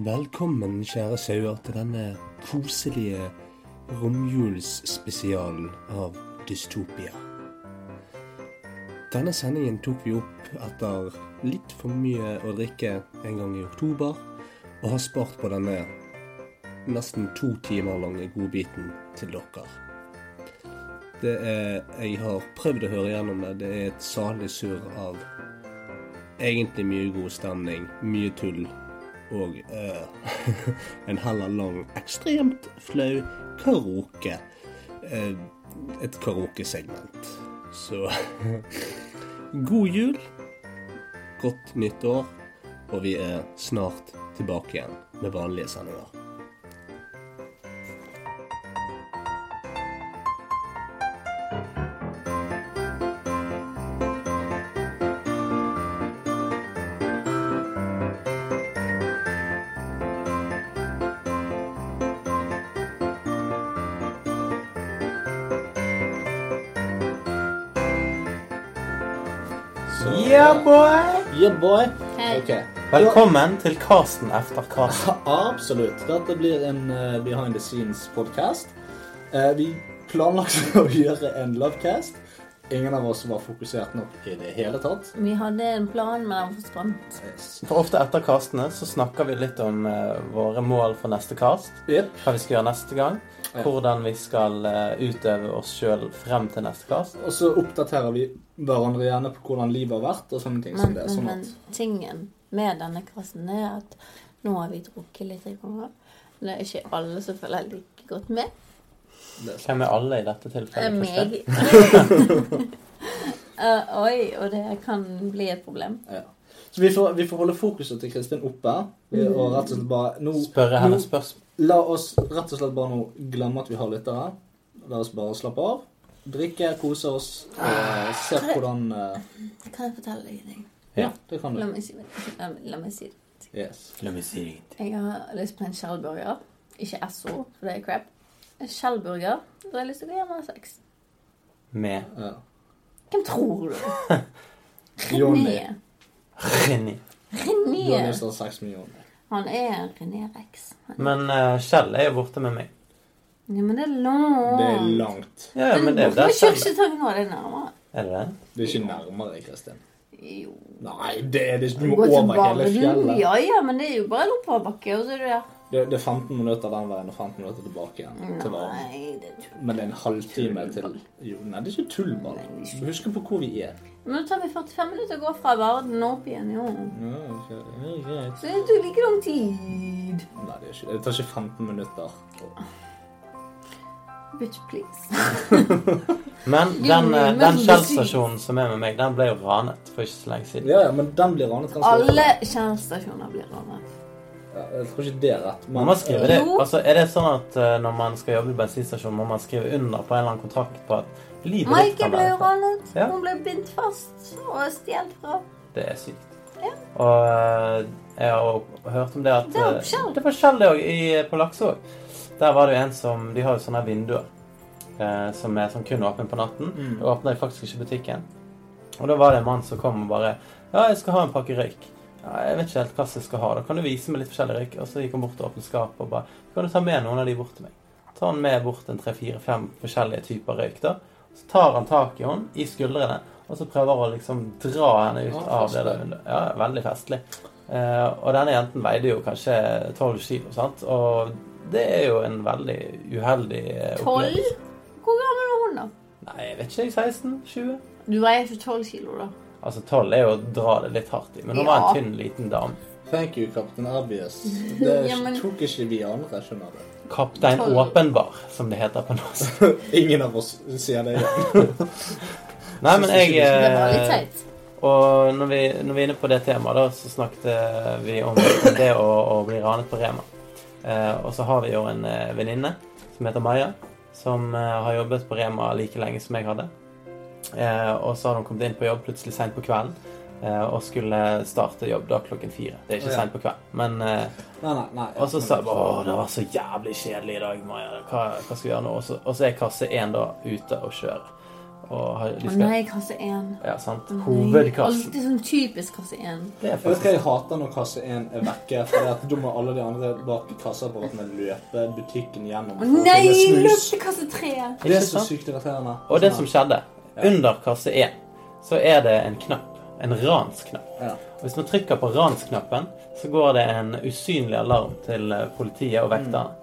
Velkommen, kjære sauer, til denne koselige romjulsspesialen av Dystopia. Denne sendingen tok vi opp etter litt for mye å drikke en gang i oktober, og har spart på denne nesten to timer lange godbiten til dere. Det er, jeg har prøvd å høre gjennom det. Det er et salig surr av egentlig mye god stemning, mye tull og eh, en heller lang, ekstremt flau karaoke. Eh, et karaokesegment. Så god jul, godt nytt år, og vi er snart tilbake igjen med vanlige sendinger. Yeah, boy! Yeah, boy. Hei. Ok. Velkommen til Casten efter Casten. Absolutt. Dette blir en eh, behind the scenes-podkast. vi planlagte å gjøre en lovecast. Ingen av oss var fokusert nok i det hele tatt. Vi hadde en plan, men den forsvant. Yes. For ofte etter castene så snakker vi litt om eh, våre mål for neste cast. Jep. Hva vi skal gjøre neste gang. Ja. Hvordan vi skal eh, utøve oss sjøl frem til neste cast. Og så oppdaterer vi hverandre gjerne på hvordan livet har vært. og sånne ting Men, som det. men, Sånn men at, tingen med denne kassen er at nå har vi drukket litt i ganger. Det er ikke alle som følger like godt med. det er sånn. Hvem er alle i dette Det er tilfellet? meg. Eh, oi, og det kan bli et problem. Ja. Så vi får, vi får holde fokuset til Kristin oppe. Vi- Mm-hmm. Og rett og slett bare nå, Kristian? Spørre nå, henne spørsmål. La oss rett og slett bare nå glemme at vi har lyttere. La oss bare slappe av. Drikke, kose oss og se hvordan eh, Kan jeg fortelle deg en ting? Ja, det kan La du. meg si det. La, meg- la meg si det. Yes. Jeg har lyst på en skjellburger. Ikke SO, for det er crap. En skjellburger. Da har jeg lyst til å gå hjem og ha sex. Med Ja. Hvem tror du? Johnny. René. Rini. Du har René. lyst til å ha sex med Johnny. Han er René Rex. Han- Men eh, Kjell er jo borte med meg. Ja, men det er langt. Det er langt. Ja, men det er jo Hvorfor der er Kjell er. kjøkkentangen nå? Det er nærmere. Er det det? Det er ikke nærmere, Kristin. Jo. Nei, det er det ikke. Du må Gå til over hele Bardu. fjellet. Ja, ja, men det er jo bare en oppoverbakke, og så er det der. Det, det er 15 minutter den veien og 15 minutter tilbake igjen. til varmen. Nei, det er tull. Men det er en halvtime til jo, Nei, det er ikke tullball. Du husker på hvor vi er. Men nå tar vi 45 minutter og går fra Varden og opp igjen, jo. Ja, ok. Ja, greit. Så det tok like lang tid. Nei, det, er ikke, det tar ikke 15 minutter. Bitch, please. Men Jo, den, eh, men den det Kjell-stasjonen som er med meg, den ble jo ranet for ikke så lenge siden. Ja, ja, men den blir ranet ganske Alle kjærelsestasjoner blir rammet. Ja, Jeg tror ikke det er rett. Man må skrive det. Jo. Altså, er det sånn at eh, når man skal jobbe i bensinstasjon, må man skrive under på en eller annen kontrakt på at livet ditt Maike kan ble være jo ranet. Ja. Hun ble bindt fast og stjålet fra. sånn? Det er sykt. Og eh, jeg har også hørt om det at Det var eh, Kjell. Det var Kjell, det òg, eh, på Laksevåg. Der var det jo en som De har jo sånne vinduer eh, som er som kun er åpne på natten. Mm. Det åpner de faktisk ikke i butikken. Og da var det en mann som kom og bare Ja, jeg skal ha en pakke røyk. Ja, jeg vet ikke helt hva jeg skal ha. Da kan du vise meg litt forskjellig røyk. Og så gikk han bort og åpnet skapet og bare Kan du ta med noen av de bort til meg? Ta han med bort en tre-fire-fem forskjellige typer røyk, da. Så tar han tak i henne i skuldrene, og så prøver å liksom dra henne ut Ja, av det festlig. der vinduet. Ja, veldig festlig. Eh, og denne jenten veide jo kanskje 12 kilo, sant? Og det er jo en veldig uheldig eh, Tolv? opplevelse. Hvor gammel var hun, da? Nei, jeg vet ikke. jeg, 16? 20? Du veier ikke tolv kilo, da. Altså, 12 er jo å dra det litt hardt i, men hun var Ja. en tynn, liten dame. Thank you, Captain Obvious. Det Ja, men- tok ikke vi andre, skjønner du. Kaptein 12. Åpenbar, som det heter på norsk. Ingen av oss sier det igjen. Nei, men jeg Det var litt eh, teit. Og når vi, når vi er inne på det temaet, da, så snakket eh, vi om det å, å bli ranet på Rema. Eh, og så har vi jo en eh, venninne som heter Maja, som eh, har jobbet på Rema like lenge som jeg hadde. Eh, og så har hun kommet inn på jobb plutselig seint på kvelden. Eh, og skulle starte jobb da klokken fire. Det er ikke Ja. seint på kvelden. Men eh, Nei, nei, nei. Og så sa jeg bare Å, det var så jævlig kjedelig i dag, Maja. Hva, hva skal vi gjøre nå? Og så, og så er kasse én da ute og kjører. og har, de Å skal nei, kasse 1. Ja, sant. Hovedkassen. Alltid sånn typisk kasse 1. Det er Jeg vet hva faktisk jeg hater når kasse 1 er vekke. For det at da må alle de andre bak kasseapparatene løpe butikken gjennom. Å for å nei, finne løp snus. til kasse 3. Det Ikke er så sant? sykt irriterende. Og det som skjedde, under kasse 1, så er det en knapp. En ransknapp. Ja. Og Hvis man trykker på ransknappen, så går det en usynlig alarm til eh, politiet og vekteren.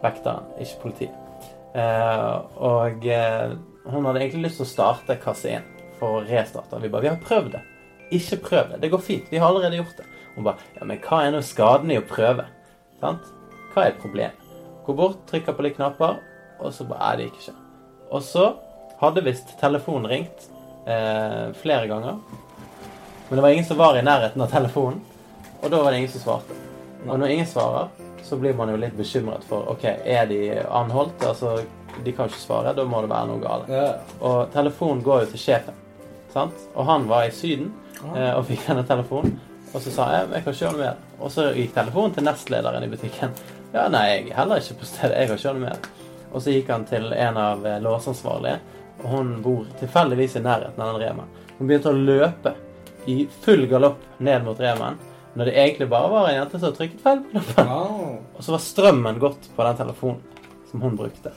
Vekteren, ikke politiet. Eh, og eh, hun hadde egentlig lyst til å starte kasse 1 for å restarte. Vi bare 'Vi har prøvd det. Ikke prøv det. Det går fint. Vi har allerede gjort det.' Hun bare 'Ja, men hva er nå skaden i å prøve?' Sant? Hva er problemet? Går bort, trykker på litt knapper, og så bare 'Nei, det gikk ikke'. Og så hadde visst telefonen ringt eh, flere ganger. Men det var ingen som var i nærheten av telefonen, og da var det ingen som svarte. Og når ingen svarer, så blir man jo litt bekymret for ok, er de anholdt. Altså, de kan ikke svare, da må det være noe galt. Ja. Og telefonen går jo til sjefen, sant? og han var i Syden eh, og fikk denne telefonen. Og så sa jeg jeg kan ikke gjøre noe mer. Og så gikk telefonen til nestlederen i butikken. Ja, nei, jeg er heller ikke på stedet. Jeg kan ikke gjøre noe mer. Og så gikk han til en av eh, låsansvarlige, og hun bor tilfeldigvis i nærheten av den Rema. Hun begynte å løpe i full galopp ned mot Remaen, når det egentlig bare var en jente som hadde trykket feil på knappen. Wow. Og så var strømmen gått på den telefonen som hun brukte.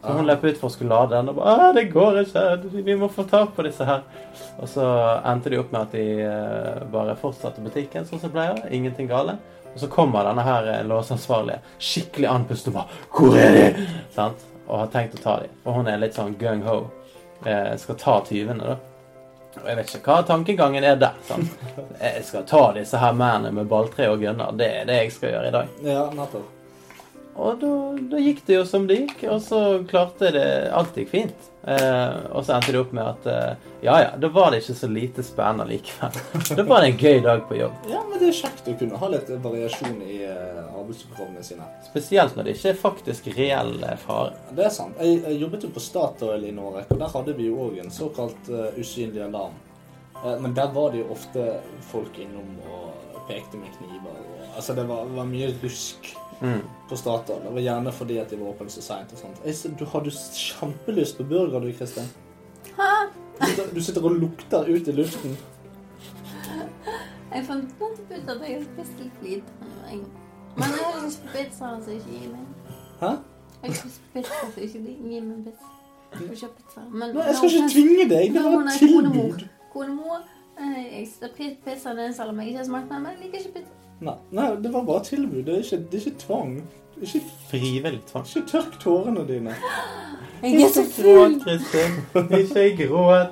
Så hun løp ut for å skulle lade den og bare «Æ, 'Det går ikke. Vi må få tak på disse her.' Og så endte de opp med at de eh, bare fortsatte butikken sånn som det pleier. Ingenting gale. Og så kommer denne her eh, låseansvarlige skikkelig andpustet og bare 'Hvor er de?' Sant? Og har tenkt å ta dem. Og hun er litt sånn gung-ho. Eh, skal ta tyvene, da. Og jeg vet ikke hva tankegangen er der. Sant? Jeg skal ta disse her mennene med balltre og gunner. Det er det jeg skal gjøre i dag. Ja, nettopp. Og da, da gikk det jo som det gikk, og så klarte det Alt gikk fint. Eh, og så endte det opp med at eh, ja ja, da var det ikke så lite spennende likevel. Da var det en gøy dag på jobb. Ja, men det er kjekt å kunne ha litt variasjon i eh, arbeidsoppgavene sine. Spesielt når det ikke er faktisk reell eh, fare. Det er sant. Jeg, jeg jobbet jo på Statoil i Norge, og der hadde vi jo òg en såkalt eh, usynlig alarm. Eh, men der var det jo ofte folk innom og pekte med kniver og Altså, det var, var mye rusk Mm. på Statoil. Det var gjerne fordi at de var åpne så seint og sånt. Jeg, ser- du har du kjempelyst på burger, du, Kristin. Hæ? Du sitter- Du sitter og lukter ut i luften. Jeg fant nettopp ut at jeg har spist litt lite. jeg- Men jeg har spist pizza som ikke gir meg. Hæ? Jeg har spist pizza som ikke gir meg pizza. Jeg får ikke pizza. Men Nei, jeg skal ikke tvinge deg. Det Når var hun et er tilbud. konemor. Konemor. eh, Jeg spiser pi- pizza den selv om jeg ikke har smakt den. Men jeg liker ikke pizza. Nei, nei, det var bare tilbud. Det er ikke, det er ikke tvang. Det er Ikke, Frivillig tvang. ikke tørk tårene dine. Jeg er så Gråt, full! Kristin. Ikke gråt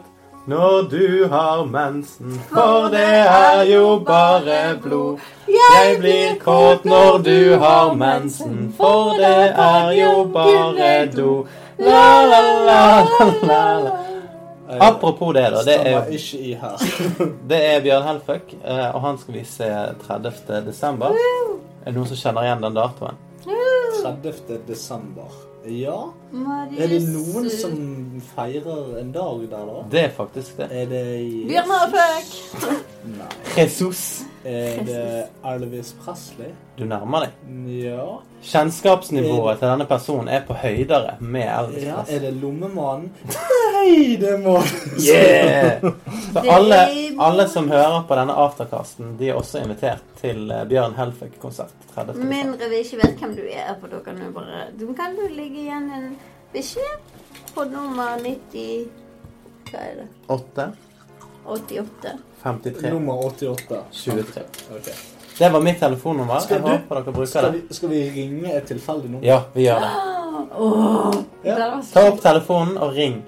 når du har mensen, for det er jo bare blod. Jeg blir kåt når du har mensen, for det er jo bare do. La, la, la, la, la. Eh, Apropos det, da. Det Stammer er, ikke i her. det er Bjørn Helføk, eh, og han skal vi se 30. desember. Er det noen som kjenner igjen den datoen? 30. desember. Ja, Marius. er det noen som feirer en dag der, da? Det er faktisk det. Er det Jesus? Bjørn Helføk! Nei. Jesus. Er det Elvis Presley? Du nærmer deg. Ja. Kjennskapsnivået til denne personen er på høydere med Elvis ja. Presley. Er det Lommemannen? Nei, det må Yeah! Så alle, alle som hører på denne aftercasten, de er også invitert til eh, Bjørn Helføk-konsert 30. desember. Mindre vi ikke vet hvem du er, for da kan du bare Da kan du legge igjen en beskjed på nummer 90 Hva er det? 8, 88. 53, Nummer 88. 23. Ok. Det var mitt telefonnummer. Skal Jeg du- håper dere bruker Skal det. vi, skal vi ringe et tilfeldig nummer? Ja, vi gjør det. Åh, Ja. det var så- Ta opp telefonen og ring.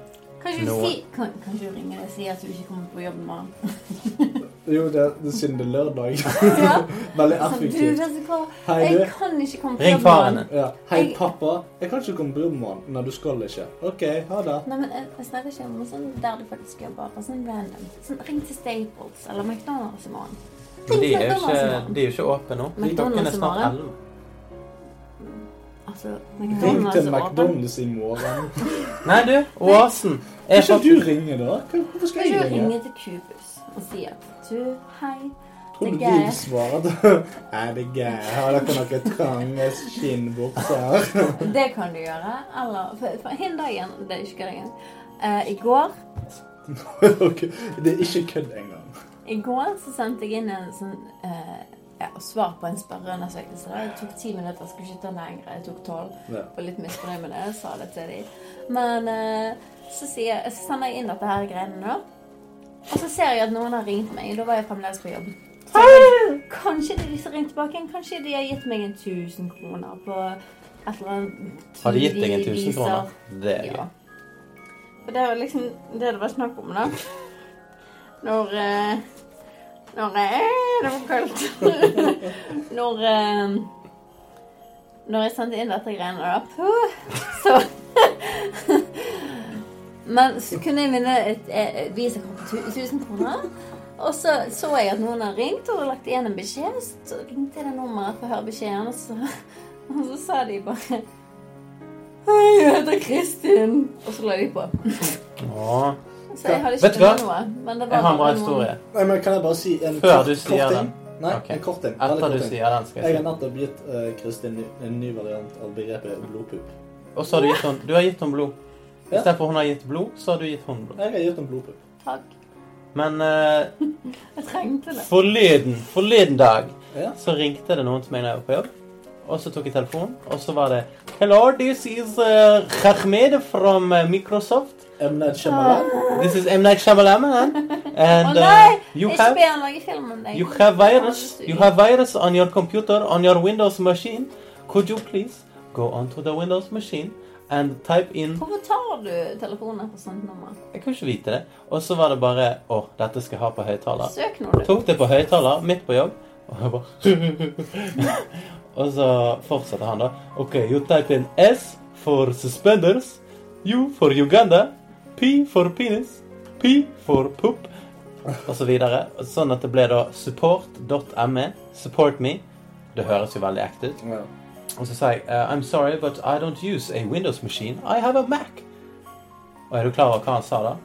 Kan ikke Noe. du si, kan, kan ikke du ringe deg og si at du ikke kommer på jobb i morgen? Jo, det, det, siden det er lørdag. Ja. Veldig Sånn, du, effektivt. vet du hva? Hei, du. Jeg kan ikke komme på Ring jobb i morgen. faren din. Ja. Hei, Jeg- pappa. Jeg kan ikke komme på jobb i morgen. Nei, du skal ikke. OK, ha det. Nei, men jeg, jeg snakker ikke om sånn der du faktisk jobber. Bare sånn random. Sånn, ring til Staples eller McDonald's i morgen. Men de er jo McDonald's ikke, i morgen. de er jo ikke åpne nå. Klokken er McDonald's i snart morgen. 11. Altså, Ring McDonald's til er åpen. McDonald's i morgen. Nei, du. Oasen Kan er ikke du faktisk ringe, da? Hva- Hvorfor skal Kan jeg ikke du ringe? ringe til Cubus og si at du, hei, Tror du det er de gøy. svarer at Er det gøy? Har dere noen trange skinnbukser? Det kan du gjøre. Eller for, for hin dagen Det er ikke hver dagen. Eh, I går Ok, Det er ikke kødd engang. I går så sendte jeg inn en sånn eh, ja, svar på en spørreundersøkelse. Det tok ti minutter. Jeg skulle ikke ta lenger. Jeg tok tolv. Ja. Var litt misfornøyd med det. Jeg sa det til de. Men eh, så, sier, jeg- så sender jeg inn dette her greiene nå. Og så ser jeg at noen har ringt meg. Da var jeg fremdeles på jobb. Så jeg- kanskje de som ringte tilbake, igjen, kanskje de har gitt meg en 1000 kroner på et eller annet Har de gitt deg en 1000 tidlig viser. kroner? Det er gøy. Ja. For det var liksom det det var snakk om, da. Når eh, Når eh, Det var kaldt. Når eh, Når jeg sendte inn dette greiene, da puh, Så Men så kunne jeg vinne et eh, visakort på 1000 kroner. Og så så jeg at noen hadde ringt og lagt igjen en beskjed. og Så ringte jeg det nummeret for å høre beskjeden, og så, og så sa de bare Hei, jeg heter Kristin. Og så la de på. Åh. Så jeg hadde Vet ikke du hva? funnet noe. Men det var Jeg har en bra noen- historie. Nei, men Kan jeg bare si en Før kort- du sier kort den. ting? Nei, Ok. en kort ting. Veldig Etter kort du ting. sier den, skal Jeg jeg har si. nettopp gitt eh, Kristin en ny variant av begrepet blodpupp. Og så har du gitt henne Du har gitt henne blod. Ja. Istedenfor hun har gitt blod, så har du gitt henne blod. Jeg har gitt henne blodpupp. Takk. Men eh, Jeg trengte det. forleden, forleden dag Ja. så ringte det noen til meg da jeg var på jobb. Og så tok jeg telefonen, og så var det Hello, this is uh, Ahmed from eh, Microsoft. Emnet Shemalan. This is M. Night Shyamalan. eh? And Å, eh, nei! you ikke have be han lage film om deg. You have virus. You have virus on your computer, on your Windows machine. Could you please go onto the Windows machine and type in Hvorfor tar du telefoner på sånt nummer? Jeg kunne ikke vite det. Og så var det bare Å, dette skal jeg ha på høyttaler. Søk nå, du. Tok det på høyttaler midt på jobb, og jeg bare Og så fortsatte han, da. OK, you type in S for suspenders. U for Uganda. P for penis. P for poop. Og så videre. Sånn at det ble da support.me. E, Support me. Det høres jo veldig ekte ut. Ja. Og så sa jeg eh, I'm sorry, but I don't use a Windows machine. I have a Mac. Og er du klar over hva han sa da?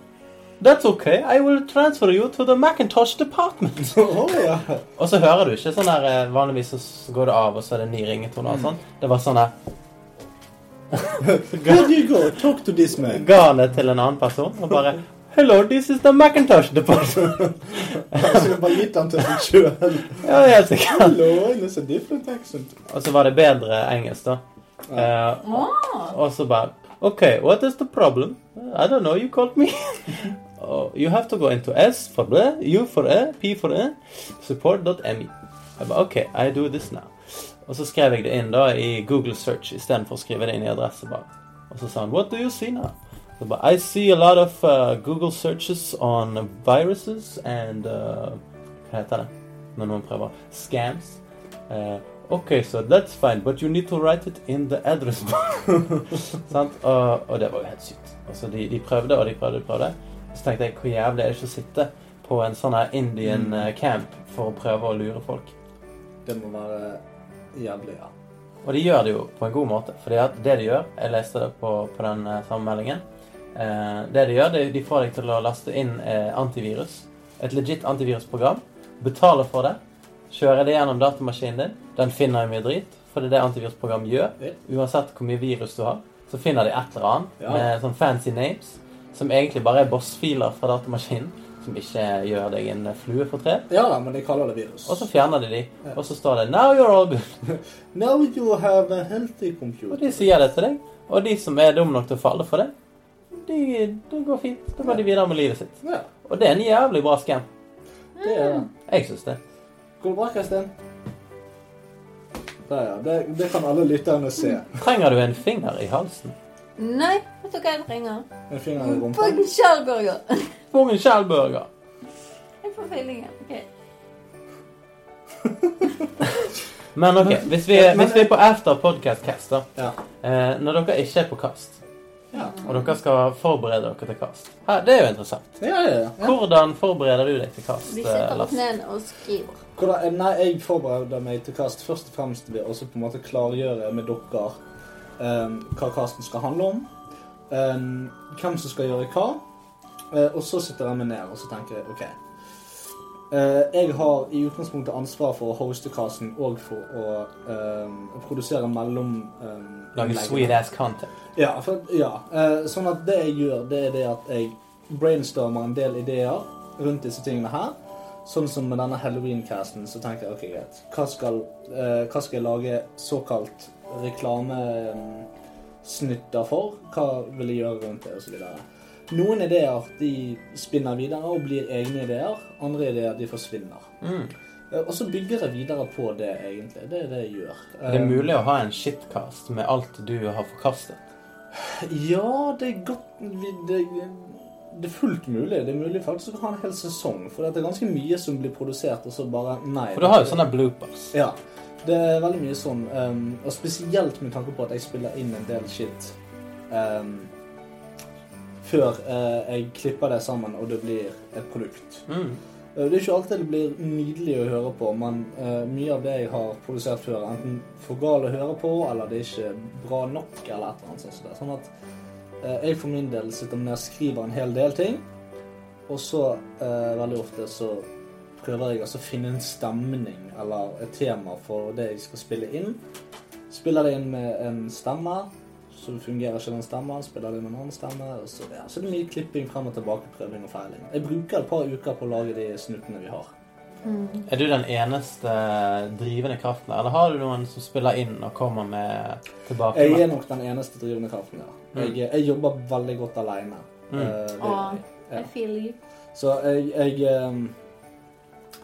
That's okay. I will transfer you to the Macintosh department. Åh, ja. Og så hører du ikke sånn der eh, Vanligvis så s- går det av, og så er det en ny ringetone og sånn. Det var sånn her Where do you go? Talk to this man. Ga han det til en annen person og bare Hello, this is the Macintosh department. Jeg skulle bare gitt den til seg sjøl. Ja, helt sikkert. Hello, it's a different accent. Og så var det bedre engelsk, da. Eh, Å, Og så bare OK, what is the problem? Uh, I don't know, you called me. oh, you have to go into S for ble, U for E, P for E, support.me. Jeg bare OK, E. I do this now. Og så skrev jeg det inn da i Google search istedenfor å skrive det inn i adressebar. Og så sa han What do you see now? Så bare, I see a lot of uh, Google searches on viruses and uh, Hva heter det når noen prøver? Scams. Eh, OK, so that's fine, but you need to write it in the address book. Sant? Og, og det var jo helt sykt. Altså, de, de prøvde og de prøvde og de prøvde. Så tenkte jeg hvor jævlig er det ikke å sitte på en sånn her Indian eh, camp for å prøve å lure folk. Det må være jævlig, ja. Og de gjør det jo på en god måte. Fordi at det de gjør Jeg leste det på, på den eh, samme meldingen. Eh, det de gjør, det er de får deg til å laste inn eh, antivirus. Et legit antivirusprogram. Betale for det. Kjøre det gjennom datamaskinen din. Den finner jo mye drit. For det er det antivirusprogram Ja. gjør. Uansett hvor mye virus du har, så finner de et eller annet Ja. med sånn fancy names. Som egentlig bare er bossfiler fra datamaskinen. Som ikke gjør deg en flue for tre. Ja, men de kaller det virus. Og så fjerner de de. Og så står det 'Now you're all good'. Now you have a healthy Og computer. de sier det til deg. Og de som er dumme nok til å falle for det, de, det går fint. Da går de videre med livet sitt. Ja, Og det er en jævlig bra scam. det er det. Jeg syns det. Går det bra, Kristin? Der, ja. Det, det kan alle lytterne se. Trenger du en finger i halsen? Nei, vet du hva jeg trenger? En finger i rumpa. Fucking Kjellburger. Pungen Kjellburger. Jeg får feelingen. ok. Men ok, hvis vi, hvis vi er på after podcast cast, da. Ja. Eh, når dere ikke er på kast, Ja, og dere skal forberede dere til kast Her, Det er jo interessant. ja, ja. ja. Hvordan forbereder du deg til kast, Vi eh, sitter opp Lasse? ned og skriver. Hvordan, eh, nei, jeg forbereder meg til kast først og fremst ved å så på en måte klargjøre med dere eh, hva kasten skal handle om, eh, hvem som skal gjøre hva, eh, og så sitter jeg meg ned og så tenker jeg, ok, Eh, jeg har i utgangspunktet ansvar for å hoste casten og for å eh, produsere mellom... eh, Lage leggene. sweet ass content. Ja, for, ja. Eh, sånn at det jeg gjør, det er det at jeg brainstormer en del ideer rundt disse tingene her. Sånn som med denne Halloween-casten, så tenker jeg ok, greit. Hva skal, eh, hva skal jeg lage såkalt reklamesnutter for? Hva vil jeg gjøre rundt det, og så videre. Noen ideer de spinner videre og blir egne ideer. Andre ideer de forsvinner. Mm. Eh, Og så bygger jeg videre på det, egentlig. Det er det jeg gjør. Det er Eh, mulig å ha en shitcast med alt du har forkastet. Ja, det er godt vi- det, det er fullt mulig. Det er mulig faktisk å ha en hel sesong. For det er ganske mye som blir produsert, og så bare Nei. For du har jo sånn- sånne bloopers. Ja. Det er veldig mye sånn. ehm, og spesielt med tanke på at jeg spiller inn en del shit ehm, før eh, jeg klipper det sammen, og det blir et produkt. Mm. Eh, Det er ikke alltid det blir nydelig å høre på, men eh, mye av det jeg har produsert før, er enten for gal å høre på, eller det er ikke bra nok, eller et eller annet sånt. som det. Sånn at eh, jeg for min del sitter ned og skriver en hel del ting, og så eh, veldig ofte så prøver jeg altså å finne en stemning eller et tema for det jeg skal spille inn. Spiller det inn med en stemme, så fungerer ikke den stemmen, spiller det inn med en annen stemme, og så, ja. så det er mye klipping frem og tilbake, prøving og feiling. Jeg bruker et par uker på å lage de snuttene vi har. Mm. Er du den eneste drivende kraften, eller har du noen som spiller inn og kommer med tilbake? Jeg er nok den eneste drivende kraften der. Mm. Jeg, jeg jobber veldig godt alene. Mm. Eh, det gjør Åh, jeg. Ja. I feel you. Så jeg, jeg ehm,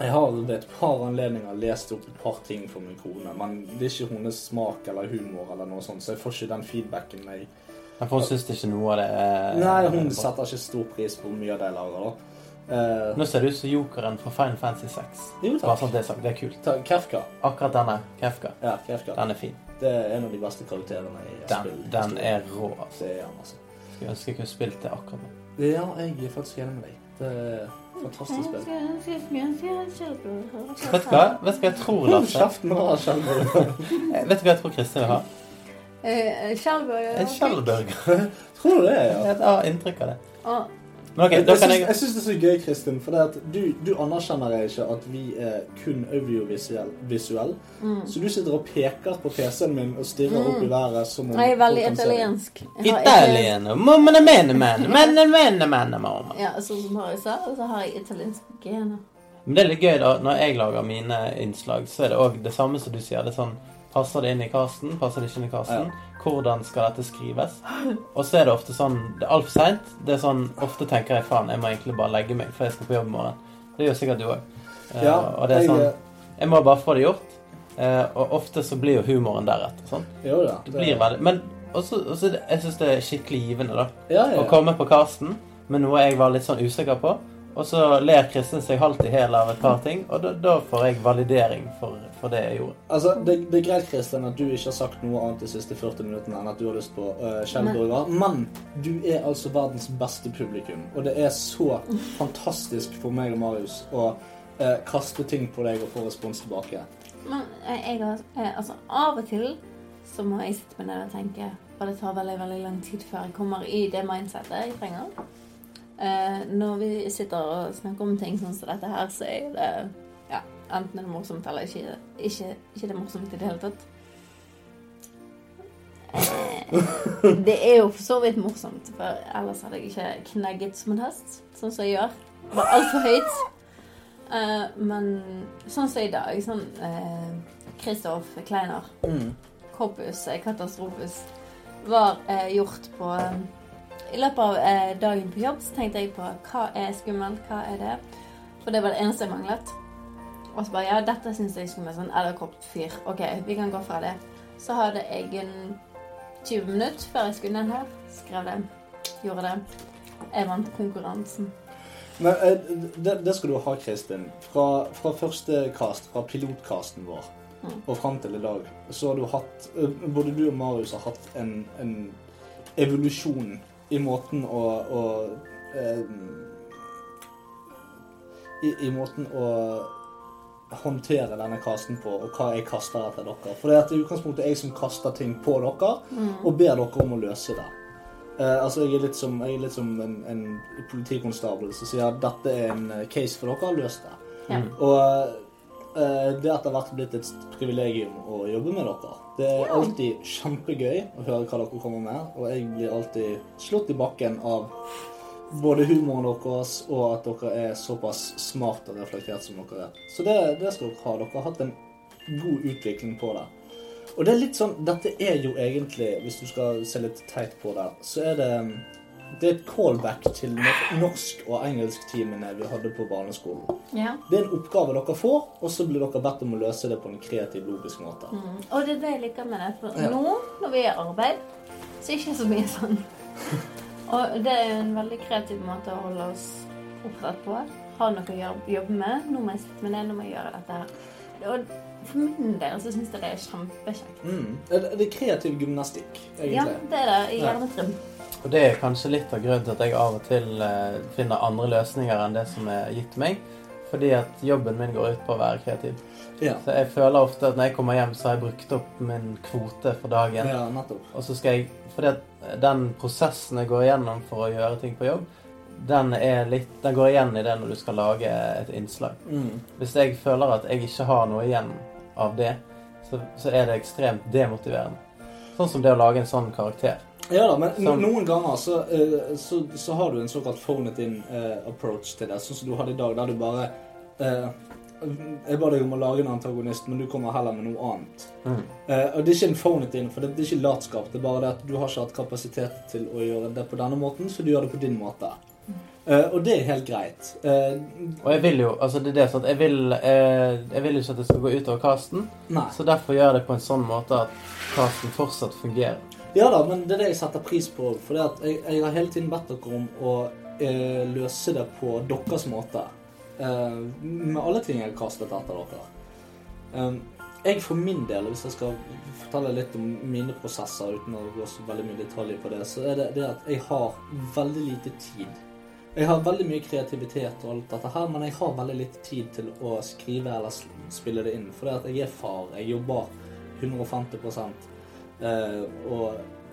Jeg har ved et par anledninger lest opp et par ting for min kone, men det er ikke hennes smak eller humor, eller noe sånt, så jeg får ikke den feedbacken jeg Men for hun syns ikke noe av det er Nei, hun setter ikke stor pris på hvor mye av det jeg lager, da. Eh, Nå ser du ut som jokeren fra Final Fantasy 6. jo, Bare takk. sånn at det er sagt. Det er kult. Ta- Kefka. Akkurat denne Kefka, Ja, Kefka. den er fin. Det er en av de beste karakterene i Den, spill. den er rå. altså. Det er han, altså. Skulle ønske jeg kunne spilt det akkurat nå. Ja, jeg er faktisk enig med deg. Det er et fantastisk Vet spill. Vet du hva Vet du hva jeg tror, Hold Lasse? kjeften nå, Skjelberg. Eh, Vet du hva jeg tror Kristin vil ha? En Kjellburger. Tror du det? ja? Jeg har inntrykk av det. Å, Men ok, Jeg- da jeg, kan syns, jeg jeg syns det er så gøy, Kristin, for det at du, du anerkjenner ikke at vi er kun audiovisuell. visuell. mm. Så du sitter og peker på PC-en min og stirrer Mm. opp i været som om Jeg er veldig folk kan se deg. italiensk. Jeg har italiensk- Italien og mamma ne mene mene mene mene mene mamma. Ja, sånn som Harry sa, og så har jeg italienske gener. Men det er litt gøy da, når jeg lager mine innslag, så er det også det samme som du sier. Det er sånn, passer det inn i casten, passer det ikke inn i casten? Hvordan skal dette skrives? Og så er det ofte sånn, det er alt for sent. Det er sånn, ofte tenker jeg, faen, jeg må egentlig bare legge meg, for jeg skal på jobb i morgen. Det gjør sikkert du også. Eh, Ja, og det er sånn, jeg, jeg må bare få det gjort. Eh, og ofte så blir jo humoren deretter, sånn. jo da. Det blir veldig, men også, også, det- jeg synes det er skikkelig givende da. ja, ja, Å komme på casten med noe jeg var litt sånn usikker på. Og så ler Kristin seg halvt i hæl av et par ting, og da, da får jeg validering for, for det jeg gjorde. Altså, det, det er greit, Kristin, at du ikke har sagt noe annet de siste 40 minuttene enn at du har lyst på uh, skjellburger, men du er altså verdens beste publikum, og det er så fantastisk for meg og Marius å eh, kaste ting på deg og få respons tilbake. Men eh, jeg har eh, Altså, av og til så må jeg sitte meg ned og tenke For det tar veldig, veldig lang tid før jeg kommer i det mindsetet jeg trenger. Eh, når vi sitter og snakker om ting sånn som dette her, så er det ja, enten er det morsomt eller ikke, ikke, ikke det er morsomt i det hele tatt. Eh, det er jo for så vidt morsomt, for ellers hadde jeg ikke knegget som en hest, sånn som jeg gjør. Det var altfor høyt. Eh, men sånn som i dag, sånn eh, Kristoff Kleiner, Kopus, eh, Katastrofus, var eh, gjort på I løpet av eh, dagen på jobb så tenkte jeg på hva er skummelt, hva er det? For det var det eneste jeg manglet. Og så bare ja, dette syns jeg er skummelt. Sånn edderkoppfyr. OK, vi kan gå fra det. Så hadde jeg en 20 minutter før jeg skulle ned her. Skrev det. Gjorde det. Jeg vant konkurransen. Men eh, det, det skal du ha, Kristin. Fra, fra første cast, fra pilotcasten vår, Mm. og fram til i dag, så har du hatt eh, Både du og Marius har hatt en, en evolusjon i måten å, å eh, i, I måten å håndtere denne casten på, og hva jeg kaster etter dere. For det er at i utgangspunktet er jeg som kaster ting på dere og ber dere om å løse det. Eh, altså, jeg er litt som, jeg er litt som en, en politikonstabel som sier at dette er en eh, case for dere, løs det. Ja. Og eh, det har etter hvert blitt et privilegium å jobbe med dere. Det er alltid kjempegøy å høre hva dere kommer med, og jeg blir alltid slått i bakken av både humoren deres og at dere er såpass smart og reflektert som dere er. Så det, det skal dere ha. Dere har hatt en god utvikling på det. Og det er litt sånn, dette er jo egentlig, hvis du skal se litt teit på det, så er det det er et callback til nor- norsk- og engelsktimene vi hadde på barneskolen. Ja. Det er en oppgave dere får, og så blir dere bedt om å løse det på en kreativ, logisk måte. Og det er det jeg liker med det. For Ja. nå, når vi er i arbeid, så er det ikke så mye sånn. Og det er jo en veldig kreativ måte å holde oss opptatt på. Ha noe å gjøre- jobbe med. Nå må jeg sitte med det, nå må jeg gjøre dette her. Og for min del så syns jeg det er kjempekjekt. Mm. Det det er kreativ gymnastikk, Ja, egentlig. det er det. I Ja. hjernetrim. Og det er kanskje litt av grunnen til at jeg av og til eh, finner andre løsninger enn det som er gitt meg. Fordi at jobben min går ut på å være kreativ. Ja, Så jeg føler ofte at når jeg kommer hjem, så har jeg brukt opp min kvote for ja. dagen. nettopp. Og så skal jeg Fordi at den prosessen jeg går igjennom for å gjøre ting på jobb, den, er litt, den går igjen i det når du skal lage et innslag. Mm. Hvis jeg føler at jeg ikke har noe igjen av det, så, så er det ekstremt demotiverende. Sånn som det å lage en sånn karakter. Ja da, men Sånn. noen ganger så, eh, så, så har du en såkalt phone it in eh, approach til det, sånn som du hadde i dag, der du bare eh, Jeg ba deg om å lage en antagonist, men du kommer heller med noe annet. Mm. Eh, og det er ikke en phone it in, for det, det er ikke latskap. Det er bare det at du har ikke hatt kapasitet til å gjøre det på denne måten, så du gjør det på din måte. Eh, og det er helt greit. Eh, Og jeg vil jo altså det er det, sånn at jeg vil, eh, jeg vil ikke at det skal gå utover casten, nei. så derfor gjør jeg det på en sånn måte at casten fortsatt fungerer. Ja da, men det er det jeg setter pris på. For det at jeg, jeg har hele tiden bedt dere om å eh, løse det på deres måte. Eh, med alle ting jeg har kastet etter dere. Um, jeg for min del, hvis jeg skal fortelle litt om mine prosesser uten å gå så veldig mye detaljer på det, så er det det at jeg har veldig lite tid. Jeg har veldig mye kreativitet og alt dette her, men jeg har veldig lite tid til å skrive eller s- spille det inn. For det at jeg er far, jeg jobber 150 eh, og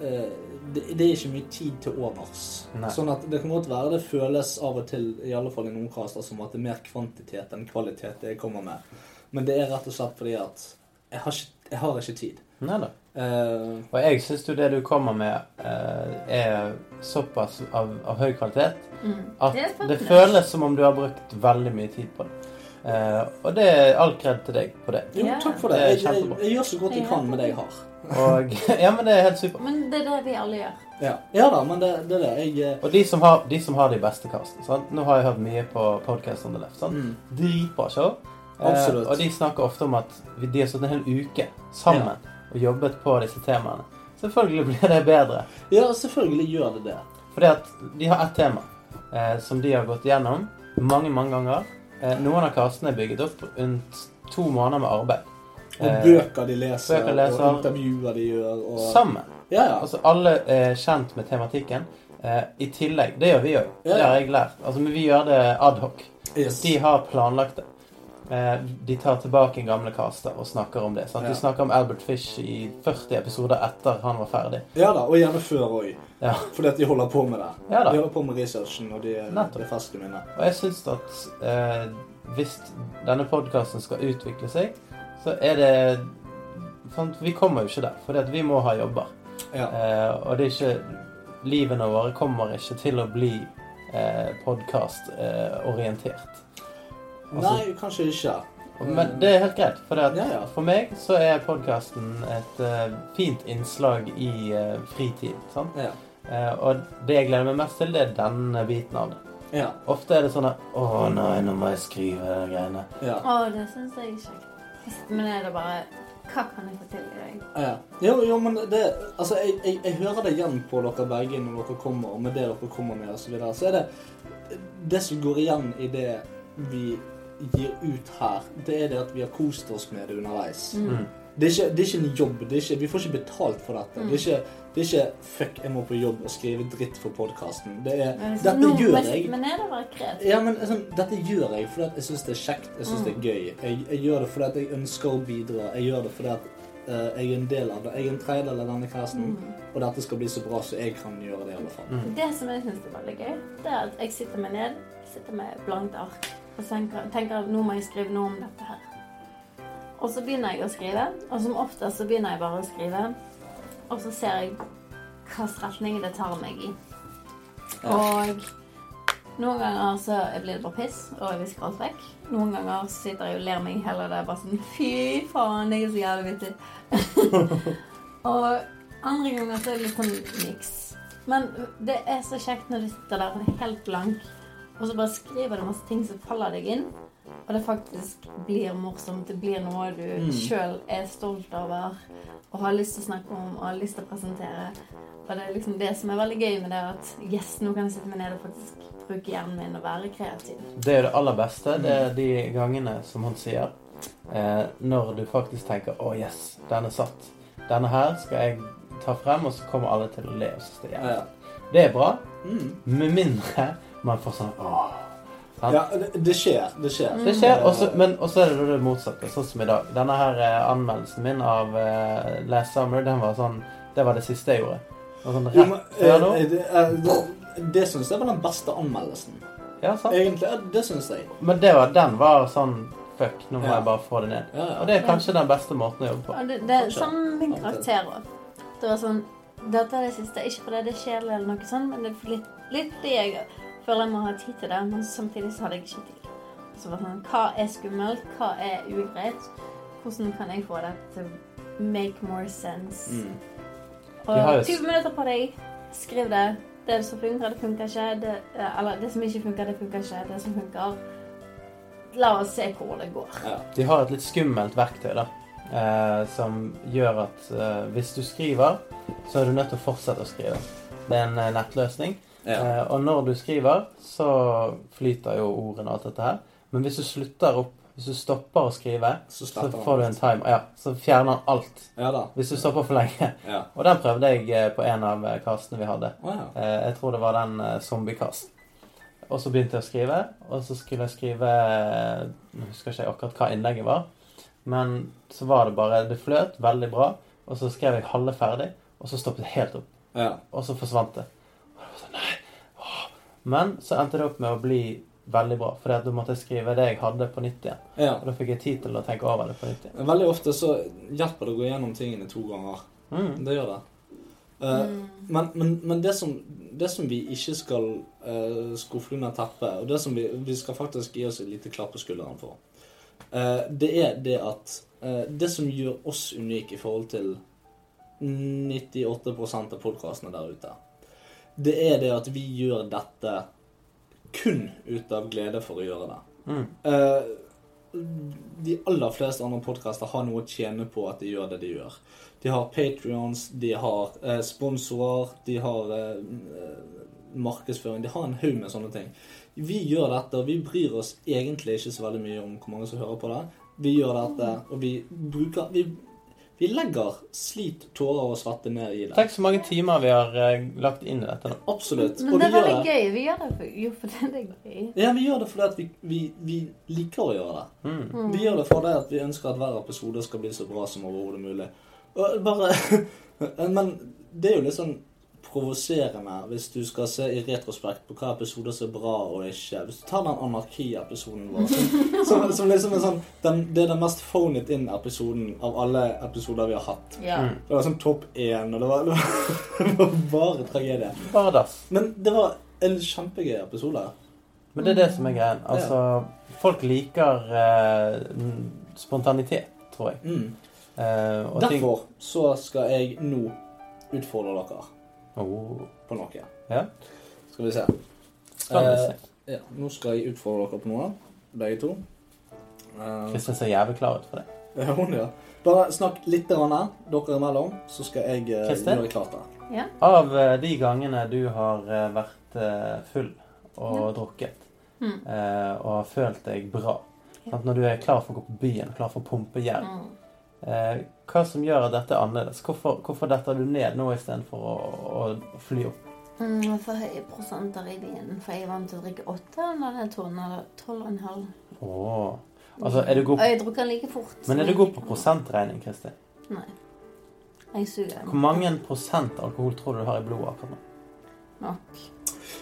eh, det, det er ikke mye tid til overs. Nei. Sånn at det kan godt være det føles av og til, i alle fall i noen kaster, som at det er mer kvantitet enn kvalitet det jeg kommer med. Men det er rett og slett fordi at jeg har ikke, jeg har ikke tid. Neida. Eh, Og jeg syns jo det du kommer med, eh, er såpass av, av høy kvalitet Mm. at Det er spennende. det føles som om du har brukt veldig mye tid på det. Eh, og det er all kred til deg på det. jo, Ja. takk for det. Det er Jeg, jeg, kjempebra. jeg gjør så godt jeg Ja. kan med det jeg har. Og ja, men det er helt supert. Men det er det vi alle gjør. Ja, ja da, men det, det er det. Jeg, eh, Og de som har de, som har de beste castene sant? Nå har jeg hørt mye på Podcast on the Left. Sant? mm, Dritbra show. Eh, Absolutt. og de snakker ofte om at vi- de har stått en hel uke sammen og jobbet på disse temaene. Selvfølgelig blir det bedre. ja, selvfølgelig gjør det det. Fordi at de har ett tema eh, som de har gått igjennom mange, mange ganger. Eh, noen av castene er bygget opp rundt to måneder med arbeid. Og Eh, bøker de leser, bøker leser. og intervjuer de gjør. Og, Sammen. Ja, ja. Altså alle er kjent med tematikken. Eh, I tillegg. Det gjør vi òg. Ja. Det har jeg lært. Altså, men vi gjør det adhoc. Yes. De har planlagt det. Eh, De tar tilbake en gamle caster og snakker om det. Sant? Ja. De snakker om Albert Fish i 40 episoder etter han var ferdig. ja da, og gjerne før òg. Ja. Fordi at de holder på med det. Ja da. De holder på med researchen, og de Nettopp. det er ferskt i minnet. Og jeg syns at eh, hvis denne podkasten skal utvikle seg, så er det sant? Vi kommer jo ikke der, for vi må ha jobber. Ja. Eh, og det er ikke Livene våre kommer ikke til å bli eh, podkastorientert. altså- Nei, kanskje ikke. Men det er helt greit, for, det at Ja, ja. for meg så er podkasten et eh, fint innslag i eh, fritid. Sant? Ja. Eh, og det jeg gleder meg mest til, det er denne biten av det. Ja. Ofte er det sånn at Å nei, nå må jeg skrive de greiene. ja. Å, det syns jeg er kjekt. Men er det bare Hva kan jeg få til i dag? Ja. Jo, jo, men det Altså, jeg, jeg, jeg hører det igjen på dere begge når dere kommer, og med det dere kommer med, osv. Så, videre. så er det Det som går igjen i det vi gir ut her, det er det at vi har kost oss med det underveis. Mm. Det er, ikke, det er ikke en jobb. Det er ikke, vi får ikke betalt for dette. Mm. Det, er ikke, det er ikke 'fuck, jeg må på jobb og skrive dritt for podkasten'. Det er Men- 'dette Nå- gjør men- jeg'. Men er det bare kreativt? Ja, men sånn, Dette gjør jeg fordi at jeg syns det er kjekt, jeg syns det Mm. er gøy. Jeg, jeg gjør det fordi at jeg ønsker å bidra. Jeg gjør det fordi at eh, jeg er en del av det. Jeg er en tredjedel av denne casten, Mm. og dette skal bli så bra så jeg kan gjøre det. i alle fall. Det som jeg syns er veldig gøy, det er at jeg sitter meg ned, sitter med blankt ark, og så tenker, tenker jeg, nå må jeg skrive noe om dette her. Og så begynner jeg å skrive, og som oftest så begynner jeg bare å skrive. Og så ser jeg hvilken retning det tar meg i. Og noen ganger så blir det bare piss, og jeg visker alt vekk. Noen ganger så sitter jeg og ler meg i hjel, og det er bare sånn Fy faen, jeg er så jævlig vittig. og andre ganger så er det litt sånn niks. Men det er så kjekt når du sitter der og er helt blank, og så bare skriver du masse ting som faller deg inn, og det faktisk blir morsomt. Det blir noe du sjøl er stolt over og har lyst til å snakke om og har lyst til å presentere. Og det er liksom det som er veldig gøy med det, at yes, nå kan jeg sitte meg ned og faktisk bruke hjernen min og være kreativ. Det er jo det aller beste. Det er de gangene, som han sier, eh, når du faktisk tenker 'Å, yes, den er satt'. Denne her skal jeg ta frem, og så kommer alle til å le og synes det er Ja, jævlig. ja. Det er bra, Mm. med mindre man får sånn 'Åh'. sant? ja det, det skjer. Det Mm. skjer. Det skjer, også, men også er det det motsatte, sånn som i dag. Denne her eh, anmeldelsen min av eh, Last Summer, den var sånn Det var det siste jeg gjorde. Det var sånn Jo, rett men, før nå. eh, det, eh, det- det syns jeg var den beste anmeldelsen. Ja, sant? Egentlig, ja, det syns jeg. Men det var, den var sånn Fuck, nå må Ja. jeg bare få det ned. Ja, Og ja. det er kanskje den beste måten å jobbe på. Og det, det er samme med min karakter òg. Det var sånn Dette er det siste. Ikke fordi det er kjedelig, eller noe sånt, men det er for litt, litt fordi jeg føler jeg må ha tid til det. Men samtidig så hadde jeg ikke tid. Så var det sånn Hva er skummelt? Hva er ugreit? Hvordan kan jeg få det til å make more sense? Mm. De har jo Og s- 20 minutter på deg. Skriv det. Det som funker, det funker ikke. Det, eh, eller det som ikke funker, det funker ikke. Det som funker La oss se hvor det går. Ja. De har et litt skummelt verktøy da, eh, som gjør at eh, hvis du skriver, så er du nødt til å fortsette å skrive. Det er en eh, nettløsning. Ja. Eh, og når du skriver, så flyter jo ordene og alt dette her. Men hvis du slutter opp, hvis du stopper å skrive, Så så starter får du en time. Ja, så fjerner han alt. Ja da. Hvis du stopper for lenge. Ja. Og den prøvde jeg eh, på en av eh, castene vi hadde. Å, ja. Eh, jeg tror det var den eh, zombiekasten. Og så begynte jeg å skrive, og så skulle jeg skrive eh, Nå husker ikke jeg akkurat hva innlegget var, men så var det bare Det fløt veldig bra, og så skrev jeg halve ferdig, og så stoppet jeg helt opp. ja. Og så forsvant det. Og det var sånn, nei, åh. Men så endte det opp med å bli veldig bra, for da måtte jeg skrive det jeg hadde, på nytt igjen. ja. Og da fikk jeg tid til å tenke over det på nytt igjen. Veldig ofte så hjelper det å gå gjennom tingene to ganger. Mm. Det gjør det. Eh, Men, men, men det, som, det som vi ikke skal uh, skuffe under teppet, og det som vi, vi skal faktisk gi oss et lite klapp på skulderen for, eh, det er det at eh, det som gjør oss unike i forhold til 98 av podkastene der ute, det er det at vi gjør dette kun ut av glede for å gjøre det. Mm. Eh, de aller fleste andre podkaster har noe å tjene på at de gjør det de gjør. De har Patrions, de har eh, sponsorer, de har eh, eh, markedsføring. De har en haug med sånne ting. Vi gjør dette, og vi bryr oss egentlig ikke så veldig mye om hvor mange som hører på det. Vi gjør dette, og vi bruker Vi, vi legger slit, tårer og svette ned i det. Tenk så mange timer vi har eh, lagt inn i dette nå. Absolutt. Men Og det vi gjør er veldig det. gøy. Vi gjør det for, jo fordi det er gøy. Ja, vi gjør det fordi at vi, vi, vi liker å gjøre det. Mm. Vi gjør det fordi at vi ønsker at hver episode skal bli så bra som overhodet mulig. Og bare, men det er jo litt sånn provoserende hvis du skal se i retrospekt på hva episoder som er bra og ikke. Hvis du tar den anarki-episoden vår, som, som, som liksom er sånn den, Det er den mest phoned in-episoden av alle episoder vi har hatt. Ja. Mm. Det var sånn topp én, og det var, det var, det var bare tragedie. Bare dass. Men det var en kjempegøy episode. Men det er det som er greien. Altså, folk liker eh, mm, spontanitet, tror jeg. Mm. Eh, og ting- Derfor så skal jeg nå utfordre dere. Oh, på noe. Ja. Skal vi se. spennende. Eh, Ja, nå skal jeg utfordre dere på noe, begge to. Eh, Kristin ser jævlig klar ut for det. ja, hun, ja. Bare snakk litt grann her, dere imellom, så skal jeg eh, Kristin? gjøre klart det. Av eh, de gangene du har eh, vært eh, full og drukket Mm. eh, og har følt deg bra Ja. sant? Når du er klar for å gå på byen, klar for å pumpe jern Mm. eh, Hva som gjør at dette er annerledes? Hvorfor, hvorfor detter du ned nå istedenfor å, å fly opp? Mm, for høye prosenter i vinen. For jeg er vant til å drikke åtte, og nå er det tolv eller tolv og en halv. Åh. Altså, er du god Og jeg drukker den like fort. Men er du god på prosentregning, Kristin? Nei. Jeg suger. Hvor mange prosent alkohol tror du du har i blodet akkurat nå? Nok.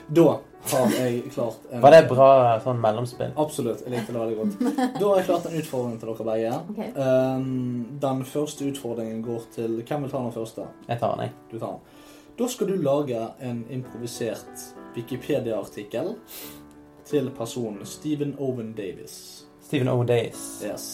Da har jeg klart en Var det bra sånn mellomspill? Absolutt. Jeg likte det veldig godt. Da har jeg klart en utfordring til dere begge. Ok. Ehm, den første utfordringen går til Hvem vil ta den første? Jeg tar den, jeg. Du tar den. Da skal du lage en improvisert Wikipedia-artikkel til personen Stephen Owen Davis. Stephen O'Days. Yes.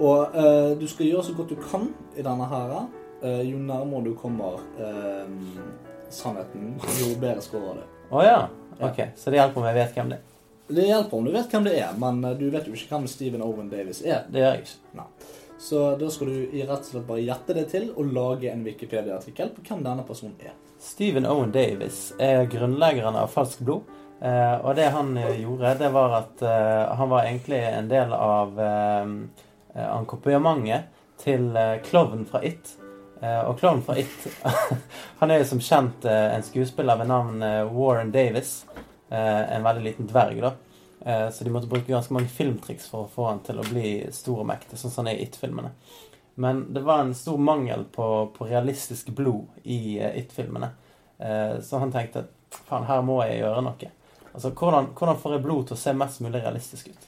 Og eh, du skal gjøre så godt du kan i denne her. Eh, jo nærmere du kommer eh, sannheten, jo bedre scorer du. Å ja. Ok, så det hjelper om jeg vet hvem det er. Det hjelper om du vet hvem det er, men eh, du vet jo ikke hvem Stephen Owen Davis er. Det gjør jeg ikke. Nei. Så da skal du i rett og slett bare gjette det til og lage en Wikipedia-artikkel på hvem denne personen er. Stephen Owen Davis er grunnleggeren av Falsk blod. Eh, og det han eh, gjorde, det var at eh, han var egentlig en del av eh, eh, akkompagnementet til eh, klovnen fra It. Eh, og klovnen fra It Han er jo som kjent eh, en skuespiller ved navn eh, Warren Davis. Eh, en veldig liten dverg, da. Eh, så de måtte bruke ganske mange filmtriks for å få han til å bli stor og mektig, sånn som han er i It-filmene. Men det var en stor mangel på, på realistisk blod i eh, It-filmene. Eh, Så han tenkte at faen, her må jeg gjøre noe. Altså, hvordan, hvordan får jeg blod til å se mest mulig realistisk ut?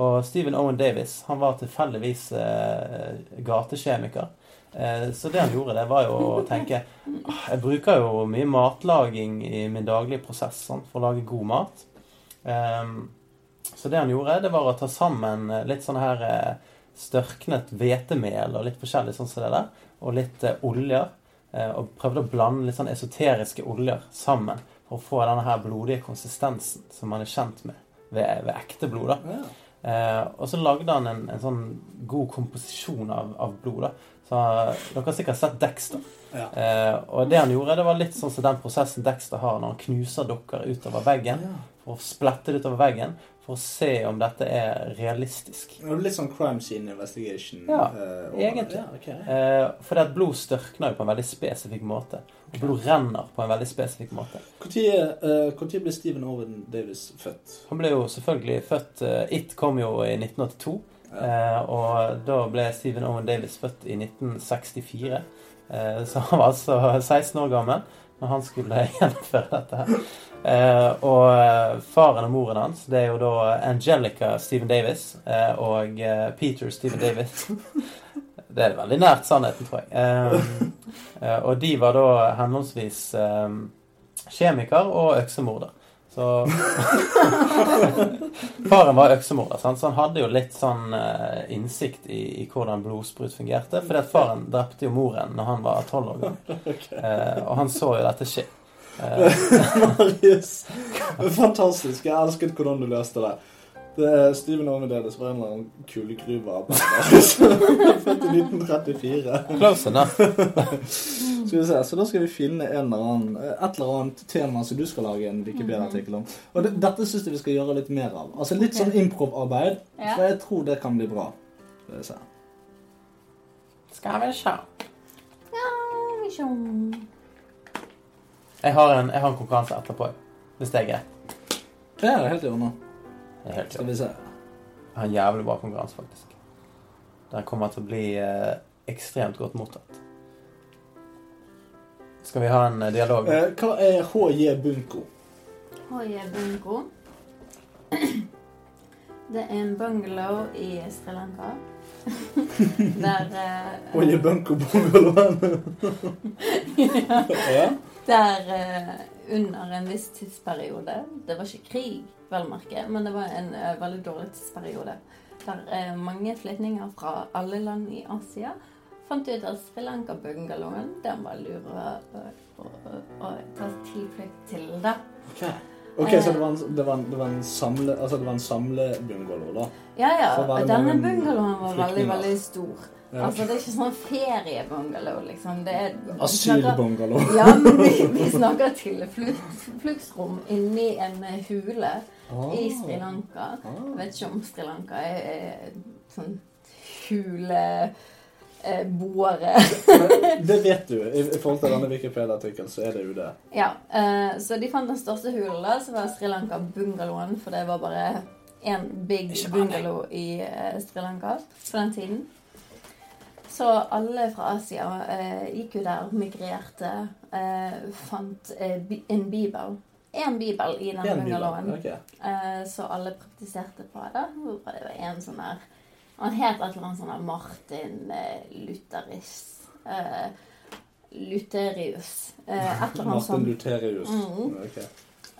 Og Stephen Owen Davis han var tilfeldigvis eh, gatekjemiker. Eh, så det han gjorde, det var jo å tenke «Ah, Jeg bruker jo mye matlaging i min daglige prosess sant, for å lage god mat. Ehm, så det han gjorde, det var å ta sammen eh, litt sånn her eh, størknet hvetemel og litt forskjellig sånn som det der, og litt eh, oljer. Eh, og prøvde å blande litt sånn esoteriske oljer sammen for å få denne her blodige konsistensen som man er kjent med ved, ved ekte blod. da. Ja. Eh, og så lagde han en, en sånn god komposisjon av, av blod. da. Så eh, Dere har sikkert sett Dexter. Ja. Eh, og det han gjorde, det var litt sånn som den prosessen Dexter har når han knuser dukker utover veggen. Ja. For å splette det utover veggen for å se om dette er realistisk. Det er Litt sånn crime scene investigation. Ja, eh, over- egentlig. Ja, ok. Eh, fordi at blod størkner jo på en veldig spesifikk måte. Og blod renner på en veldig spesifikk måte. Når uh, ble Stephen Owen Davis født? Han ble jo selvfølgelig født eh, It kom jo i 1982. eh, og da ble Stephen Owen Davis født i 1964. Eh, så han var altså 16 år gammel når han skulle gjennomføre dette her. Eh, og eh, faren og moren hans, det er jo da Angelica Stephen Davis eh, og eh, Peter Stephen Davis. Det er veldig nært sannheten, tror jeg. Eh, eh, og de var da henholdsvis eh, kjemiker og øksemorder. Så Faren var øksemorder, sant? så han hadde jo litt sånn eh, innsikt i, i hvordan blodsprut fungerte. Fordi at faren drepte jo moren når han var tolv år gammel. Eh, og han så jo dette skje. Eh, Marius. Fantastisk. Jeg elsket hvordan du løste det. Det er Steven Owen Davis var en eller annen kulegruve av bander. Så han er Født i 1934. close enough. Skal vi se, Så da skal vi finne en eller annen, eh, et eller annet tema som du skal lage en Wikipedia-artikkel om. Og det, dette syns jeg vi skal gjøre litt mer av. Altså Litt sånn improv-arbeid. Ja. For jeg tror det kan bli bra. Skal vi se. Skal vi sjå. Ja, vi sjå. Jeg har en, jeg har en konkurranse etterpå, hvis det er greit. Det er helt i orden. Det er helt Skal greit. vi se. Jeg har en jævlig bra konkurranse, faktisk. Den kommer til å bli eh, ekstremt godt mottatt. Skal vi ha en eh, dialog? Eh, hva er HJ Bunko? Hoi, Bungo. Det er en bungalow i Sri Lanka. Der eh, HJ Bunko Bungalowen? ja. Der eh, under en viss tidsperiode Det var ikke krig, vel merke, men det var en eh, veldig dårlig tidsperiode. Der eh, mange flyktninger fra alle land i Asia fant ut at Sri Lanka-bungalowen den var lur å, å, å, å ta tilflukt til. da. Ok, så det var en, det var en, det var en samle... Altså, det var en samlebungalow, da? Ja, ja. Så var det Denne mange bungalowen var veldig, flyktninger. veldig stor. Ja. Altså, Det er ikke sånn feriebungalow, liksom. Det er vi snakker- Asylbungalow. Ja, men vi, vi snakker tilfluktsrom inni en eh, hule. Ah. Ah. i Sri Lanka. Jeg vet ikke om Sri Lanka er, er sånn eh, huleboere. Det vet du. I, i forhold til denne Wikipedia-artikkelen, så er det jo det. Ja, eh, så de fant den største hulen, da, som var Sri Lanka-bungalowen. For det var bare én big Ikke bare bungalow i eh, Sri Lanka på den tiden. Så alle fra Asia eh, gikk jo der, migrerte, eh, fant eh, bi- en bibel én bibel i denne En bibel. bungalowen. Ok. Eh, Så alle praktiserte på det. Hun prøvde en sånn her Han het et eller annet sånn her Martin eh, Lutheris eh, Lutherius. eh, Et eller annet Martin sånt. Lutherius. Mm. Ok.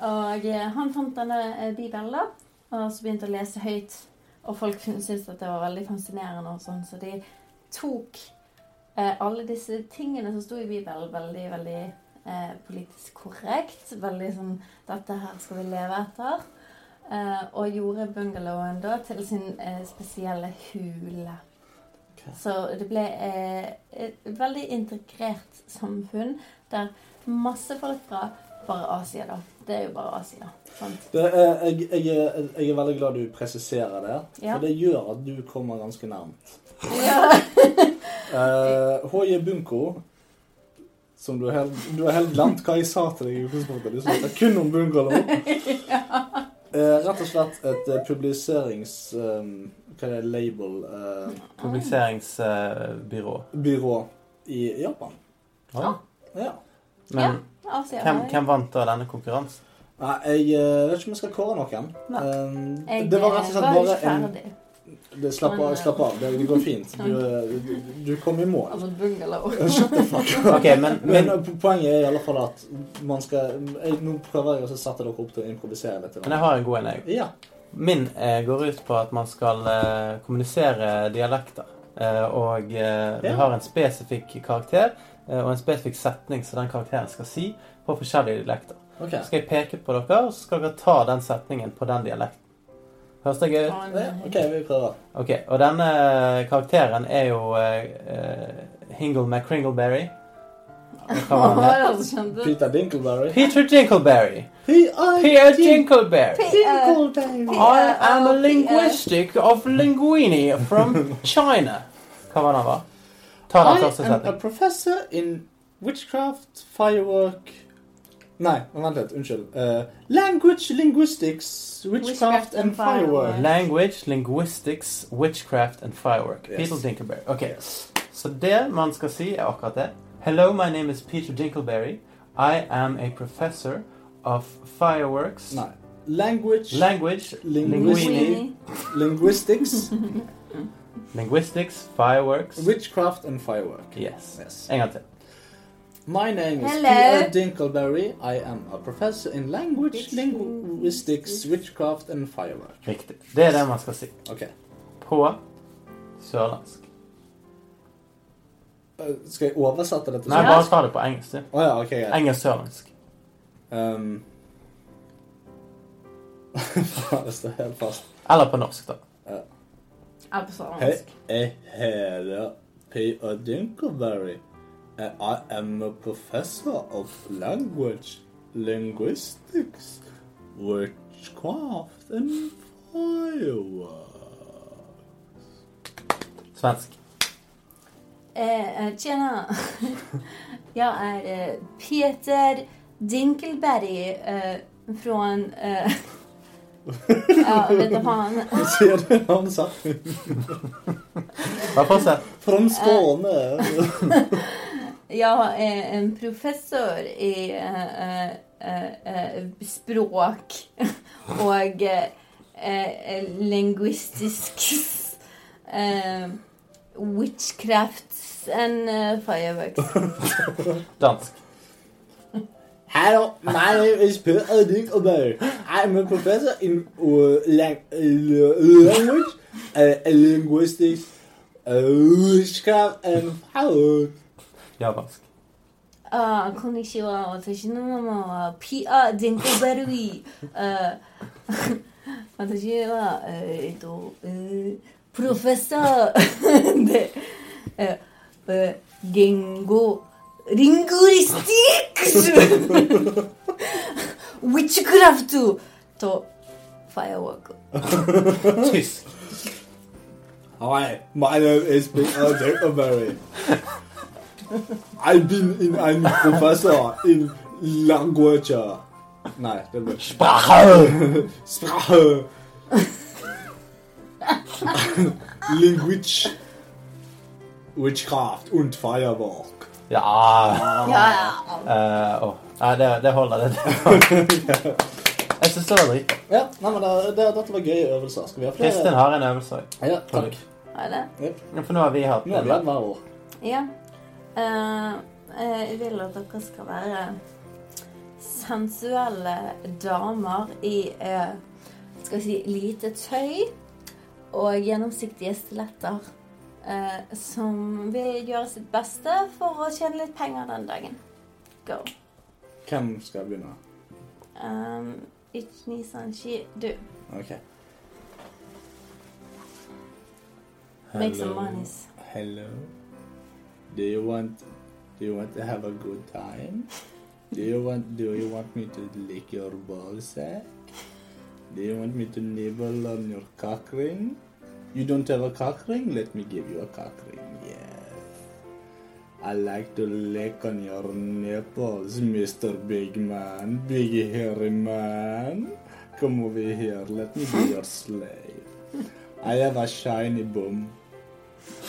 Og eh, han fant denne eh, bibelen, da, og så begynte å lese høyt. Og folk syntes at det var veldig fascinerende, og sånn, så de tok eh, alle disse tingene som sto i Bibelen, veldig, veldig eh, politisk korrekt. Veldig sånn Dette her skal vi leve etter. Eh, og gjorde bungalowen da til sin eh, spesielle hule. Ok. Så det ble eh, et veldig integrert samfunn der masse folk fra bare Asia, da. Det er jo bare Asia. Sant? Det, eh, jeg, jeg, er- jeg er veldig glad du presiserer det, Ja. for det gjør at du kommer ganske nærmt. Ja. Eh, Hoje Bunko, som du har helt- du har helt glemt hva jeg sa til deg i utgangspunktet. sånn Du snakket kun om bungalow. Eh, rett og slett et eh, publiserings... eh, hva er det? Label? eh, Publiseringsbyrå. byrå i Japan. Ja. Men Asia hvem, var jo- hvem vant da denne konkurransen? Nei, jeg eh, vet ikke om jeg skal kåre noen. Nei. Eh, Jeg det var rett og slett var jo bare ikke en ferdig. det, slapp, av, Men, eh, slapp av, det, det går fint. Du, eh, du, du kom i mål. Altså bungalow. Shut the fuck up. Ok, men, Men men eh, po- poenget er i alle fall at man skal jeg, Nå prøver jeg også å sette dere opp til å improvisere litt. Men jeg har en god en, jeg. Ja. Min eh, går ut på at man skal eh, kommunisere dialekter. Eh, og eh, vi Ja. har en spesifikk karakter eh, og en spesifikk setning som den karakteren skal si på forskjellige dialekter. Ok. Så skal jeg peke på dere, og så skal dere ta den setningen på den dialekten. Høres det gøy ut? Ja, OK, vi prøver. Ok, Og denne eh, karakteren er jo eh, eh, Hingle McCringleberry. Hva var han het? Altså, Peter Dinkleberry. Peter Jinkleberry. P.I. Peter Jinkleberry. Dinkleberry. I am a uh, linguistic of linguini from China. Hva var det han var? Ta den I første am a setningen. professor in witchcraft, firework Nei, vent litt. Unnskyld. Eh, language, linguistics, witchcraft Witchcraft and and firework. firework. Language, linguistics, witchcraft and firework. Yes. Peter Dinkelberry. Ok, Så det man skal si, er akkurat det. Hello, my name is Peter Dinkelberry. I am a professor of fireworks, Nei. Language, language, linguini, linguini, linguistics, linguistics, fireworks. witchcraft and firework. Yes. Yes. En gang til. My name is Hello. Peter Dinkleberry. I am a professor in language, linguistics, witchcraft and firework. Riktig. Det er det man skal si. Ok. På sørlandsk. Eh, skal jeg oversette det til Nei, Ja. bare ta det på engelsk. du. Å ja, ok, greit. Engelsk sørlandsk. Um... Faen, det står helt fast. Eller på norsk, da. Hei, jeg heter P.A. Dinkelberry. and I am a professor of language, linguistics, witchcraft and firework. Svensk. Eh, eh, tjena. Jag är eh, Peter Dinkelberg eh, från... Eh, ja, vet du fan. Hva sier du han sa? Bare fortsett. From Skåne. Jag är en professor i eh, eh, eh, språk och eh, eh, linguistisk eh, witchcrafts and eh, fireworks. Dansk. Hello, my name is Peter Dinkelberg. I'm a professor in uh, lang uh, language, uh, linguistics, uh, witchcraft and firework. Japansk. Ah, konnichiwa, watashi no mama wa P.R. Dinkelberry. Eh, watashi wa, eh, eto, eh, professor de, eh, eh, gengo, linguistics, witchcraft to firework. Tysk. Hi, my name is Peter Dinkelberg. I've been in ein Professor in language. Nei, det ble Sprache! Sprache. Language. Witchcraft und Firework. Ja Ja, ja. eh, åh. Nei, det, det holder. Det, det holder. Jeg syns det var dritbra. Ja, nei, men det, det, Dette var gøye øvelser. Skal vi ha flere? Kristin har en øvelse òg. Ja, takk. Har jeg det? Ja, For nå har vi hatt Nå er det hver år. Ja. Eh, eh, jeg vil at dere skal være sensuelle damer i eh, skal vi si, lite tøy og gjennomsiktige stiletter. eh, som vil gjøre sitt beste for å tjene litt penger den dagen. Go. Hvem skal begynne? Um, Ichni Sanchi, du. Ok. Make some monies. Hello. Do you want Do you want to have a good time? Do you want Do you want me to lick your ballsack? Do you want me to nibble on your cock ring? You don't have a cock ring? Let me give you a cock ring. Yes. I like to lick on your nipples, Mr. Big Man, Big Hairy Man. Come over here. Let me be your slave. I have a shiny bum.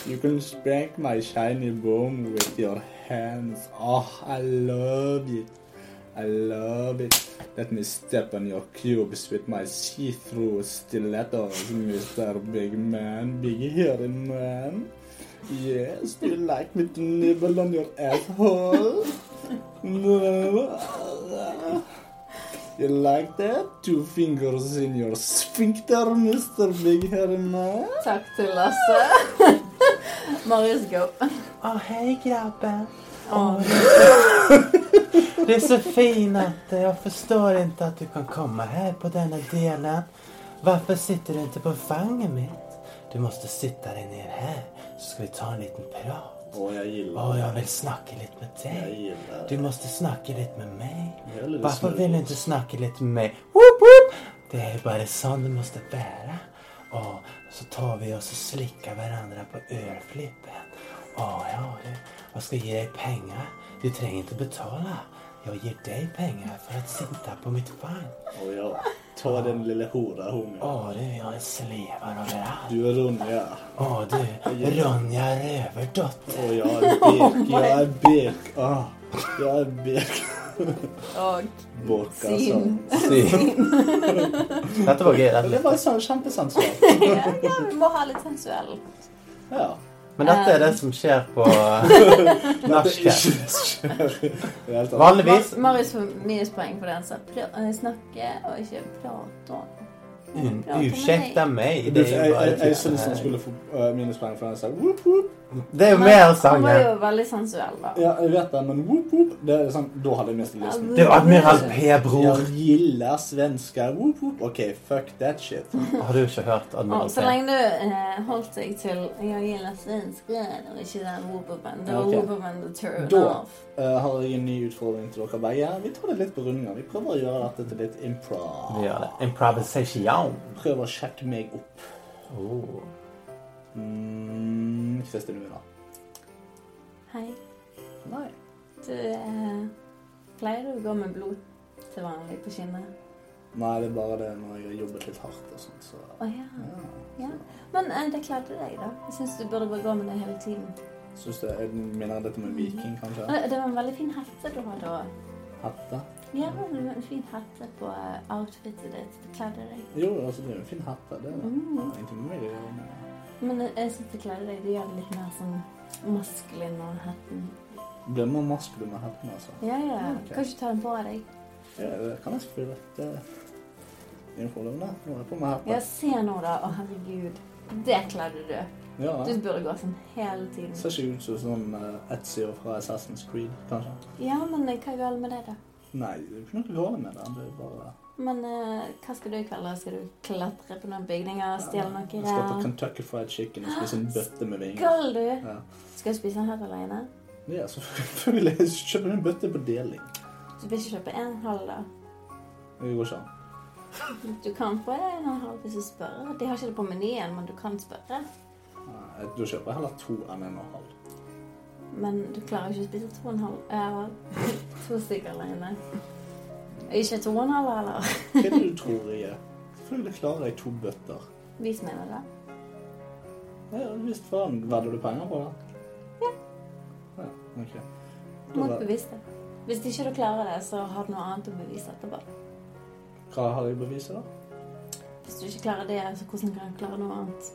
You can spank my shiny bum with your hands. Oh, I love it. I love it. Let me step on your cubes with my see-through stilettos, Mr. Big Man, Big Hairy Man. Yes, do you like me to nibble on your asshole? No. You like that? Two fingers in your sphincter, Mr. Big Hairy Man? Takk til Lasse. Marius, go. Å, hei, grabben. Å, du är så fin att eh, jag förstår inte att du kan komma här på denna delen. Varför sitter du inte på fangen mitt? Du måste sitta dig ner här så ska vi ta en liten prat. Å, jeg gillar Åh, jag vill snacka lite med Jeg dig. gillar Du måste snacka lite med mig. Jag vill lyssna Varför lite. vill du inte snacka lite med mig? Woop, woop. Det är bara sån du måste bära. Åh, så tar vi oss och slickar varandra på ölflippen. Åh, ja du. Jag ska ge dig pengar. Du tränger inte betala. Jag ger dig pengar för att sitta på mitt fang. Å ja. Ta den lille hora, homo. Åh du, jag är slevar överallt. Du er rund, ja. Åh du, Ronja Rövardotter. Å, jeg er bek. Jeg er bek. Ah, jeg er bek. Og Bok, altså. Sin. Dette var gøy. Det var sånn kjempesensuelt. ja, ja, vi må ha litt sensuell. Ja. Men dette er det som skjer på norsk. her. Det er helt Vanligvis Mar- Marius får minuspoeng for det han sa. Pl- eh, Snakke og ikke prate. Mm, Ursäkta mig. Jeg Det är ju bara jeg- jeg typ synes så han här. skulle få eh, minuspoeng for den selv. Whoop, whoop. Det är ju mer Han var jo sånger. veldig sensuell, da. Ja, jeg vet det, men whoop, whoop. Det er sånn, da hadde jeg mistet lysten. Du, Admiral P, bror. Jeg gillar svenskar. Whoop, whoop. OK, fuck that shit. Har du ikke hørt Admiral Og så P? lenge du eh, holdt deg til Jeg gilder svensk rød og ikke den Woboban. Det var Ok. Woboban the turn Da. off. Eh, har jeg en ny utfordring til dere begge. Vi tar det litt på rundgang. Vi prøver å gjøre dette til litt improv. Vi gjør det. Improvisation. Prøv å sjekke meg opp. Oh. Mm, Kristin Una. Hei. Nei. Du eh, pleier du å gå med blod til vanlig på kinnet? Nei, det er bare det når jeg har jobbet litt hardt og sånt, så Å ja. ja. ja. Men eh, det klarte deg, da. Jeg syns du burde bare gå med det hele tiden. Syns du jeg minner dette Mhm. med viking, kanskje? Eh, Det var en veldig fin hette du hadde òg. Hette? Ja, det var en fin hette på eh, outfitet ditt. Det kledde deg. Jo, altså, det er jo en fin hette. Det er det. Mm. Ja, ingenting med det å gjøre, men Men jeg- jeg syns det kledde deg. Du gjør det litt mer sånn maskulin og hetten. Blir man maskulin med hetten, altså? Ja, ja. Ok. Kan ikke ta den på deg. Ja, det kan jeg skrive. Det er en fordel, det. Nå er jeg på med Ja, hette. se nå, da. Å, herregud. Det kledde du. Ja, Du burde gå sånn hele tiden. Ser ikke ut som sånn eh, Ezio fra Assassin's Creed, kanskje. Ja, men eh, hva er galt med det, da? Nei, det er ikke noe galt med det. Det er bare Men eh, hva skal du i kveld? da? Skal du klatre på noen bygninger og stjele noe Jeg skal ta greier? Kentucky Fried Chicken og spise en bøtte med vinger. Skal du? Ja. Skal du spise den her alene? ja, selvfølgelig. Jeg kjøper en bøtte på deling. Du vil ikke kjøpe en halv, da? Det går ikke an. Du kan få en halv hvis du spør. De har ikke det på menyen, men du kan spørre. Nei, Da kjøper jeg heller to enn en og en halv. Men du klarer ikke å spise to og en halv Ja, to stykker alene. Ikke to og en halv heller. Hva er det du tror jeg er? Selvfølgelig klarer jeg to bøtter. Vis meg det, da. Ja, visst faen. Vedder du penger på det? Ja. ja ok. Mot bevissthet. Hvis ikke du klarer det, så har du noe annet å bevise etterpå. Hva har jeg beviset, da? Hvis du ikke klarer det, så hvordan kan du klare noe annet?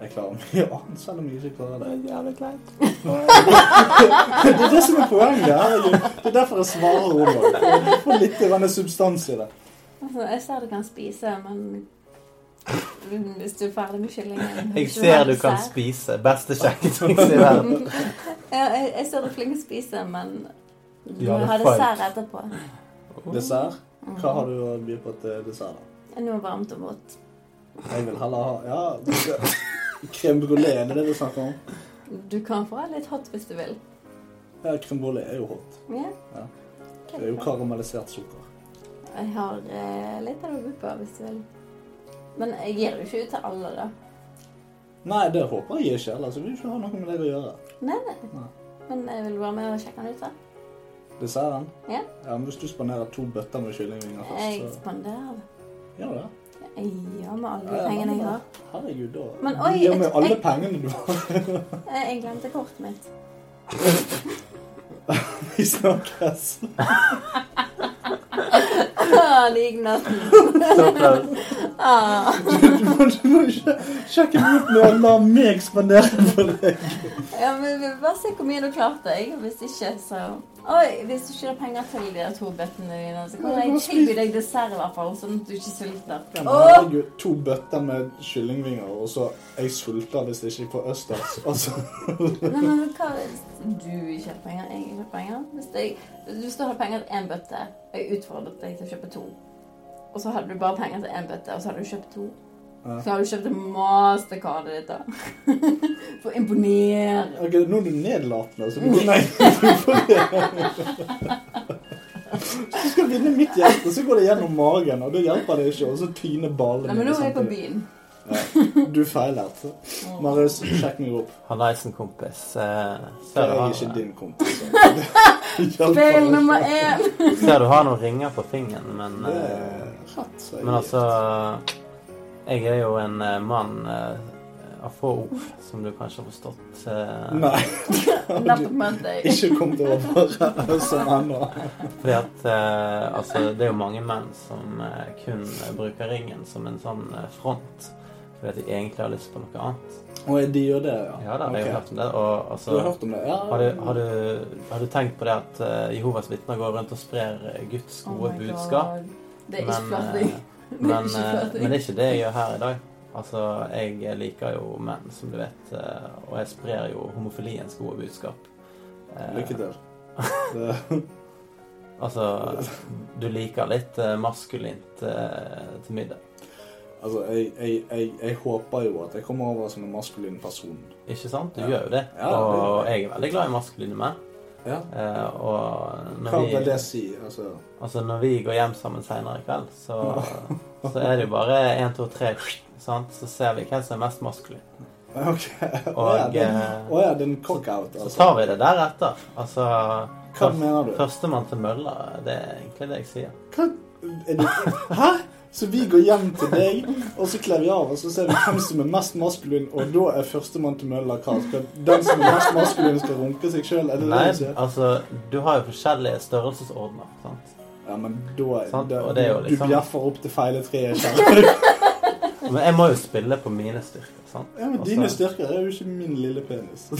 Jeg klarer mye annet, selv om jeg ikke klarer det. er jævlig kleint. Det er det som er poenget. herregud. Det er derfor jeg svarer Robert. For å få litt grann substans i det. Altså, jeg ser du kan spise, men hvis du er ferdig med kyllingen Jeg ser du kan spise. spise. Beste sjekketriks i verden. Jeg, jeg ser du er flink til å spise, men du Ja, må det ha er dessert etterpå. Dessert. Hva har du å by på til dessert, da? Mm. Noe varmt og vått. Jeg vil heller ha Ja, crème brulé, er det det du snakker om? Du kan få ha litt hot hvis du vil. Ja, crème brulé er jo hot. Ja. Ja. Ok, Det er jo bra. karamellisert sukker. Jeg har eh, litt av det å by på hvis du vil. Men jeg gir det jo ikke ut til alle, da. Nei, det håper jeg ikke heller, så vil ikke ha noe med deg å gjøre. Nei, nei. Nei. Men jeg vil være med og sjekke den ut, da. Desserten? Ja. ja, men hvis du spanderer to bøtter med kyllingvinger Jeg først, spanderer. så gjør du det. Jeg gjør med alle Ja, de pengene jeg men- har. Herregud, da. Men Du oi, gjør med et- alle jeg- pengene du har Eh, Jeg glemte kortet mitt. i snakkes. Ah, det gikk nesten. Så close. Ah. Du må du må ikke sjekke den ut med å la meg spandere på deg. Ja, men vi vil bare se hvor mye du klarte. Jeg. Hvis ikke, så Oi, hvis du ikke har penger til de der to bøttene dine, så kan jeg tilby deg dessert, i hvert fall, sånn at du ikke sulter. Ja, men Åh! herregud, to bøtter med kyllingvinger, og så jeg sulter hvis jeg ikke får østers. Altså, Nei, men hva hvis du ikke har penger? Jeg ikke har penger. Hvis, jeg, hvis du hadde penger til én bøtte, og jeg utfordret deg til å kjøpe to, og så hadde du bare penger til én bøtte, og så hadde du kjøpt to Ja. Så hadde du kjøpt mastercardet ditt, da. For å imponere. ok, nå er du nedlatende, så du går nei du får det. Så skal jeg vinne mitt hjerte, så går det gjennom magen, og det hjelper det ikke, og så tyner ballene. Nei, men nå er jeg på samtidig. byen. Ja, du feilet. Marius, sjekk meg opp. Han er en kompis. eh, Det Ser er du jeg ikke har, din kompis. så det hjelper Feil ikke. nummer én. ser du har noen ringer på fingeren, men Det eh, er rett, så jeg Men gir. altså Jeg er jo en eh, mann eh, av få ord, som du kanskje har forstått. eh, Nei, Nettopp møtte jeg. ikke kom til å være som ennå. Fordi at eh, altså, det er jo mange menn som eh, kun eh, bruker ringen som en sånn eh, front. Fordi at de egentlig har lyst på noe annet. Og de gjør det, ja? Ja da, det er Ok. jo hørt om det. Og Du har altså hørt om det? Ja. har du, har, du, har du tenkt på det at eh, Jehovas vitner går rundt og sprer eh, Guds gode Oh my budskap? God. Det er ikke flørting. eh, Det er Men, ikke eh, flørting. men det er ikke det jeg gjør her i dag. Altså, Jeg liker jo menn, som du vet, eh, og jeg sprer jo homofiliens gode budskap. Eh, Lykke til. Det, Altså, du liker litt eh, maskulint eh, til middag. altså, jeg, jeg, jeg, jeg håper jo at jeg kommer over som en maskulin person. Ikke sant? Du Ja. gjør jo det. Ja, og jeg er veldig glad i maskuline menn. Ja. Eh, og Hva når vi, vil det si? Altså, altså, når vi går hjem sammen seinere i kveld, så, så er det jo bare én, to, tre sant? Så ser vi hvem som er mest maskulin. OK. Å ja, Og det eh, å ja, det er en cock-out, Så altså. tar vi det deretter. Altså Hva mener du? Førstemann til mølla, det er egentlig det jeg sier. Hva? Er det, hæ? Så vi går hjem til deg, og så kler vi av, og så ser vi hvem som er mest maskulin, og da er førstemann til mølla hva? Skal Den som er mest maskulin, skal runke seg sjøl? Er det Nei, det du sier? altså, du har jo forskjellige størrelsesordener, sant. Ja, men da Sant, da- og det er jo liksom- Du bjeffer opp til feile treet. kjenner du? Men jeg må jo spille på mine styrker, sant. Ja, men Altså- Dine styrker er jo ikke min lille penis.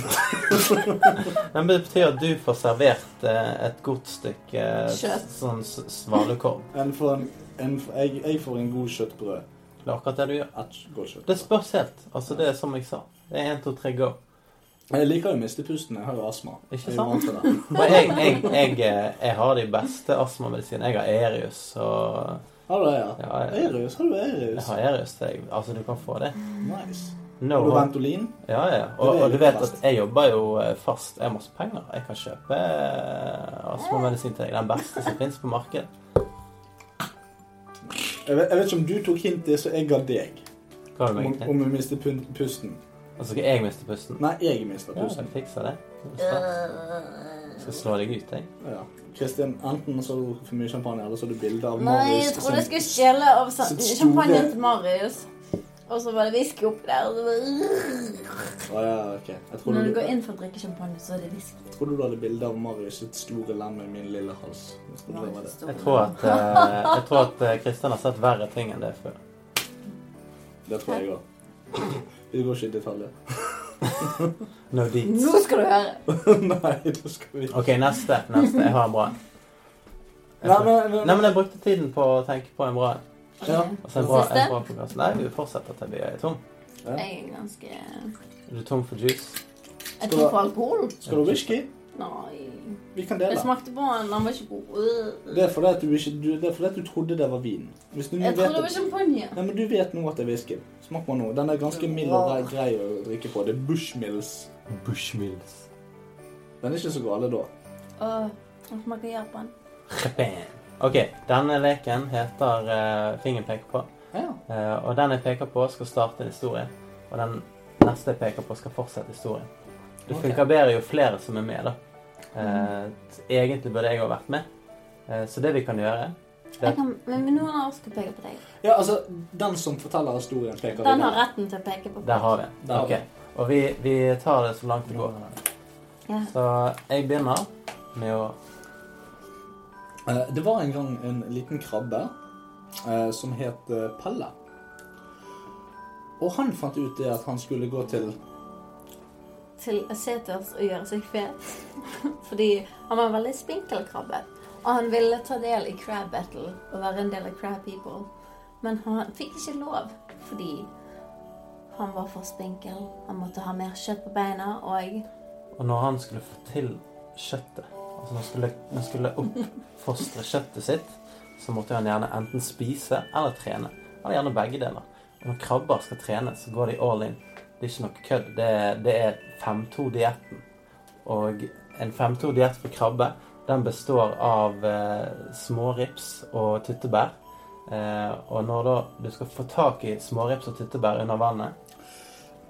Men det betyr at du får servert eh, et godt stykke eh, Kjøtt. sånn s- svalukorv. En får en, en, jeg, jeg får en god kjøttbrød. Det er akkurat det du gjør. Et godt kjøttbrød. Det spørs helt. Altså, det er som jeg sa. Det er én, to, tre, go. Jeg liker jo å miste pusten. Jeg har jo astma. Ikke Jeg er sant? vant til det. Men jeg, jeg, jeg, eh, jeg har de beste astmamedisinene. Jeg har Erius og Har du det, ja? ja, jeg, Erius? Har du jeg Erius? har Erius. Jeg, altså, du kan få det. Nice. No Har du hope. Ventolin? Ja, ja. Det er Og, og du litt vet fast. at jeg jobber jo eh, fast. Jeg har masse penger. Jeg kan kjøpe eh, astmamedisin til deg. Den beste som fins på markedet. Jeg vet, jeg vet ikke om du tok hintet, så jeg ga deg. Hva har du Om, egentlig? om å miste pun pusten. Og så skal jeg miste pusten. Nei, jeg mister Ja, jeg pusten. fikser det. Jeg Eh, skal slå deg ut, jeg. Ja. Kristin, enten så har du drukket for mye champagne, eller så har du bilde av Nei, jeg Marius altså. trodde som jeg skulle stjele av sa- sitt store- champagnen til Marius. Og så var det whisky oppi der. Og så bare... Å ja, ok. Jeg trodde Når du du, går inn for å drikke champagne, så er det whisky. jeg trodde du hadde bilde av Marius sitt store lem med min lille hals. Jeg trodde det var det. Jeg tror at, eh, jeg tror at eh, Kristian har sett verre ting enn det før. Det tror jeg òg. Vi går ikke i detaljer. No deets. Nå skal du høre! Nei, da skal vi OK, neste. Neste. Jeg har en bra en. Jeg Nei, tror- men, men, Nei, men jeg brukte tiden på å tenke på en bra en. Ja. Og så en bra, Siste? en bra podcast. Nei, vi fortsetter til vi er tom. Jeg er ganske Jeg Er du tom for juice? tror på alkohol. Skal du ha whisky? Nei. Vi kan Jeg dele. smakte på den, den var ikke god. Det er fordi at du, ikke, du, det er fordi at du trodde det var vin. Hvis du nå Jeg vet tror det var at- champagne. Nei, men Du vet nå at det er whisky. Smak på nå. Den er ganske mild og grei- grei å drikke på. Det er Bushmills. Bushmills. Den er ikke så gale da. Åh, Den smaker Japan. OK, denne leken heter eh, Fingeren peker på. Ja. Eh, og den jeg peker på, skal starte en historie. Og den neste jeg peker på, skal fortsette historien. Det Ok. Mm. funker bedre jo flere som er med, da. Eh, t- egentlig burde jeg ha vært med. Eh, så det vi kan gjøre Jeg kan, men noen av oss skal peke på deg. ja, altså, den som forteller historien, peker Den har retten til å peke på Der har vi Der den. har vi Ok. Og vi, vi tar det så langt det går. Ja. Så jeg begynner med å Eh, Det var en gang en liten krabbe eh, som het eh, Pelle. Og han fant ut det at han skulle gå til til seters å gjøre seg fet. Fordi han var en veldig spinkel krabbe. Og han ville ta del i crab battle og være en del av crab people. Men han fikk ikke lov fordi han var for spinkel. Han måtte ha mer kjøtt på beina og Og når han skulle få til kjøttet Altså når han skulle, når han skulle oppfostre kjøttet sitt, så måtte han gjerne enten spise eller trene. Eller gjerne begge deler. Og når krabber skal trene, så går de all in. Det er ikke noe kødd. Det, det er 5-2-dietten. Og en 5-2-diett for krabbe, den består av eh, smårips og tyttebær. Eh, og når da du skal få tak i smårips og tyttebær under vannet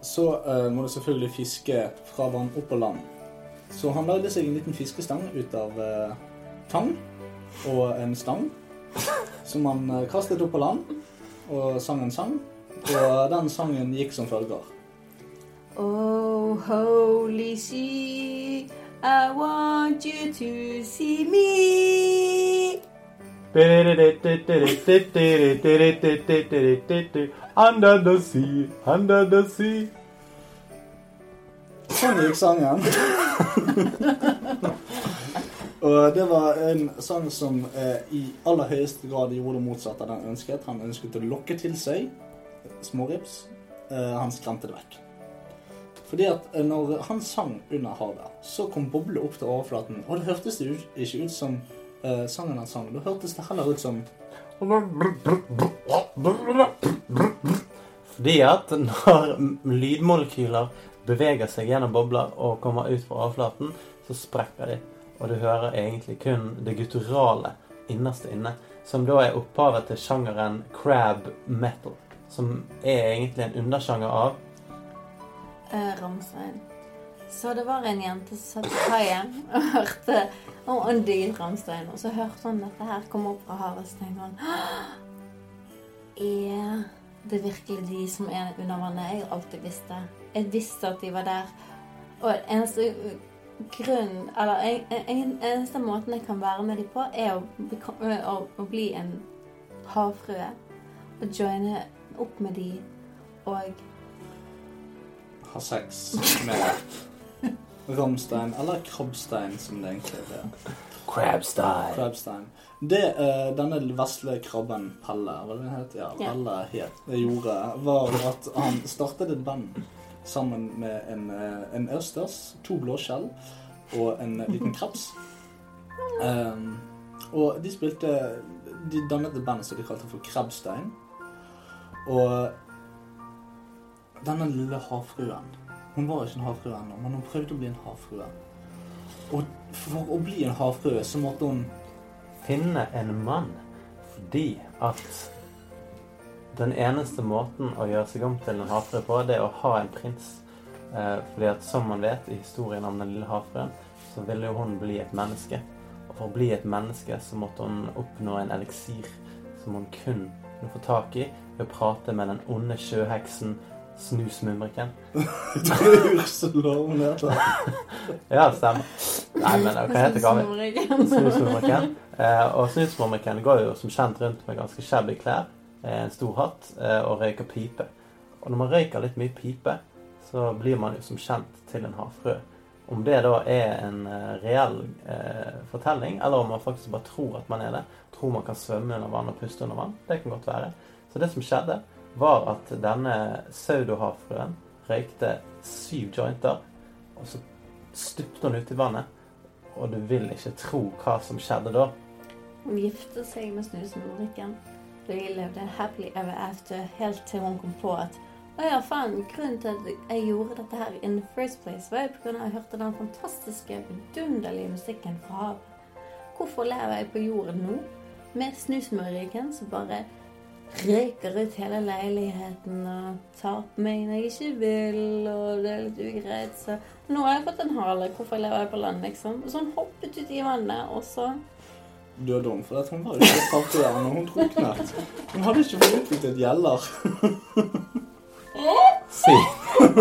Så eh, må du selvfølgelig fiske fra vann opp på land. Så han lagde seg en liten fiskestang ut av eh, tang og en stang. Som han eh, kastet opp på land og sang en sang. Og den sangen gikk som følger. Oh, holy she, I want you to see me. Under the sea, under the sea. Sånn gikk sangen. og det var en sang som eh, i aller høyeste grad gjorde det motsatte av den han ønsket. Han ønsket å lokke til seg smårips. Eh, han skremte det vekk. Fordi at eh, når han sang under havet, så kom boblene opp til overflaten. Og det hørtes det ut, ikke ut som eh, sangen han sang. Da hørtes det heller ut som Fordi at når lydmolekyler beveger seg gjennom bobler og kommer ut på avflaten, så sprekker de. Og du hører egentlig kun det gutturale innerste inne, som da er opphavet til sjangeren crab metal. Som er egentlig en undersjanger av Eh, Ramstein. Så det var en jente som satt på kaien og hørte og hun digget Ramstein. Og så hørte hun dette her komme opp fra havet, så tenkte hun «Hå! Er det virkelig de som er under vannet? Jeg har alltid visst det. Jeg visste at de var der. Og eneste grunn Eller en, en, eneste måten jeg kan være med de på, er å, beko- å, å bli en havfrue. Og joine opp med de og ha sex med Ramstein, eller Krabbstein, som det egentlig er. crab style. Crabstein. Det eh, denne vesle krabben Pelle hva det het? Ja, Ja. Pelle het, gjorde, var at han startet et band sammen med en, eh, en østers, to blåskjell og en liten kreps. Ehm, og de spilte De dannet et band som de kalte for Krabstein. Og denne lille havfruen Hun var ikke en havfrue ennå, men hun prøvde å bli en havfrue. Og for å bli en havfrue så måtte hun finne en mann fordi at den eneste måten å gjøre seg om til en havfrue på, det er å ha en prins. Eh, fordi at som man vet i historien om den lille havfruen, så ville jo hun bli et menneske. Og for å bli et menneske så måtte hun oppnå en eliksir som hun kun kunne få tak i ved å prate med den onde sjøheksen Snusmumriken. Ursula, hun heter Ja, stemmer. Nei, men hva heter gaven? Snusmumrikken. Snusmumriken. Eh, og snusmumriken går jo som kjent rundt med ganske shabby klær, eh, en stor hatt eh, og røyker pipe. Og når man røyker litt mye pipe, så blir man jo som kjent til en havfrø. Om det da er en eh, reell eh, fortelling, eller om man faktisk bare tror at man er det, tror man kan svømme under vann og puste under vann, det kan godt være. Så det som skjedde, var at denne pseudohavfrøen røykte syv jointer, og så stupte hun ut i vannet. Og du vil ikke tro hva som skjedde da. Hun giftet seg med snusmumrikken. De levde happily ever after helt til hun kom på at å ja, faen, grunnen til at jeg gjorde dette her in the first place, var jo på grunn av at jeg hørte den fantastiske, vidunderlige musikken fra havet. Hvorfor lever jeg på jorden nå med snusmumrikken som bare røyker ut hele leiligheten og tar på meg når jeg ikke vil, og det er litt ugreit, så nå har jeg fått en hale, hvorfor lever jeg på land, liksom? Så hun hoppet ut i vannet, og så Døde hun, for at hun var jo ikke fattigere når hun druknet. Hun hadde ikke fått utviklet gjeller. Sykt.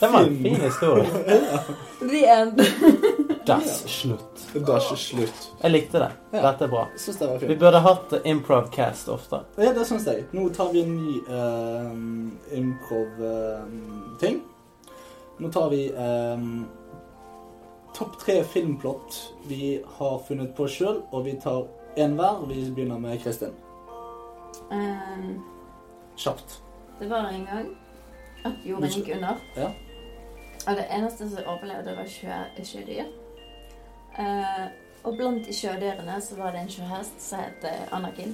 Det var en fin historie. The end. Dass slutt. Det er ikke slutt. Jeg likte det. Ja. Dette er bra. Jeg synes det var Vi fint. burde hatt improvcast ofte. Ja, det synes jeg. Nå tar vi en ny eh, improv-ting. Nå tar vi eh, topp tre filmplott vi har funnet på selv, og vi tar en hver. Vi begynner med Kristin. Ehm, Kjapt. det var en gang at jorden gikk under. Ja. Og det eneste som overlevde, var sjø- sjødyr. Eh, og blant de sjødyrene så var det en sjøhest som het eh, Anakin.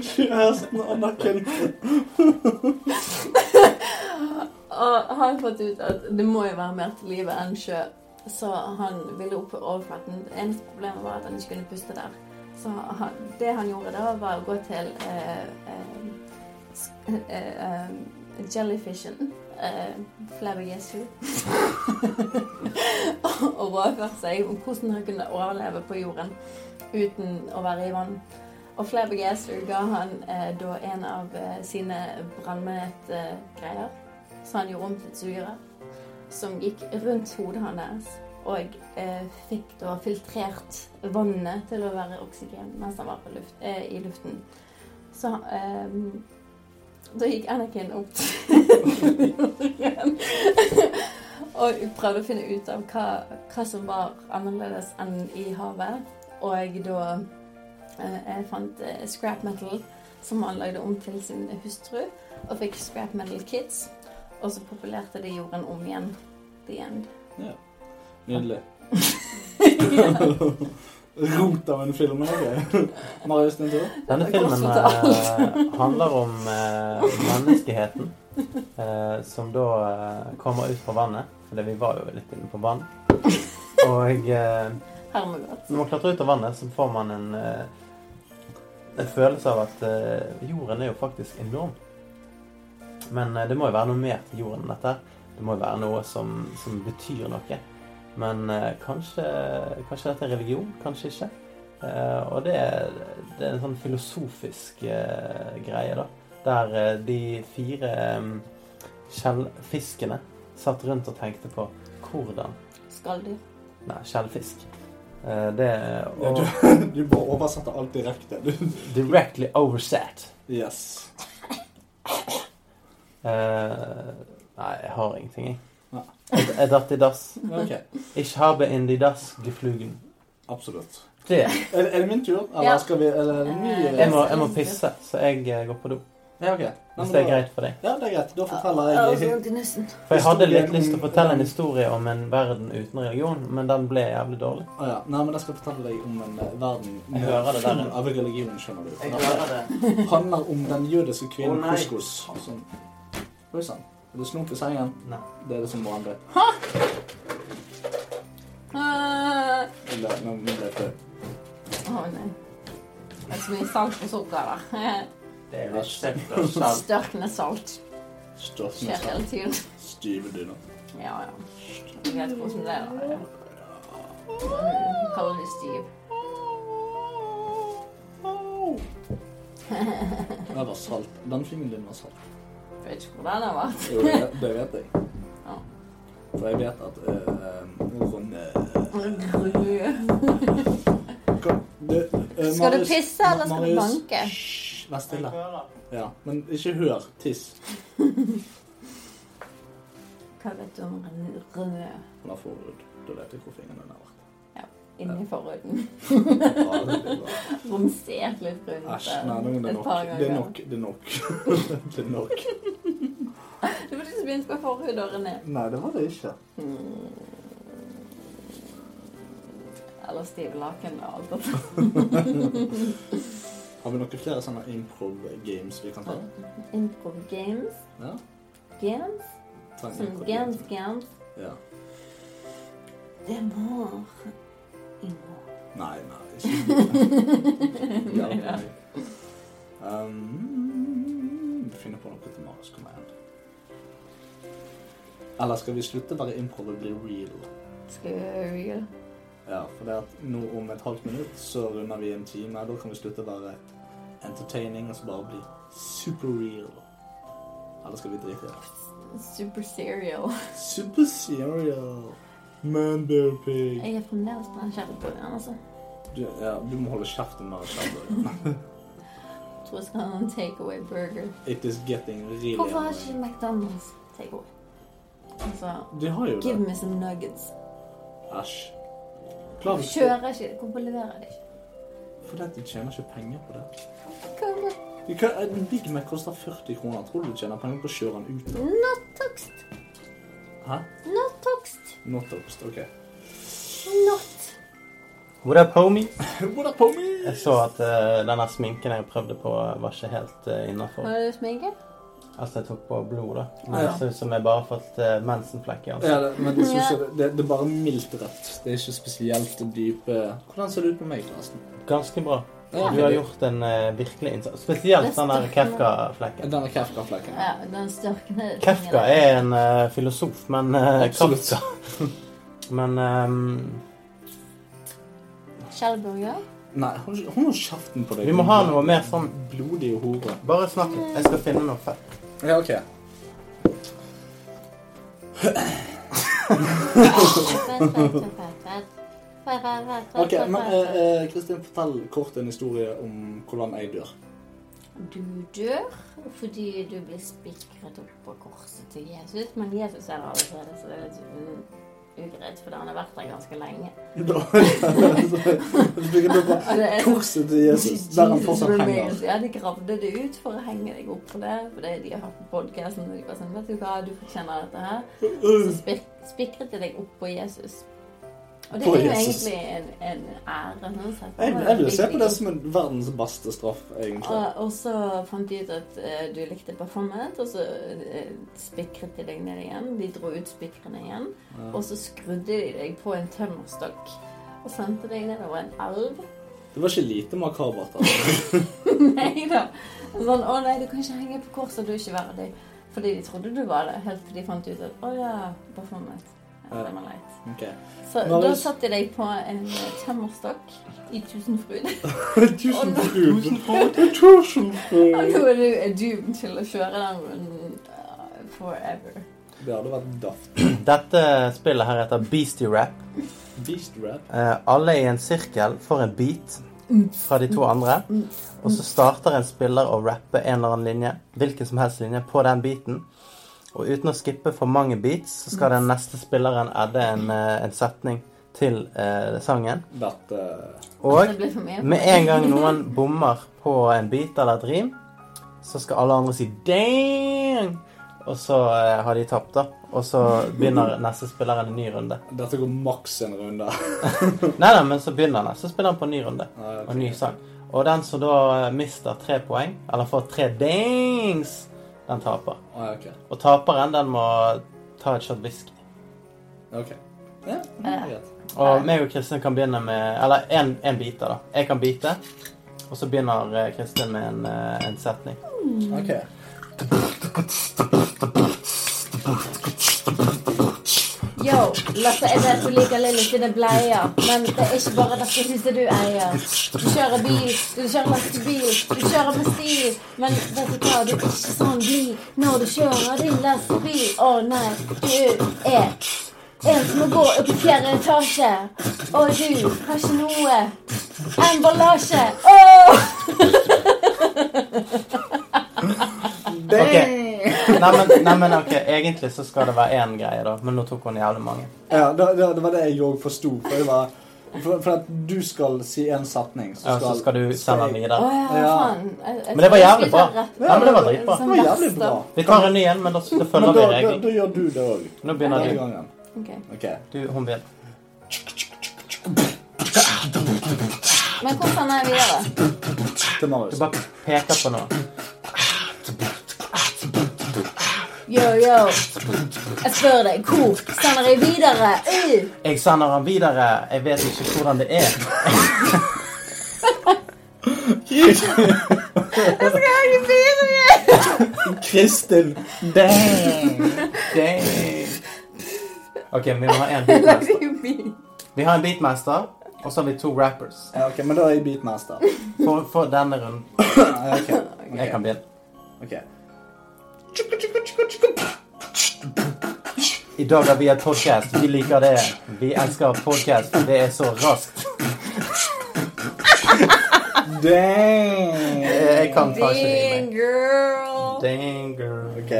Kjæresten Anakin. Og han fant ut at det må jo være mer til livet enn sjø, så han ville opp på overflaten. Det eneste problemet var at han ikke kunne puste der. Så han, det han gjorde da, var å gå til eh, eh, sk- eh, eh, jellyfishen, eh, Flabby Jesu, og rådførte seg om hvordan han kunne overleve på jorden uten å være i vann. Og Flabby Jesu ga han eh, da en av eh, sine brannmetgreier. greier så han gjorde om til et sugerør som gikk rundt hodet hans. Og eh, fikk da filtrert vannet til å være oksygen mens han var på luft, eh, i luften. Så eh, da gikk Anakin opp til jorden og prøvde å finne ut av hva, hva som var annerledes enn i havet. Og da eh, jeg fant eh, scrap metal, som han lagde om til sin hustru, og fikk scrap metal kids. Og så populerte de jorden om igjen. The end. Nydelig. Rot av en film. ok. Marius, din tur. Denne filmen eh, handler om eh, menneskeheten eh, som da eh, kommer ut på vannet. Fordi vi var jo litt inne på vann. Og eh, Hermegodt. Når man klatrer ut av vannet, så får man en, eh, en følelse av at eh, jorden er jo faktisk enorm. Men eh, det må jo være noe mer til jorden enn dette. her. Det må jo være noe som, som betyr noe. Men eh, kanskje, kanskje dette er religion, kanskje ikke. Eh, og det er, det er en sånn filosofisk eh, greie, da. Der eh, de fire um, skjellfiskene satt rundt og tenkte på hvordan Skalldyr. Nei, skjellfisk. Eh, det Ja, og, du, du bare oversetter alt direkte. Du. Directly overset. Yes. Eh, nei, jeg har ingenting, jeg. Nei. Jeg jeg datt i dass. Ok, Ich habe in die dass geflugen. Absolutt. Det. Er, er det min tur? Eller Ja. skal vi Eller er det ny? Eh, Jeg må, jeg må pisse, så jeg eh, går på do. Ja, ok. Nei, men Hvis det er da- greit for deg. Ja, det er greit. Da forteller Å, jeg så vondt i nussen. For jeg hadde litt Historien- lyst til å fortelle en historie om en verden uten religion, men den ble jævlig dårlig. Å ja. Nei, men da skal jeg fortelle deg om en eh, verden Jeg hører det der, full ja. av religion, skjønner du. det. Det handler om den jødiske Å, kvinnen nei. Koskos. som- Oi sann. Er det snop i sengen? Nei. Det er det som må handle. Ah. Nå nå ble jeg flau. Å nei. Det er så mye salt og sukker der. Det er resept Størkende salt Stopp med skjer hele tiden. stive dyner. Ja, ja. Jeg vet hvordan det er. da, ja. Mm, Kaller det stiv. Den var salt. Den fingeren din var salt. Jeg vet ikke hvor den har vært. Jo, det, det vet jeg. Ja. For jeg vet at uh, Ronne Mm. Kom, du, eh, Skal du Marius- pisse, eller skal du Marius, banke? Hysj, vær stille. Ja, men ikke hør. Tiss. Hva vet du om rød Han har forhud. Da vet jeg hvor fingeren din har vært. inni forhuden? Ja, det blir bra. Romstert litt rundt Æsj. Nei, nå er det et nok. par Det er ganger. nok. Det er nok. det er nok. Du burde ikke begynt på Hmm. forhud og René. Nei, det var det ikke. Eller stive laken og alt dette. Har vi noen flere sånne improv-games vi kan ta? Improv games. Ja. Games? ta en Sånn improv-game. games, games. Ja. Det må Ingen. Nei, nei, ikke Ja, Neida. ok. Um, vi finner på noe til Marius. Kom igjen. Eller skal vi slutte å være improv og bli real? Skal vi være real? Ja, for det at nå om et halvt minutt så runder vi en time. Da kan vi slutte å være entertaining og så bare bli super real. Eller skal vi drite i det? Super serial. Super serial. Man bear pig. Jeg er fremdeles på den skjellborderen, altså. Du, ja, du må holde kjeft om Marius Sandberg. Jeg tror jeg skal ha en takeaway burger. It is getting really Hvorfor har annoying. ikke McDonald's takeaway? Altså, De har jo give det. me some nuggets. Æsj. Klar, Hvorfor kjører ikke? Hvorfor leverer de ikke? Fordi at de tjener ikke penger på det. Come on. De kan, en Big Mac koster 40 kroner. Tror du de tjener penger på å kjøre den ut? Not toxed. Hæ? Not toxed. Not toast, ok. Not. What up, homie? What up, homie? Jeg så at eh, denne sminken jeg prøvde på, var ikke helt uh, innafor. Har du sminke? Altså, jeg tok på blod, da. Men Ah, ja. det ser ut som jeg bare har fått eh, mensenflekk i Ja, ansiktet. det, men det, synes jeg, det, det er bare mildt rødt. Det er ikke spesielt dype Hvordan ser det ut på meg, forresten? Ganske bra. Ja. Du har gjort en eh, virkelig innsats. Spesielt den der Kefka-flekken. Denne Kefka-flekken. Ja, den størkende Kefka er en eh, filosof, men eh, Absolutt. Kafka Men ehm, Skjellburger? Nei, hold hold nå kjeften på deg. vi må ha noe mer sånn Blodige hore. Bare snakk. Jeg skal finne noe fett. Ja, OK. Ok, men eh, eh, Kristin, fortell kort en historie om hvordan jeg dør. Du dør fordi du blir spikret opp på korset til Jesus, men Jesus er der allerede, så det er litt u- ugreit, for han har vært der ganske lenge. Da Så fikk jeg da bare Og det er sånn- Korset til Jesus, der han fortsatt henger. remains. Ja, de gravde det ut for å henge deg opp for det, fordi de har hørt på podcasten, og de var sånn, vet du hva, du fortjener dette her. Så spik spikret de deg opp på Jesus. Og det På er jo Jesus. egentlig en, en ære, sånn sett. Jeg, jeg vil se på det som en verdens beste straff, egentlig. Og, og så fant de ut at eh, du likte performance, og så eh, spikret de deg ned igjen. De dro ut spikrene igjen. Og så skrudde de deg på en tømmerstokk og sendte deg nedover en elv. Det var ikke lite makabert. Altså. nei da. Sånn, å nei, du kan ikke henge på korset, du er ikke verdig. Fordi de trodde du var det, helt til de fant ut at å ja, performance. Ja, det var leit. Ok. Så da Marius- satte de deg på en tømmerstokk i Tusenfryd. Tusen fryd. Tusen Og fryd. nå er du er doomed til å kjøre den runden eh, forever. Det hadde vært daft. Dette spillet her heter Beastie Rap. Beast rap. Eh, alle i en sirkel får en beat fra de to andre. Mm. Og så starter en spiller å rappe en eller annen linje, hvilken som helst linje, på den beaten. Og uten å skippe for mange beats, så skal den neste spilleren adde en, eh, en setning til eh, sangen. Dette Og Det blir for mye. med en gang noen bommer på en beat eller et rim, så skal alle andre si 'dang', og så eh, har de tapt, da. Og så begynner neste spiller en ny runde. Dette går maks en runde. Nei, nei, men så begynner han, så spiller han på en ny runde. Ja, ok. Og en ny sang. Og den som da eh, mister tre poeng, eller får tre dings, den taper. Ah, ok. Og taperen, den må ta et shot whisky. ok. Ja, det er greit. Og meg og Kristin kan begynne med Eller én biter, da. Jeg kan bite, og så begynner eh, Kristin med en, eh, en setning. Ok. Yo, Lasse, jeg vet du liker Lilly sine bleier, men det er ikke bare dette huset du eier. Du kjører bil, du kjører lastebil, du kjører med stil. Men vet du hva, du er ikke sånn blid når du kjører din lastebil. Å nei, du er en som må gå opp i fjerde etasje. Og du har ikke noe emballasje. Åh! Ok. Nei, men, nei, men ok, egentlig så skal det være én greie, da. Men nå tok hun jævlig mange. Ja, det, det, det var det jeg òg forsto. For, det var- for, for at du skal si en setning, så Ja, skal, så skal du sende den jeg- Å videre. ja, Ja. faen. Jeg- jeg- Men det var jævlig bra. jeg skulle Ja, men det var dritbra. Det var jævlig bra. Vi tar en ny en, men da, da Men følger da, vi da, regelen. da gjør du det òg. Nå begynner du. Ok. Ok. Du, hun vil. Men hvordan er vi videre? Til Marius. Du bare peker på noe. Yo, yo. Jeg spør deg, hvor sender jeg videre? Uh. Jeg sender han videre. Jeg vet ikke hvordan det er. Jeg skal ikke videre! Kristin! Dang. Dang. Ok, vi må ha en beatmaster. Vi har en beatmaster, og så har vi to rappers. Ja, ok, Men da er jeg beatmaster. For, for denne runden. Ja, ok. Jeg kan begynne. Ok. I dag har vi en podcast. Vi liker det. Vi elsker podcast. Det er så raskt. Dang! Jeg kan ta ikke Ding rime. girl. Dang, girl. Ok.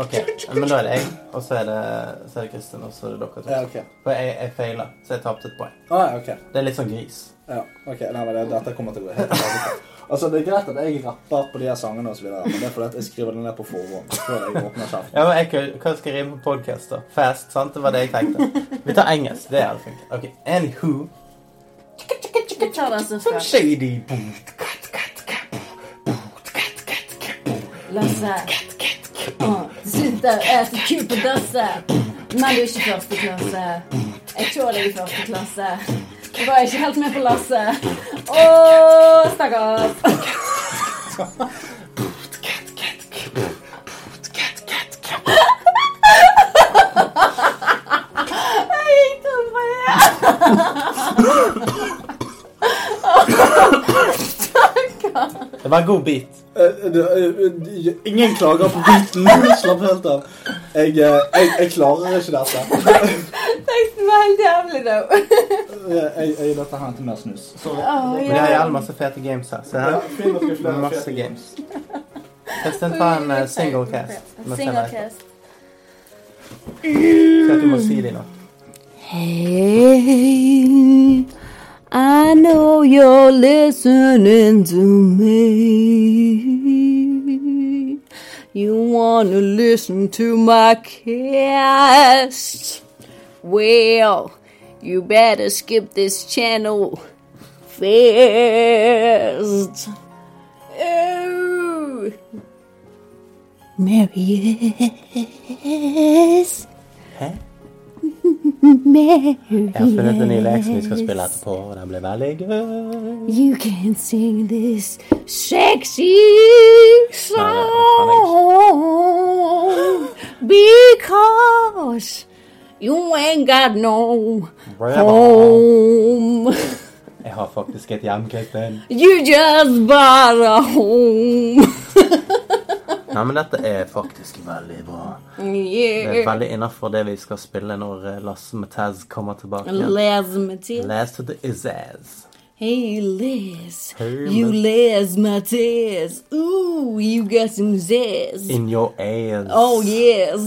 Ok, men da er det jeg, og så er det, så er det Kristin, og så er det dere Ja, to. ok. For jeg, jeg feiler, så jeg tapte et poeng. Ah, ja, ok. Det er litt sånn gris. Ja, ok. Nei, men det, dette kommer til å gå helt jævlig. Altså, Det er greit at jeg rapper på de her sangene, og så videre, men det er fordi at jeg skriver det ned på forhånd. før jeg åpner kjeften. Ja, men jeg, kan- Hva skal jeg rime på podcast, da? Fast, sant? Det var det jeg tenkte. Vi tar engelsk. Det er det fint. Ok, Anywho. Jeg tar den som Some skal. shady. Lasse. Å, Til slutt der er jeg så kul på dasse. Men du er ikke første klasse. Jeg tror deg i første klasse. Jeg var ikke helt med på Lasse. Å, stakkars. Jeg gikk tom for hjelp. Det var en god beat. Eh, du, eh, eh, Ingen klager på beaten. Slapp helt av. Jeg, eh, jeg, jeg klarer ikke dette. Teksten var helt jævlig, da. Jeg, jeg, jeg, dette her er til mer snus. Å, Sorry. Men jeg har ja. jævlig masse fete games her. Se Ja, her. fint at vi Det er flere- Masse flere- games. Kristin, ta en eh, single cast. Vi må se hva Single jeg- cast. Se at du må si det nå. Hey, I know you're listening to me. You want to listen to my cast? Well, you better skip this channel fast. Oh, Marius. Hæ? Jeg har funnet en ny lek som vi skal spille etterpå, og den blir veldig gøy. You can sing this sexy song because you ain't got no home. Jeg har faktisk et hjem, Kristin. You just bought a home. Nei, men dette er faktisk veldig bra. Det er yeah. veldig innafor det vi skal spille når eh, Lasse med Taz kommer tilbake. igjen. Liz Matisse. Last to the Izzaz. Hey, Liz. Hey, you Liz. Liz Matisse. Ooh, you got some zizz. In your ass. Oh, yes.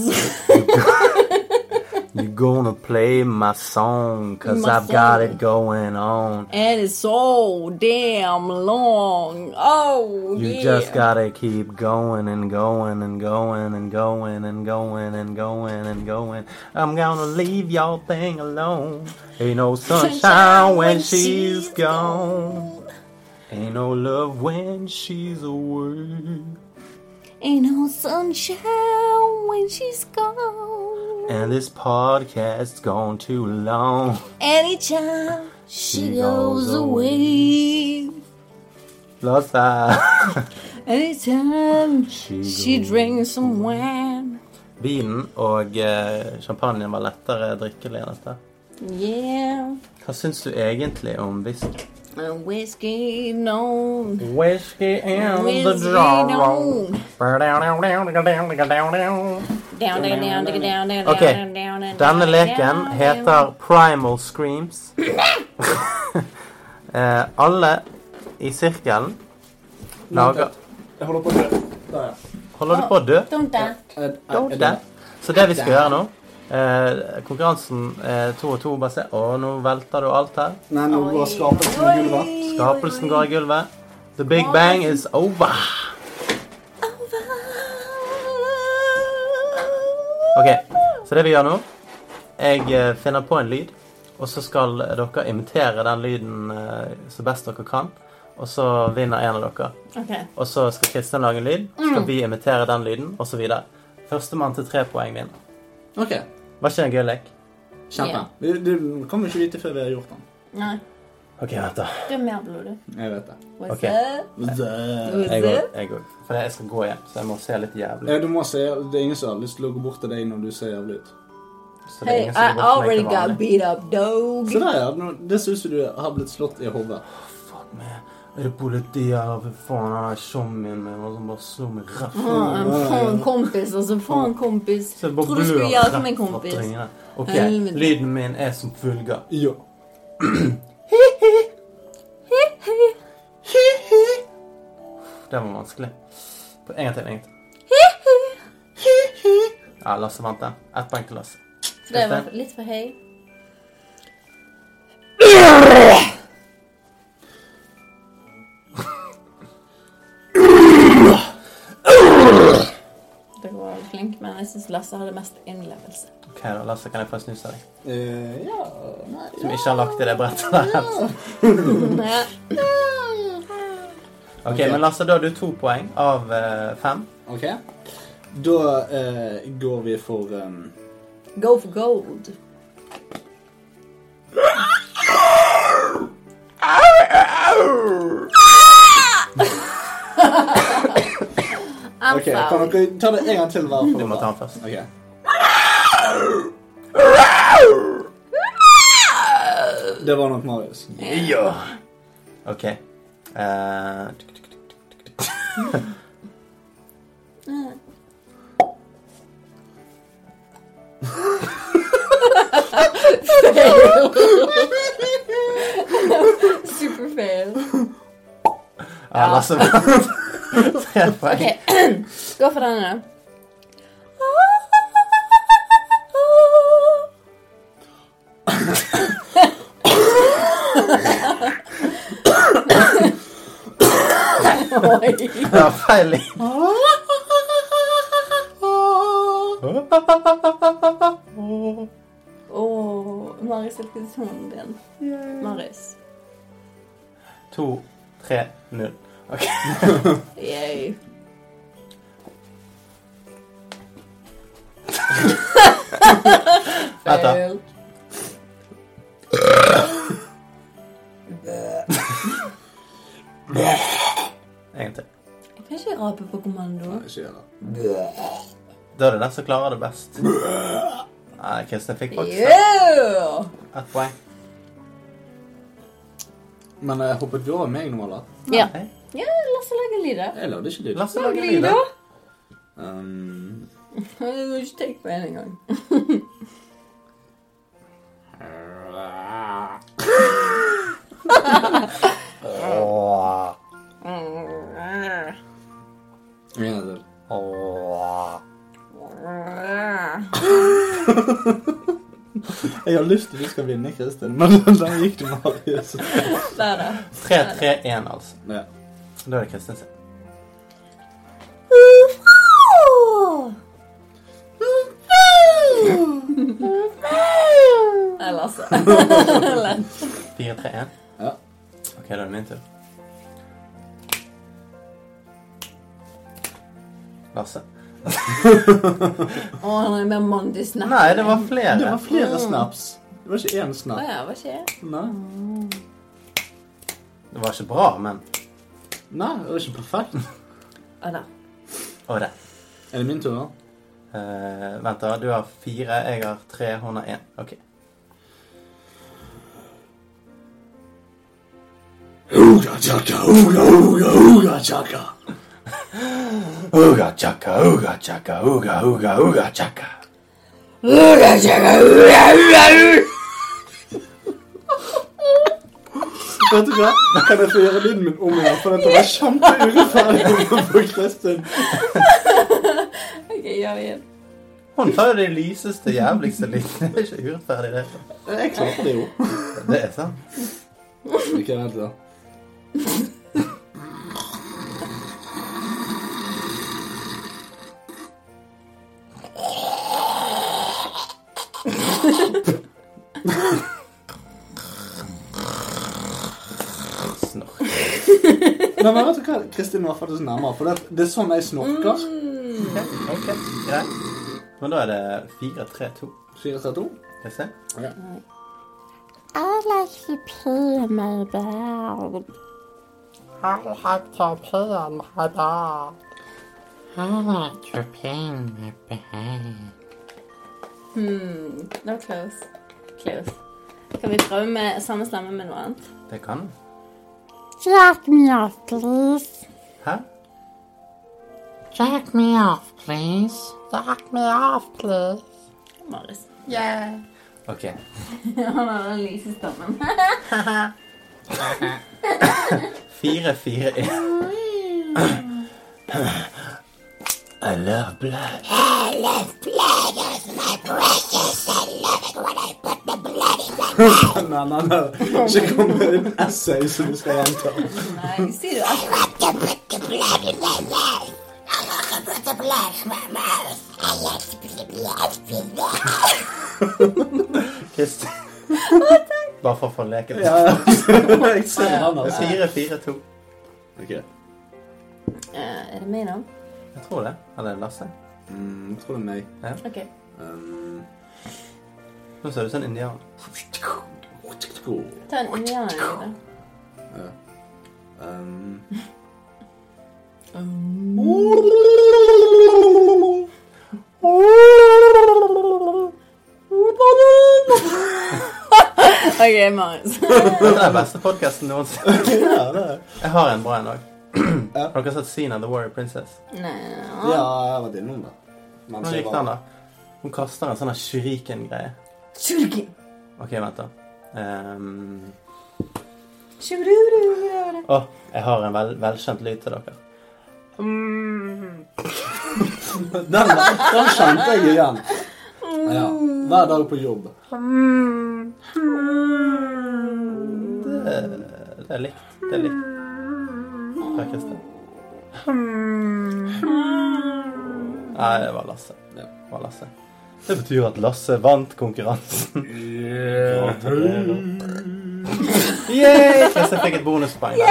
You gonna play my song, cause My I've got song. it going on. and it's so damn long. Oh, You yeah. just gotta keep going and going and going and going and going and going and going. I'm gonna leave y'all thing alone. Ain't no sunshine, when she's gone. Ain't no love when she's away. Ain't no sunshine when she's gone. And this podcast's gone too long. Anytime she, She goes, goes away. Lossa. Anytime She she goes drinks some wine. Vinen og eh, champagnen var lettere drikkelig enn dette. Yeah. Hva syns du egentlig om whisky? Uh, whiskey, no. Whisky and Whiskey, no. Down, down, down, down, down, down, Ok, down, down, down, Denne down, leken down. heter Primal Screams. eh, alle i sirkelen lager Jeg holder på å dø. Der, ja. Holder du på å dø? Don't die. Jeg- jeg- Don't jeg- die. Så det vi skal gjøre nå eh, Konkurransen eh, to og to bare se Å, nå velter du alt her. Nei, nå går skapelsen i gulvet. Skapelsen går i gulvet. The big bang is over. OK, så det vi gjør nå Jeg eh, finner på en lyd, og så skal dere imitere den lyden eh, så best dere kan. Og så vinner en av dere. Ok. Og så skal Kristian lage en lyd, så Mm. skal vi imitere den lyden, osv. Førstemann til tre poeng vinner. Ok, Var ikke det en gøy lek? kjempe. Ja. Vi, det kan vi ikke vite før vi har gjort den. Nei, OK, vent, da. du er mer blod, du. Jeg vet det. What's Ok. up? Who's Jeg it? òg. Jeg òg. For jeg skal gå hjem, så jeg må se litt jævlig Ja, ut. Eh, du må se, det er ingen som har lyst til å gå bort til deg når du ser jævlig ut. Så det er Hey, ingen som I går til meg already til got vanlig. beat up, dog. Se der, ja. Nå- Det ser ut som du har blitt slått i hodet. Fuck meg. Er det politi her? Fy faen, han er tjommien min og som bare slo meg rett Faen, faen, kompis. Altså, faen, kompis. Så jeg bare Tror du skulle blør hjelpe rett meg, fra kompis? trynet. OK, Helvete. lyden min er som følger. Ja. Det var vanskelig. På en gang til, en gang til. Ja, Lasse vant den. Ett poeng til Lasse. Så det var litt for høy. Dere var veldig flinke, men jeg synes Lasse hadde mest innlevelse. OK, da, Lasse, kan jeg få en snus av deg? Eh, ja. Nei. Som ikke har lagt i det brettet der. Ja. OK, men Lasse, da har du to poeng av eh, fem. Ok. Da eh, går vi for um, Go for gold. Ok, kan dere ta det en gang til hver for Du må ta den først. Ok. Det var nok Marius. Ja. OK. Eh, tuk, tuk, tuk, tuk, tuk, tuk. Super fail. Ja, Lasse vant. Tre poeng. Ok, gå for denne. Det var feil lyd. Åh, Marius hvilken tonen din. Marius. To, tre, null. OK. Yay. Vent, da. En gang til. Jeg kan ikke rape på kommando. Ikke gjør det. Da er det den som klarer det best. Nei, Kristin fikk faktisk det. Yeah! ett poeng. Men jeg hoppet du over meg nå, eller? Ja. Nei. Ja, Lasse lager lyder. Jeg lagde ikke lyd. Lasse lager lyd, da. Um, Jeg må ikke tenke på en engang. Åh, en gang til. åh. Jeg har lyst til at du skal vinne, Kristin, men der gikk det Marius. Der, da. Tre, tre, én, altså. Ja. Da er det Kristin sin. Nei, Lasse. Fire, tre, én. Ja. OK, da er det min tur. Lasse. Åh, han er mer mandig snap. Nei, det var flere. Det var flere snaps. Det var ikke én Å snap. ja, hva skjer? Nei. Det var ikke bra, men Nei, det var ikke perfekt. Å da. Og det. Er det min tur nå? Eh, vent, da. Du har fire, jeg har tre, hun har én. OK. Uga chaka, uga chaka, uga uga uga chaka. Vet du hva? Kan jeg få gjøre lyden min om igjen? For dette var kjempeurettferdig overfor Kristin. Ok, gjør igjen. Hun tar jo det lyseste, jævligste lydene. Det er ikke urettferdig, det. Jeg klarte det jo. Det er sant. Ikke vent, da. Snork. Nei, men vet du hva? Kristin var faktisk nærmere, for det, det er sånn jeg snorker. Ok, ok, greit. Men da er det fire, tre, to. 432. Skal vi se. I like to pee in my bed. I like to pee in my bed. I like to pee in my bed. Hmm, no close. Close. Kan vi prøve med samme stemme med noe annet? Det kan hun. Jack me off, please. Hæ? Jack me off, please. Jack me off, please. Marius. OK. Han har den lyse stemmen. Fire, fire, én. I love blood. Nei, nei, nei. Ikke kom med en essay som du skal gjenta. Nei, si du alt. Kristin. Bare for å få leke Ja, litt. ja. jeg ser han, altså. Fire, fire, to. Okay. Eh, er det meg nå? Jeg tror det. Eller Lasse. Mm, jeg tror det er meg. Ok. Um, Nå ser du ut som en indianer. Ta en indianerlyd. um, OK, Marius. Dette er den beste podkasten noensinne. ja, det er. Jeg har en bra en òg. Ja. Har dere sett Sina the Warrior Princess? Nei, ja, jeg har vært innom det. Mens Nå jeg gikk var- den, da. Hun kaster en sånn her shuriken-greie. Shuriken. OK, vent, da. Ehm, Shuriken. Å, jeg har en vel, velkjent lyd til dere. Den, den kjente jeg igjen. Ja. Hver dag på jobb. Det, det er likt. Det er likt. Fra Kristin. Nei, det var Lasse. Ja. Det var Lasse. Det betyr at Lasse vant konkurransen. Yeah! Kristin fikk et bonuspoeng. Jeg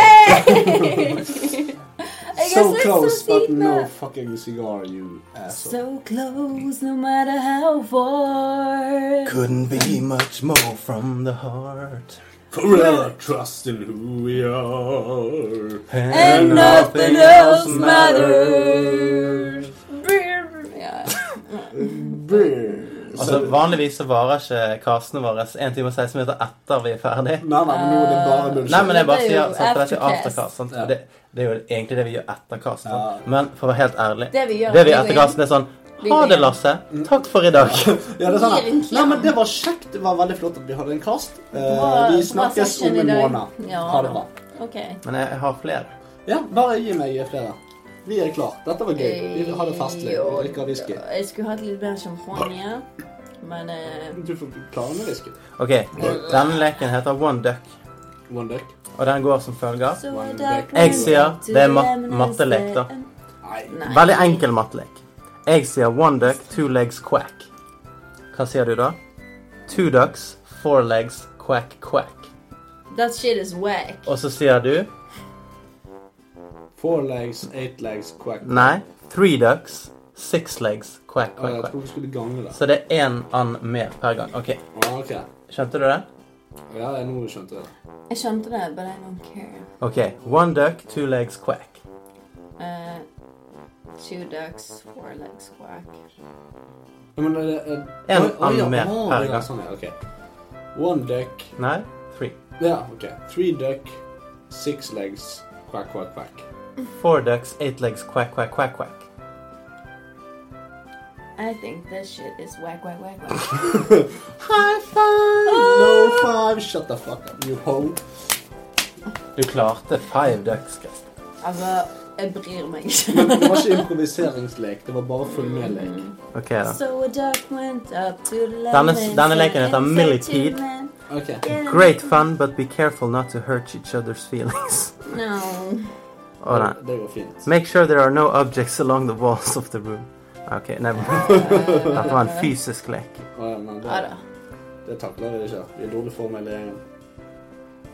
So er så- close, så but fin, no da. fucking cigar, you asshole. So close, no matter how far. Couldn't be much more from the heart. Forever trust in who we are. And nothing else matters. Ja. Altså, Vanligvis så varer ikke castene våre 1 time og 16 minutter etter vi er ferdig. Nei, nei, men nå er det Eh, bare bullshit. Nei, men jeg bare Det er jo sier sant, for det er ikke aftercast. aftercast. Sant? Ja. Det, det er jo egentlig det vi gjør etter cast. Ja. Sant? Men for å være helt ærlig, Det vi gjør, det vi vi gjør går etter casten, er sånn Vi Ha går det, inn. Lasse. Takk for i dag. Ja, det er sånn Gir en at- klem. Nei, men det var kjekt. Det var veldig flott at vi hadde en kast. Eh, Bra- vi bra snakkes session om en i dag. måned. Ja. Ha det bra. OK. Men jeg, jeg har flere. Ja, bare gi meg flere. Vi er klar. Dette var gøy. Vi vil ha det festlig. Vi Jo, drikker whisky. Jeg skulle hatt litt mer champagne, men eh, Du får klare med whisky. OK. Denne leken heter One Duck, One duck. og den går som følger. så er det- Jeg sier det er mat mattelek, da. Nei. Nei. Veldig enkel mattelek. Jeg sier one duck, two legs, quack. Hva sier du da? Two ducks, four legs, quack, quack. That shit is whack. Og så sier du Four legs, eight legs, quack. nei, three ducks, six legs, quack, Å, quack, jeg tror quack. vi skulle gange det. Så det er én and mer per gang. OK, Ah, ok. skjønte du det? Ja, jeg- nå skjønte jeg det. Jeg skjønte det, but I don't care. OK. One duck, two legs, quack. Eh, Two ducks, four legs, quack. Ja, men er det er... En Oi, oi, ja, annen mer å, per ja, gang. Sånn, ja, ok. One duck. Nei? Three. Ja, ok. Three duck, six legs, quack, quack, quack. Four ducks, eight legs, quack, quack, quack, quack. I think this shit is whack, whack, whack, whack. High five! No five! Shut the fuck up, you hoe. Du klarte five ducks, Chris. altså, jeg bryr meg ikke. Men det var ikke improviseringslek, det var bare full med lek. Ok, da. So a duck went up to the Denne- lemon, denne leken heter said, Millipede. "It's a man." Ok. Great fun, but be careful not to hurt each other's feelings. No. Å nei. Det går fint. Make sure there are no objects along the walls of the room. Ok, never mind. Dette var en fysisk lek. Å, ja, men Ja det, da. det takler jeg ikke. Vi er dårlig form hele gjengen.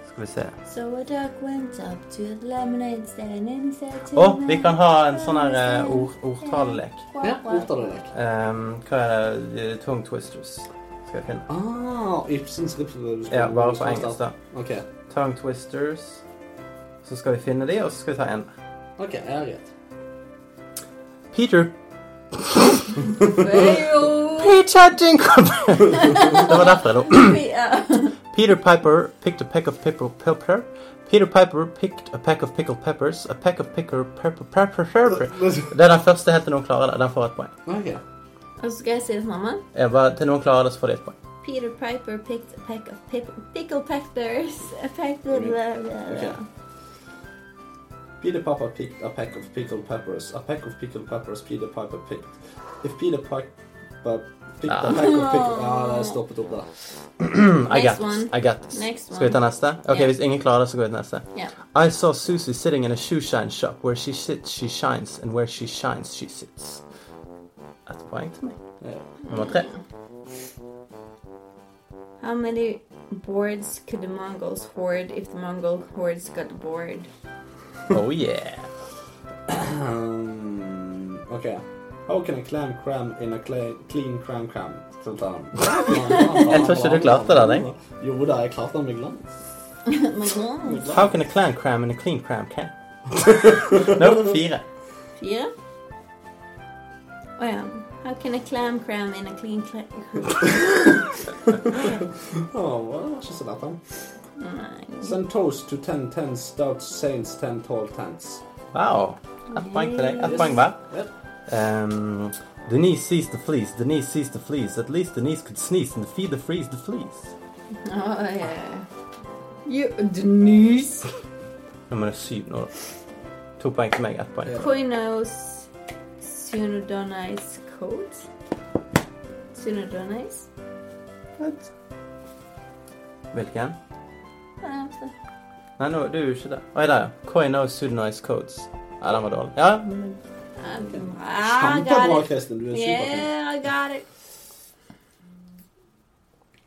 Skal vi se. So a duck went up to the lemonade stand and said to Å, the Oh, vi kan ha en sånn her eh, ord, ordtalelek. Quack, Ja, quack. ordtalelek. Ehm, hva er det? Tongue twisters. Skal jeg finne. Ah, Ibsens rips... Ja, bare på engelsk, da. Ok, Tongue twisters. Så skal vi finne de, og så skal vi ta en. ok, jeg har rett. Peter. Fail. Peter Jinkle. det var derfor jeg lo. Ja. Peter Piper picked a peck of pickle pepper. Peter Piper picked a peck of pickled peppers. A peck of pickled pepper pepper pepper. Det er den første helt til noen klarer det. Den får Eh, et poeng. Ok. Og så skal jeg si det samme. Jeg bare, til noen klarer det, så får de et poeng. Peter Piper picked a peck of pip- pickle peppers. A peck of... Ok. Peter Piper picked a peck of pickled peppers. A peck of pickled peppers Peter Piper picked. If Peter Piper picked a peck of pickled... ah, Ja, det stoppet opp der. I got Next one. this. I got this. Next one. Skal vi ta neste? Ok, Yeah. Hvis ingen klarer det, så går vi til neste. Yeah. I saw Susie sitting in a shoeshine shop. Where she sits, she shines. And where she shines, she sits. Et poeng til meg. Ja. Nummer tre. How many boards could the Mongols hoard if the Mongol hordes got bored? Oh yeah. Um, ok. How can a clam cram in a cla- clean cram cram? Sånn tar han. Jeg tror ikke du klarte det, Deng. Jo da, jeg klarte den med glans. Mongols? How can a clan cram in a clean cram can? no, fire. Fire? Å ja. How can a clam cram in a clean clam... Åh, er det var ikke så lett, han. Nei. Send toast to ten ten stout saints ten tall tents. Wow. Ett poeng til deg. Ett poeng hver. Um, Denise sees the fleas, Denise sees the fleas. At least Denise could sneeze and feed the freeze the fleas. Å ja. You Denise. Nummer syv nå. To poeng til meg, ett poeng. til deg. Koinos Sunodonais coat. Sunodonais? Hvilken? Ja, altså. Nei, nå, du er jo ikke der. Oi, der, ja. Koi no Sudanese codes. Nei, den var dårlig. Ja, Um, Kjempebra, I got it. Kristin. Du er superflink. Yeah, I got it.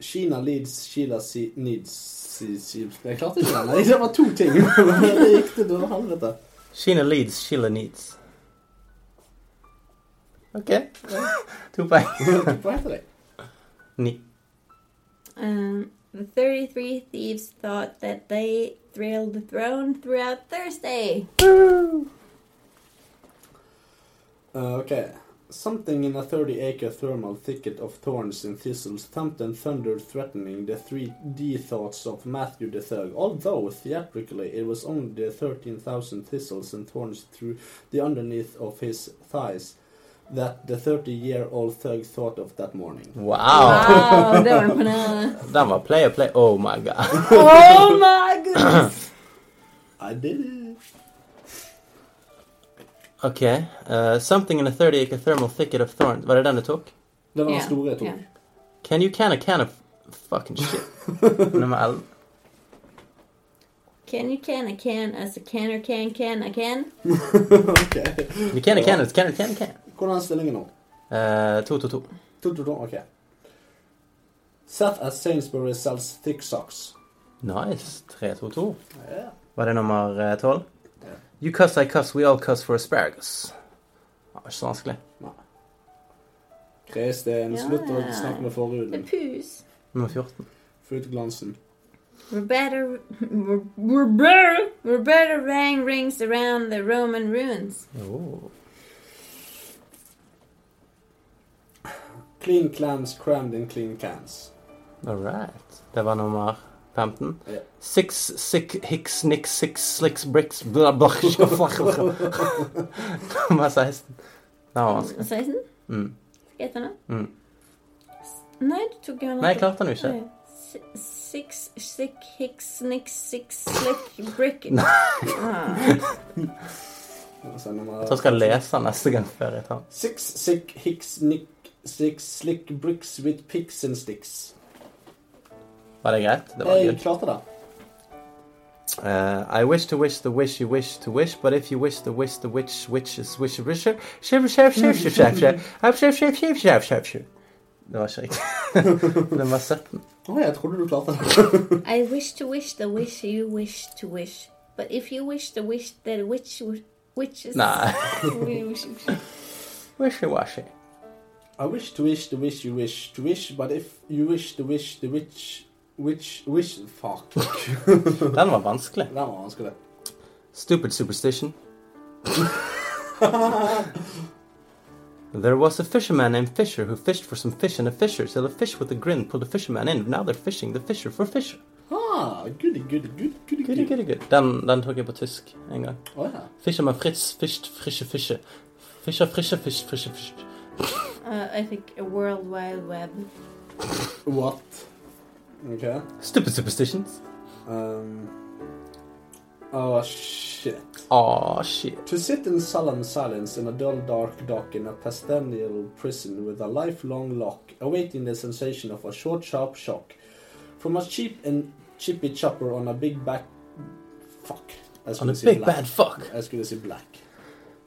Kina leads, Sheila si, needs si, si. Jeg klarte ikke den. Nei, Det var to ting. Det gikk til døde helvete. Sheena leads, Sheila needs. Ok. to poeng. Hva heter det? Ni. Um, the 33 thieves thought that they thrilled the throne throughout Thursday. Uh, ok. Something in a 30-acre thermal thicket of thorns and thistles thumped and thundered threatening the 3D thoughts of Matthew the Third, although theatrically it was only the 13,000 thistles and thorns through the underneath of his thighs that the 30-year-old thug thought of that morning. Wow. Wow, det var en banana. Den var play og play. Oh my god. Oh my goodness. I did it! Ok. eh, something in a 30 acre thermal thicket of thorns. Var det den du tok? Det var den Ja, store jeg tok. ja. Can you can a can of fucking shit? Nummer 11. Can you can a can as a canner can can a can? Ok. You can a can it, can it, can it, can. Hvordan er stillingen nå? Uh, 2-2-2. To, to, to. Ok. Seth at Sainsbury sells thick socks. Nice. 3-2-2. Yeah. Var det nummer eh, 12? You cuss, I cuss, we all cuss for asparagus. Det var ikke så vanskelig. Kristin, Ja. slutt å snakke med The forhuden. poos. Nummer 14. Få ut glansen. Roberta, Roberta, Roberta rang rings around the Roman ruins. Oh. Clean clams crammed in clean cans. All right. Det var nummer 15. Ja. Six, sick, hicks, nicks, six, slicks, bricks, blah, blah, Nummer 16. Det var vanskelig. 16? Mm. Skal jeg ta den? Mm. S- Nei, du tok den. Nei, jeg klarte den jo ikke. Oi. Si- Eh, Six, sick, hicks, nix, six, slick, brick. Ah. Altså, nummer- Jeg tror jeg skal lese den neste gang før jeg tar den. Six sick hicks nick six slick bricks with picks and sticks. Var det greit? Det var Jeg good. klarte det. Uh, I wish to wish the wish you wish to wish, but if you wish the wish the wish which is wish wish shape shape shape shape shape shape shape shape shape shape shape shape shape Det var ikke riktig. Den var 17. Å, jeg trodde du klarte det. I wish to wish the wish you wish to wish. But if you wish the wish that which which is Nei. Wish- Wishy-washy. I wish to wish the wish you wish to wish, but if you wish the wish the which which wish Fuck. Den var vanskelig. Den var vanskelig. Stupid superstition. there was a fisherman named Fisher who fished for some fish, and a fisher till a fish with a grin pulled the fisherman in. Now they're fishing the fisher for fisher. Ah, goody, goody, good, Goody, goody, goody. goody, good. Den, den tok jeg på tysk en gang. Å ja. Fisherman Fritz fished frische Fische. Fischer frische fisch, frische fisch. Uh, I think a world wide web. What? Ok. Stupid superstitions. Um, oh shit. Aw, Oh, shit. To sit in solemn silence in a dull dark dock in a pastenial prison with a lifelong lock, awaiting the sensation of a short sharp shock. From a cheap and chippy chopper on a big back fuck. Jeg On skulle a si big black. bad fuck. Jeg skulle si black.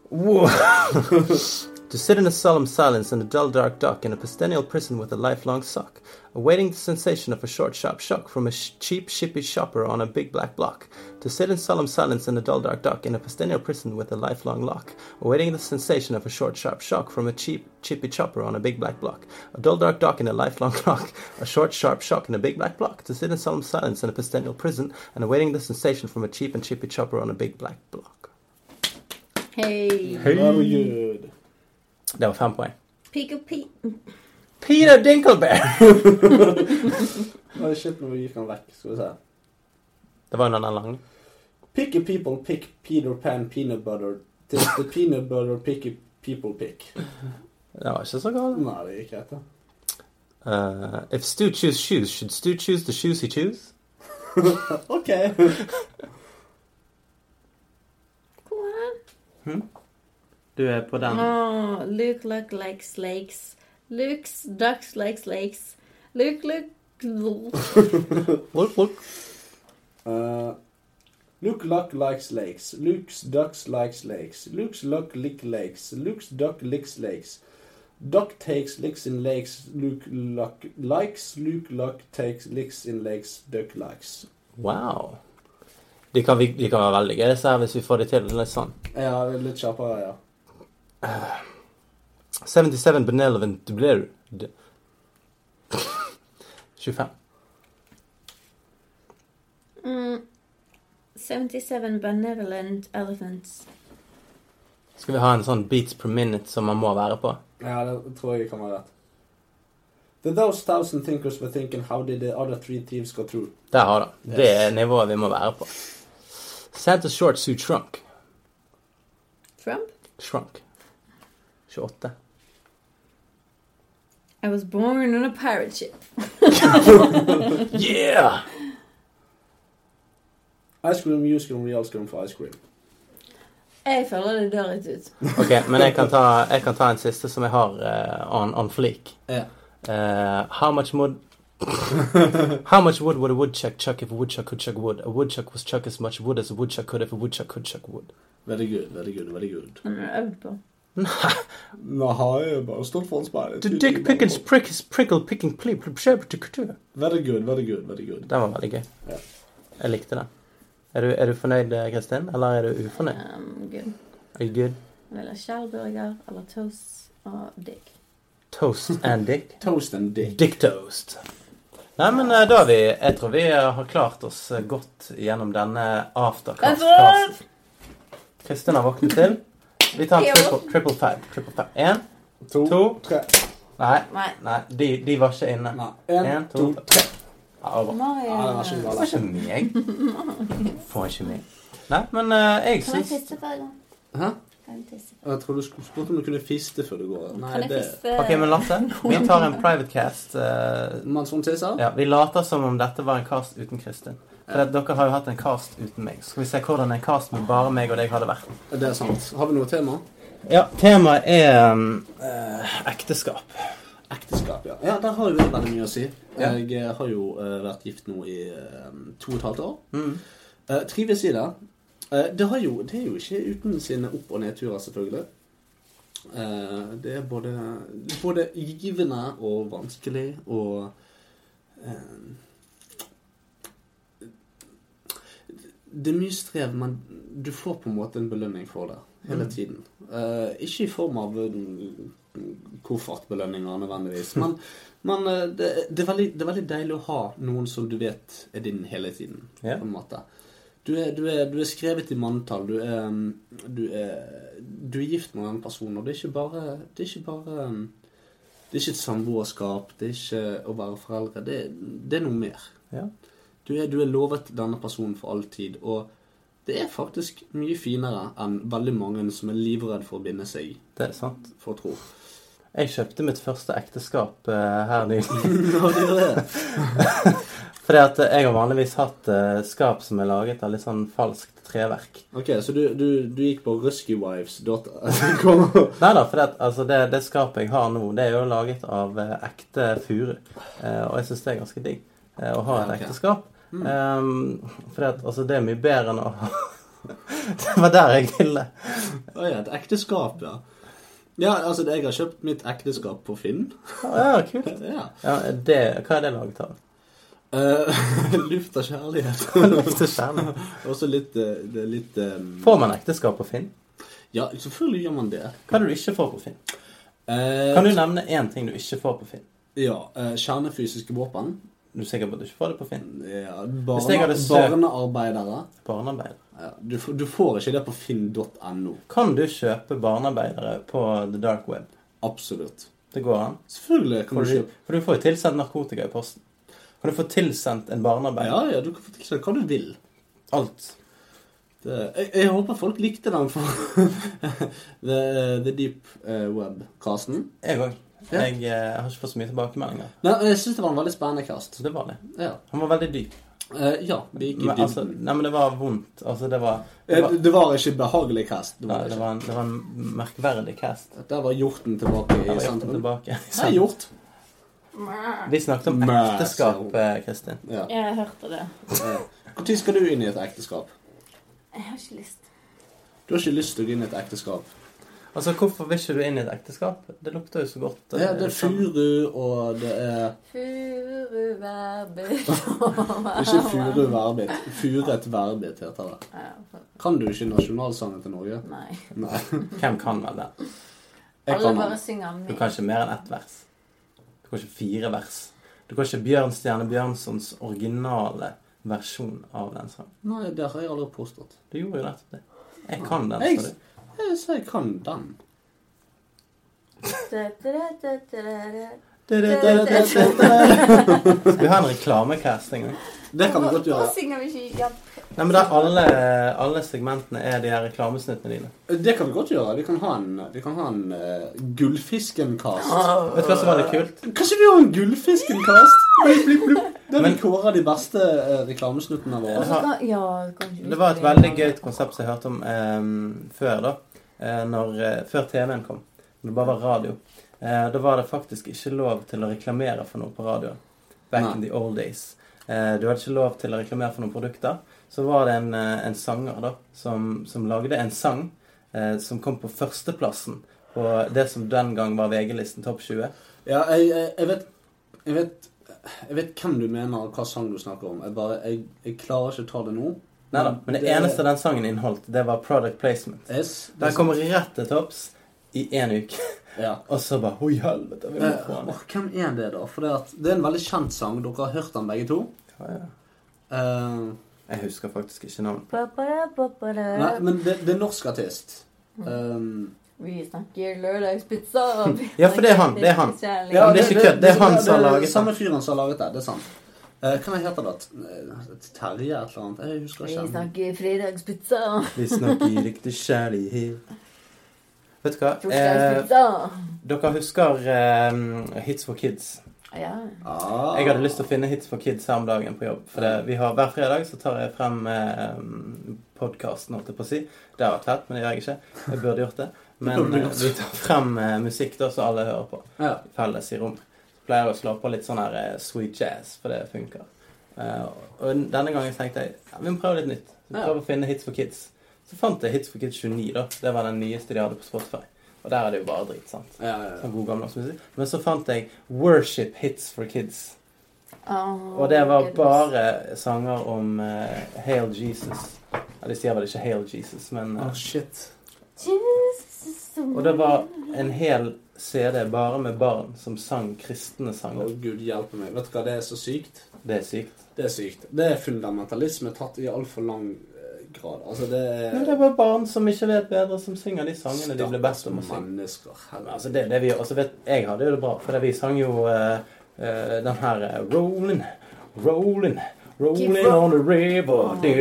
Whoa. to sit in a solemn silence in a dull dark dock in a pastenial prison with a lifelong sock, awaiting the sensation of a short sharp shock from a sh- cheap shippy shopper on a big black block. To sit in solemn silence in a dull dark dock in a pastenial prison with a lifelong lock, awaiting the sensation of a short sharp shock from a cheap chippy chopper on a big black block. A dull dark dock in a lifelong lock, a short sharp shock in a big black block. To sit in solemn silence in a pastenial prison and awaiting the sensation from a cheap and chippy chopper on a big black block. Hey. Very good. Det var fem poeng. Peek a peek. Peter Dinkleberry! Oh, shit, nå gikk han vekk. Skal vi se. Det var jo den der lange. Picky people pick Peter Pan peanut butter. Tis the peanut butter picky people pick. Det var ikke så galt. Nei, det gikk rett, da. Uh, if Stu choose shoes, should Stu choose the shoes he choose? OK. Hvor var den? Du er på den. Oh, Luke look likes lakes. Luke's ducks likes lakes. Luke look. Look, look. Uh, Luke Luck likes lakes. Luke's ducks likes lakes. Luke's luck lick lakes. Luke's duck licks lakes. Duck takes licks in lakes. Luke luck likes. Luke luck takes licks in lakes. Duck likes. Wow. De kan, vi- de kan være veldig gøy, disse her, hvis vi får de til litt sånn. Ja, litt kjappere, ja. 77 benevolent dubler. d- 25. Mm, 77 benevolent elephants. Skal vi ha en sånn beats per minute som man må være på? Ja, det tror jeg kan være rett. The those thousand thinkers were thinking how did the other three thieves go through? Der har du den. Det er Yes. nivået vi må være på. Santa's short suit shrunk. Trump? Shrunk. 28. I was born on a pirate ship. Yeah! Ice cream, use cream, real cream for ice cream. Jeg føler det dør litt ut. Ok, men jeg kan ta, jeg kan ta en siste som jeg har eh, on, on fleek. Ja. Eh, how much wood How much wood would a woodchuck chuck if a woodchuck could chuck wood? A woodchuck was chuck as much wood as a woodchuck could if a woodchuck could chuck wood. Very good, very good, very good. Han har øvd på. Nå har jeg bare stått foran speilet. To dig pick and prick his prickle picking plea plea plea plea plea plea. Very good, very good, very good. Den var veldig gøy. Ja. Jeg likte den. Er du, er du fornøyd, Kristin? Eller er du ufornøyd? Um, good. Are you good? Jeg vil ha skjellburger eller toast og digg. Toast and dick? Toast and dick. Dick toast. Nei, men eh, da har vi Jeg tror vi eh, har klart oss eh, godt gjennom denne aftercast-fasen. Kristin har våknet til. Vi tar en triple, triple five. Triple five. En, To, to, tre. Nei. Nei. Nei, de, de var ikke inne. Nei. En, En, to, tre. Ja, det var bra. Ja, den var ikke Marian. bra. Det var ikke meg. Får ikke meg. Nei, men eh, jeg Kan jeg syns tisse på en gang? Hæ? Kan jeg tisse? Jeg tror du skulle spurt om du kunne fiste før du går. Nei, Kan jeg det tisse? OK, men Lasse, vi tar en private cast. eh, Mens hun tisser? ja, vi later som om dette var en cast uten Kristin. For at dere har jo hatt en cast uten meg. Så skal vi se hvordan en cast med bare meg og deg hadde vært. Det er sant. Har vi noe tema? Ja, temaet er eh, ekteskap. Ekteskap, ja. Ja, Der har jo jeg veldig mye å si. Ja. Jeg eh, har jo eh, vært gift nå i eh, to og et halvt år. Eh, trives i det. Eh, det, har jo, det er jo ikke uten sine opp- og nedturer, selvfølgelig. Eh, det er både, både givende og vanskelig og eh, Det er mye strev, men du får på en måte en belønning for det hele tiden. Eh, ikke i form av mm, koffertbelønninger nødvendigvis, men, men eh, det, det, er veldig, det er veldig deilig å ha noen som du vet er din hele tiden, Ja. på en måte. Du er, du, er, du er skrevet i manntall. Du er, mm, du er, du er gift med en person, og det er ikke bare, det er ikke bare mm, det er ikke et samboerskap, det er ikke å være foreldre. Det, det er noe mer. Ja. Du, er, du er lovet denne personen for all tid, og det er faktisk mye finere enn veldig mange som er livredd for å binde seg Det er sant. for tro. Jeg kjøpte mitt første ekteskap eh, her nylig. Ja, det gjør det. Fordi at eh, jeg har vanligvis hatt eh, skap som er laget av litt sånn falskt treverk. Ok, så du, du, du gikk på ruskywives.com? Nei da, for det, altså det, det skapet jeg har nå, det er jo laget av eh, ekte furu. Eh, og jeg syns det er ganske digg eh, å ha et Ja, ok. Mm. ekteskap. for det, altså, det er mye bedre enn å ha Det var der jeg ville. Å ja, et ekteskap, ja. Ja, altså, jeg har kjøpt mitt ekteskap på Finn. Å, Ja, kult. Ja. Ja, det, hva er det laget av? Eh, luft av kjærlighet. Og så litt, eh, det er litt eh, Får man ekteskap på Finn? Ja, selvfølgelig gjør man det. Hva er det du ikke får på Finn? Eh, Kan du nevne én ting du ikke får på Finn? Ja, eh, kjernefysiske våpen. Du er sikker på at du ikke får det på Finn? Ja, Hvis jeg barne, hadde søkt- barnearbeidere. Barnearbeid. Ja, du, f- du får ikke det på finn.no. Kan du kjøpe barnearbeidere på the dark web? Absolutt. Det går an. Selvfølgelig kan For du du, kjøpe for du får jo tilsendt narkotika i posten. Kan du få tilsendt en barnearbeider? Ja, ja, du kan få tilsendt hva du vil. Alt. Det, eh, jeg, jeg håper folk likte den for The, the Deep eh, Web-casten. Jeg òg. Ja. Jeg eh, har ikke fått så mye tilbakemeldinger. Nei, Jeg syns det var en veldig spennende cast. Så det var det. Ja. Han var veldig dyp. Eh, ja, vi gikk i Men, dybden. altså, nei, men det var vondt. Altså, det var Det Eh, var, det- det var ikke en behagelig cast. Det nei, var det det ikke. var, en, det var en merkverdig cast. Der var hjorten tilbake Jeg i var hjorten sentrum. tilbake. Hei, hjort. Vi snakket om Mæ, ekteskap, sier eh, Kristin. Ja. Jeg hørte det. Når skal du inn i et ekteskap? Jeg har ikke lyst. Du har ikke lyst til å gå inn i et ekteskap. Altså, hvorfor vil ikke du inn i et eskap? Det lukter jo så godt. eh, liksom. Det er, det er furu, og det er Furuværbø. Ikke furu verbit. Furet verbit heter det. Kan du ikke nasjonalsangen til Norge? Nei. Nei. Hvem kan vel det? Jeg Alle kan bare den. synger Du med. kan ikke mer enn ett vers. Du kan ikke fire vers. Du kan ikke Bjørnstjerne Bjørnsons originale versjon av den sangen. Nei, det har jeg aldri påstått. Du gjorde jo nettopp det. Jeg kan den. Jeg, sa du. jeg sa Eh, jeg kan den. Skal vi ha en reklamecast en gang? Det kan vi godt gjøre. Hvorfor synger vi ikke ja. Nei, men der alle, alle segmentene er de her reklamesnuttene dine. Det kan vi godt gjøre. Vi kan ha en, vi kan ha en eh, Gullfisken-cast. Vet du hva som var litt kult? Kanskje vi har en Gullfisken-cast? Blip, blip, blip. Der vi Men- kårer de beste eh, reklamesnuttene våre. Jeg har- Ja, kan ikke vi Det var et spille veldig inn? gøyt konsept som jeg hørte om eh, før, da. Eh, når, eh, før TV-en kom. Når det bare var radio. Eh, da var det faktisk ikke lov til å reklamere for noe på radioen. Back in the old days. Eh, du hadde ikke lov til å reklamere for noen produkter. Så var det en, eh, en sanger da, som, som lagde en sang eh, som kom på førsteplassen på det som den gang var VG-listen Topp 20. Ja, jeg, jeg, jeg vet Jeg vet jeg vet hvem du mener, og hva sang du snakker om. Jeg bare, jeg, jeg klarer ikke å ta det nå. Neida, Men det eneste den sangen inneholdt, det var product placement. yes, Den kommer rett til topps i én uke. ja. Og så bare Oi, helvete, vi må Eh, få den. åh, Hvem er det, da? For det, at, det er en veldig kjent sang. Dere har hørt den begge to. Ja, ja. Eh, Jeg husker faktisk ikke navnet. Eh, Ba, ba, da, ba, ba, da. nei, men det, det er en norsk artist. Um, Vi snakker lørdagspizza. vi Ja, for det er han, det er han. snakker Ja, kjærlighet. men det er ikke kødd, det er han som har laget det. Samme fyren som har laget det. Det er sant. Eh, Hva heter det? Eh, Terje et eller annet? Jeg husker Vi ikke. snakker fredagspizza. Vi snakker riktig kjærlighet. Vet du hva? Eh, Torsdagspizza. dere husker eh, Hits for kids? Ja. Ah. Jeg hadde lyst til å finne hits for kids her om dagen på jobb. For det, vi har Hver fredag så tar jeg frem eh, podkasten, holdt jeg på å si. Det har vært fett, men det gjør jeg ikke. Jeg burde gjort det. Men burde eh, gjort. vi tar frem eh, musikk da, så alle hører på. Ja. Felles i rom. Så pleier jeg å slå på litt sånn her eh, sweet jazz, for det funker. Eh, og denne gangen tenkte jeg ja, vi må prøve litt nytt. Så vi Ja. prøver å finne hits for kids. Så fant jeg Hits for kids 29, da. Det var den nyeste de hadde på Spotify. Og der er det jo bare drit, sant. Ja, ja, ja. Sånn god gammeldags musikk. Men så fant jeg Worship Hits for Kids. Åh, Og det var Gud. bare sanger om eh, Hail Jesus. Ja, de sier vel ikke Hail Jesus, men eh, Ah, shit. Jesus is so Og det var en hel CD bare med barn som sang kristne Å, sanger. gud hjelpe meg. Vet du hva, det er så sykt. Det er sykt. Det er sykt. Det er fundamentalisme tatt i altfor lang eh, grad. Altså, det er Men det var barn som ikke vet bedre, som synger de sangene de ble bedt om å Stakkars synge. Mennesker. Men Helvete. Altså, det, det vi, altså vet, jeg hadde jo det bra, for det vi sang jo eh, eh, den her eh, Rolling, rolling, rolling Keep on the river Ah. Er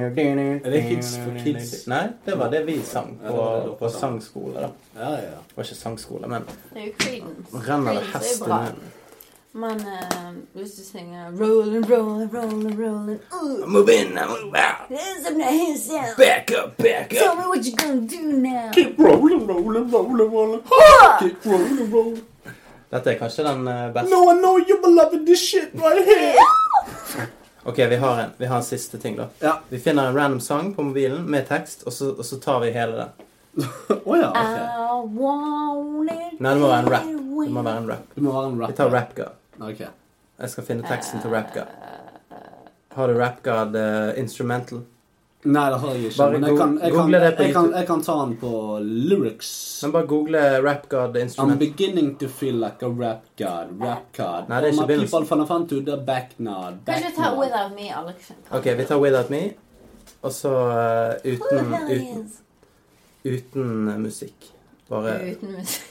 Er det Hits for Kids? Nei, det var det vi sang Ja, det på, var det dere på sang. sangskole. da Ja, ja. Det var ikke sangskole, men Det er jo Creedence. renner det Creedence er jo hesten bra. ned. Men eh, hvis du synger Rollin', rollin', rollin', rollin' Ooh, Move in, move out, there's some nice sound. back up, back Tell me what you gonna do now. Rolling, rolling, rolling, rolling. Keep rolling, rolling. Dette er kanskje den eh, beste. No, I know you were loving this shit right here. Ok, vi har, en, vi har en siste ting, da. Ja. Vi finner en random sang på mobilen med tekst, og så, og så tar vi hele den. Å ja, ok. I want it Nei, det må være en rap. that way. Det må være en rap. Du må være en rapper. Vi tar Rap God. Ok. Jeg skal finne teksten til Rap God. Har du Rap God eh, instrumental? Nei, det har jeg ikke. Bare Men jeg kan, jeg, go- kan, google det jeg, på kan, YouTube. jeg kan ta den på lyrics. Men bare google Rap God I'm instrumental. beginning to feel like a rap god, rap god. Nei, det er All ikke begynnelsen. my people from the front to the back now, back Kanskje vi tar now. Without Me, Alex. Ok, vi tar Without Me, og så eh, uten, uten, uten eh, musikk. Bare Uten musikk.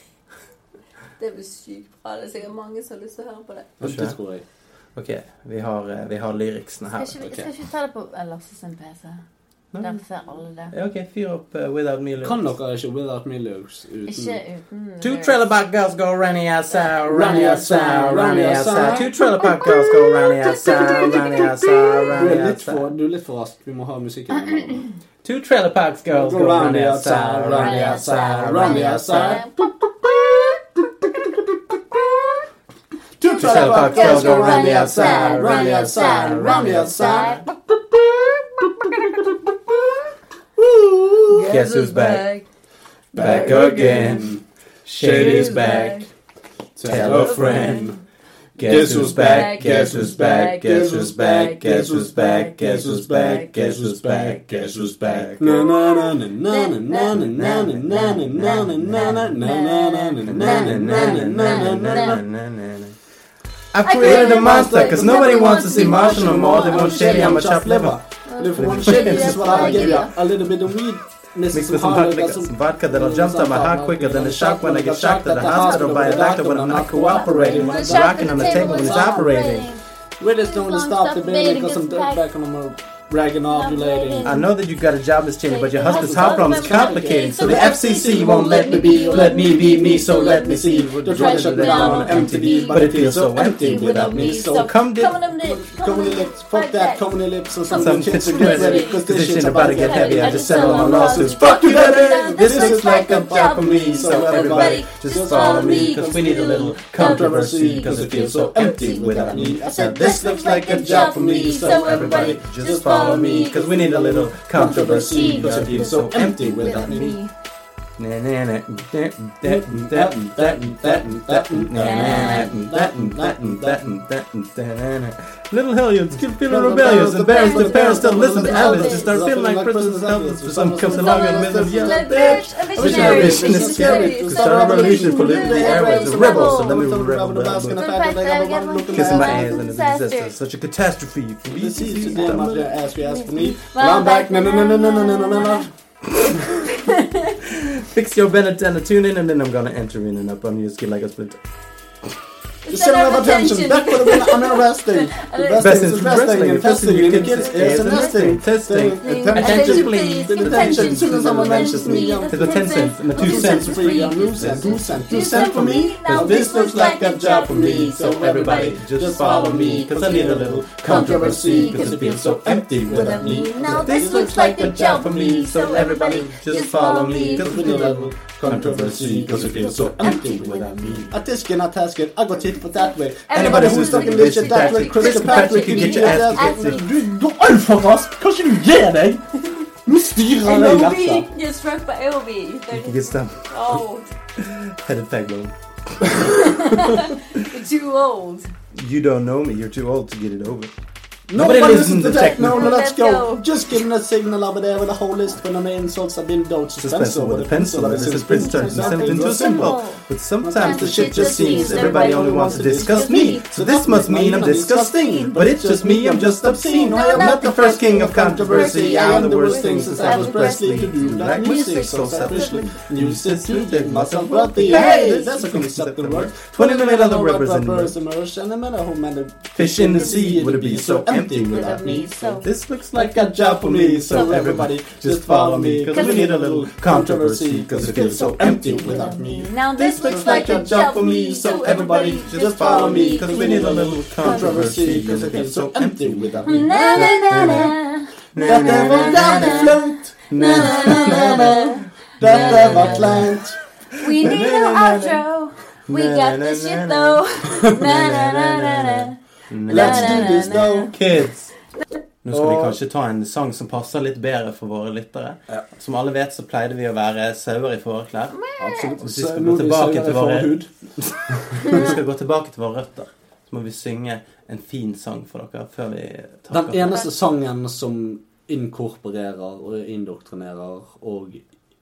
Det blir sykt bra. Det er sikkert mange som har lyst til å høre på det. Det tror jeg. Ok, vi har, eh, vi har lyriksene her. Skal ikke vi, skal ikke vi ta det på eh, Lasse sin PC? Nei. Der ser alle det. Ja, ok, fyr opp eh, Without Me. lyrics. Kan dere ikke Without Me lyrics Ikke uten uten Mm. Two trailer park girls go running ass out, running ass out, running ass out. Two trailer park girls go running ass out, running ass out, du er, running litt ass for, out. du er litt for rask. Vi må ha musikken. innom. Two trailer park girls go running ass out, running ass out, running ass out. Two trailer park girls go run the outside, run the outside, run the outside. Guess who's back? Back again. Shady's back. Tell a friend. Guess who's back? Guess who's back? Guess who's back? Guess who's back? Guess who's back? Guess who's back? Guess who's back? Na na na na na na na na na na na na na na na na na na na na na na na. I created a monster because nobody wants to see Marshall no more. They want Shady on my chopped liver. Live for one shit, this is what I'll give ya. A little bit of weed. Mix Mixed with some hot liquor, some vodka that'll jump to my heart quicker than a shock when I get shocked at the hospital by a doctor when I'm not cooperating. When it's rocking on the table when it's operating. We're just gonna stop the baby cause I'm dirt back on my ragging off you lady. I know that you got a job that's changing, but your husband's heart problem's complicating. So the FCC won't let me be, let me be me, so let me see. They're trying to shut me down on MTV, but it feels so empty without me. So Come dip. Come on, lips, come on the lips, fuck that, come on the lips, and some Some of the chicks chicks will get ready, ready cause this this shit's shit's about to about get to heavy. heavy. I just settled on lawsuits. Fuck you, baby! This looks like a job for me, so everybody just follow me, cause we need a little controversy, cause it feels so empty without me. I said, this looks like a job for me, so everybody just follow me, cause we need a little controversy, cause it feels so empty without me. Little Hellions can feel the rebellious, embarrassed the parents don't listen to elders, to start feeling like prisoners helpless, for some comes along and middle of yellow bitch. I wish I had a vision, it's scary, to start a revolution, pollute the airwaves, the rebels, so let me rebel the basket. Kissing my ass under the disaster, such a catastrophe for me. Well, I'm back. No, no, no, no, no, no, no, no, no. Fix your Ben antenna, tune in, and then I'm gonna enter in and up on your skin like a splinter. The The center of attention, back for the winner, I'm arresting. The best, best is wrestling, and testing, you can get ears and nesting, testing, Attention, attention please. please, attention, soon as someone mentions me, Attention, there's a ten cents and a two Two cents cents free. free. I'm Two loose cent, and two loose. cent, two cent for me. Now Cause this looks like a job for me, so everybody just follow me, cause I need a little controversy, cause it feels so empty without me. Now this looks like a job for me, so everybody Just follow me, cause we need a little controversy, cause it feels so empty without me. A tiskin, a taskin, I got hit for that way. Anybody who's stuck in this shit, that like Crystal Patrick, you get your ass kicked. kicked. Du går altfor rask! Kanskje du gir deg? Nå styrer jeg deg i hjertet. You're struck by AOB. Ikke gestem. Oh, Head tagline. you're too old. You don't know me, you're too old to get it over. Nobody listens to techno, no, let's Let's go. go. Just giving a signal over there with a whole list when the main insults have been dealt. Suspense with a pencil ever since Prince turned himself into a symbol. But sometimes the shit just seems everybody only wants to discuss me. So this must mean I'm disgusting. But it's just me, I'm just obscene. I am not the first king of controversy. I am the worst thing since I was Presley to do like music so selfishly. You sit to take myself worthy. Hey, that's a concept word. Twenty million dollar rappers and words. immerse, and no matter how many Fish in the sea would it be so empty without me? so. This looks like a job for me, so everybody just follow me. Cause we need a little controversy, cause it feels so empty without me. Now This looks like a job for me, so everybody just follow me. Cause we need a little controversy, cause it feels so empty without Hmm. me. Na na na na. Dette var jævlig flaut. Na na na na. Dette var kleint. We need an outro. We got this shit though. Na na na na na. Let's do this now, kids. Nå skal vi kanskje ta en sang som passer litt bedre for våre lyttere. Ja. Som alle vet, så pleide vi å være sauer i fåreklær. Absolutt. Hvis vi skal gå tilbake til våre Når vi skal gå tilbake til våre røtter, så må vi synge en fin sang for dere før vi Den takker. eneste sangen som inkorporerer og indoktrinerer og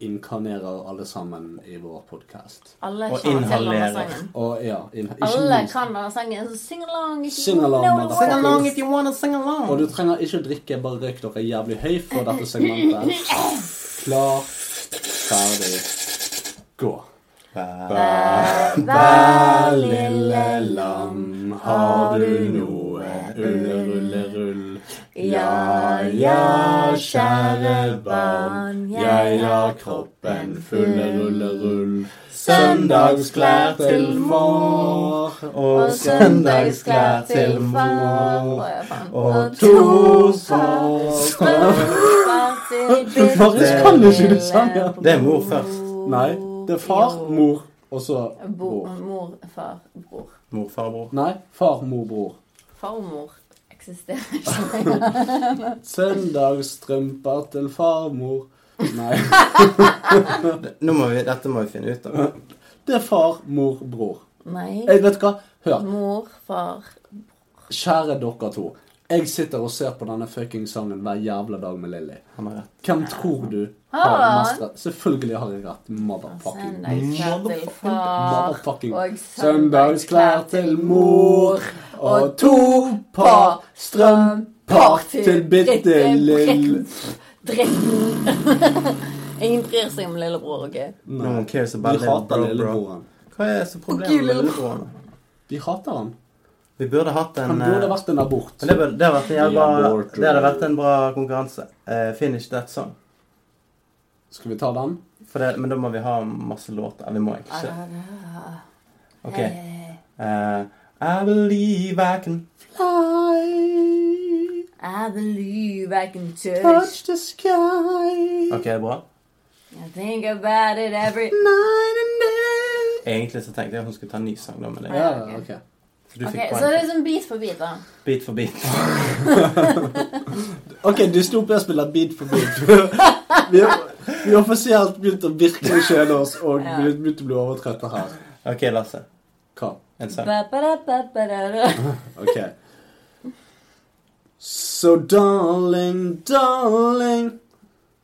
inkarnerer alle sammen i vår podkast. Alle Og kan til denne inhalere. sangen. Og ja, in, ikke Alle minst. kan denne sangen. så Sing along. if you Sing along, know motherfucker. the words. Sing along if you wanna sing along. Og du trenger ikke å drikke, bare røyk dere jævlig høy for dette segmentet. Klar, ferdig, gå. Hver lille lam, har du noe ulle, rulle, rull? Ja, ja, kjære barn, jeg har kroppen fulle, rulle, rull. Søndagsklær til mor, Og Og søndagsklær til far. Og to så Marius Det- kan ikke du sangen. Det er mor først. Nei, det er far, mor, og så Bo, bror. mor, far, bror. Mor, far, bror. Nei, far, mor, bror. Farmor eksisterer ikke. Søndagsstrømper til farmor. Nei, Nå må vi, dette må vi finne ut av. det er far, mor, bror. Nei. Jeg vet du hva, hør. Mor, far Kjære dere to. Jeg sitter og ser på denne fucking sangen hver jævla dag med Lilly. Han har rett. Hvem tror du har Har han? mest rett? Selvfølgelig har jeg rett. Motherfucking Søndagsklær til far. Motherfucking Og Søndagsklær til mor og to par strømper til bitte lille Dritten. Ingen bryr seg om lillebror, OK? No one cares Vi about little hater bro, bro. lillebroren. Hva er så problemet Fuck you, med little- lillebroren? Vi hater han. Vi burde hatt en Han burde eh, vært en abort. Men det, burde, det, hadde vært en jævla, We are born to- det hadde vært en bra konkurranse. Eh, finish that song. Skal vi ta den? For det, men da må vi ha masse låter. Eh, Vi må Ah, ikke. Ok. Eh, I believe I can fly I believe I can touch. Touch the sky Ok, bra. I think about it every Night and day Egentlig så tenkte jeg at hun skulle ta en ny sang, da, men det Ja, ok. ok. Så du Ok, fikk Så det er poeng. liksom bit for bit, da. Bit for bit. Ok, Dystopia spiller beat for beat. vi, har, vi har offisielt begynt å virkelig kjede oss, og Ja. vi har begynt å bli overtrøtte her. Ok, Lasse. Hva? En sang. Ba-ba-da-ba-ba-da-da. Ok. So darling, darling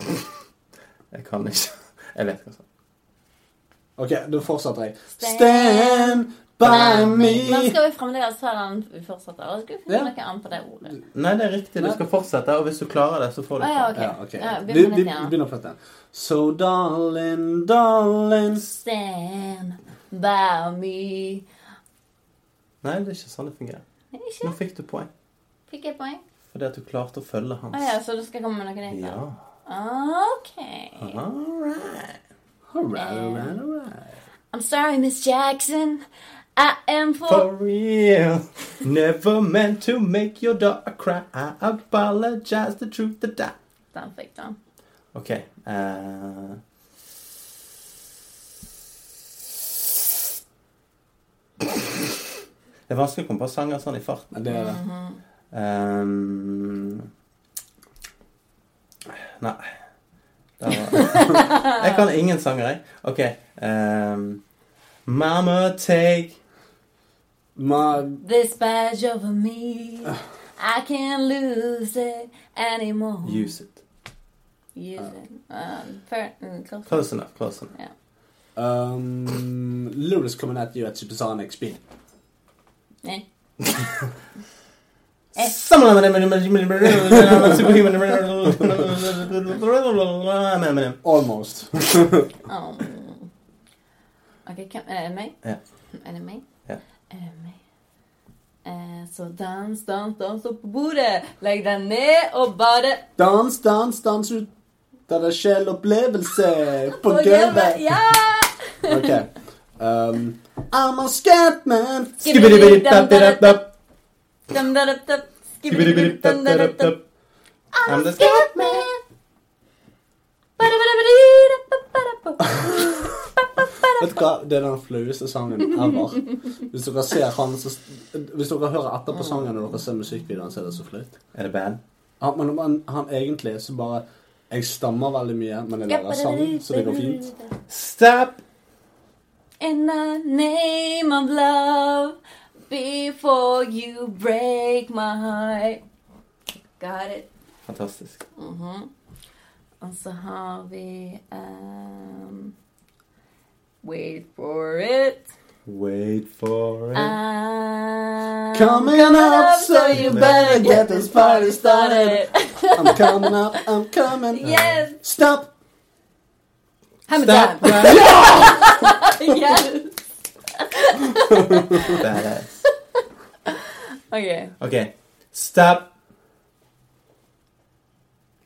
Jeg kan ikke altså. Jeg vet hva som Ok, da fortsetter jeg. Stand Stand by Men me. skal vi fremdeles ta den vi fortsetter? Eller skal vi finne Ja. noe annet på det ordet? Nei, det er riktig. Du skal fortsette, og hvis du klarer det, så får Å du ja, OK. Ja, ok. Ja, Vi, vi, begynn på vi nytt igjen. begynner på dette. So darling, darling Stand by me. Nei, det er ikke sånn det fungerer. Nei, Nå Ikke? fikk du poeng Fikk jeg poeng? fordi at du klarte å følge Å ja, hans. så du skal komme med noe nytt? da? Ja. Uh-huh. OK. Eh, All right. All right, all right, all right. I'm sorry, Miss Jackson. I am for For real. Never meant to make your daughter cry. I apologize the truth that I Den fikk den. OK. eh. Det er vanskelig å komme på sanger sånn i farten. Ja, Det er det. Ehm, nei. Der var Jeg kan ingen sanger, jeg. OK. ehm, Mama take Ma- This badge over me. I can't lose it anymore. Use it. Use it. Um, per, mm, close. Close enough. Close enough. um, Lewis coming at you at supersonic speed. Eh. Someone Superhuman. Almost. Oh. Ok, hvem, er det meg? Ja. Er det meg? Ja. Er det meg? Eh, så dans, dans, dans opp på bordet. Legg deg ned og bare Dans, dans, dans ut av deg sjel opplevelse på Og gjemme- gulvet. Ja! Ok. Um, I'm a scat man. Skibbidi-bidi-dap-di-dap-dap. Dum-da-dup-dup. Skibbidi-bidi-dap-di-dap-dap. Skibbidi-bidi-dum-da-dup-dup. I'm the scat- Scatman. Ba-da-ba-da-ba-di-da-ba-ba-da-ba. Vet du hva? Det er den flaueste sangen ever. Hvis dere ser han, så, hvis dere hører etter på sangen og dere ser musikkvideoen, så er det så flaut. Er det band? Han, men han, han egentlig så bare Jeg stammer veldig mye, men jeg lærer sang, så det går fint. Stop! In the name of love, before you break my heart. Got it. Fantastisk. Mhm. Og så har vi um, Wait for it. Wait for it. I'm Coming up, so you better get this party started. I'm coming up, I'm coming. Yes! Stop! Stop! yes. Badass. Ok. Okay. Stop.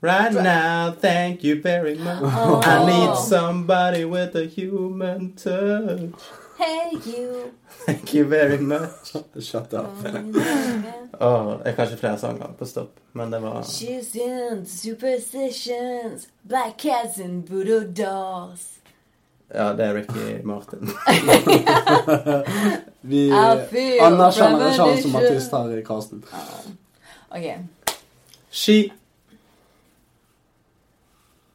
Right now, thank you very much. I need somebody with a human touch. Hey you. Thank you very much. Shut up. Åh, jeg kan ikke flere sanger på stopp, men det var She's in superstitions, black cats and voodoo dolls. Ja, det er Ricky Martin. Vi I feel anerkjenner ikke han som premonition. artist her i casten. Ok. She,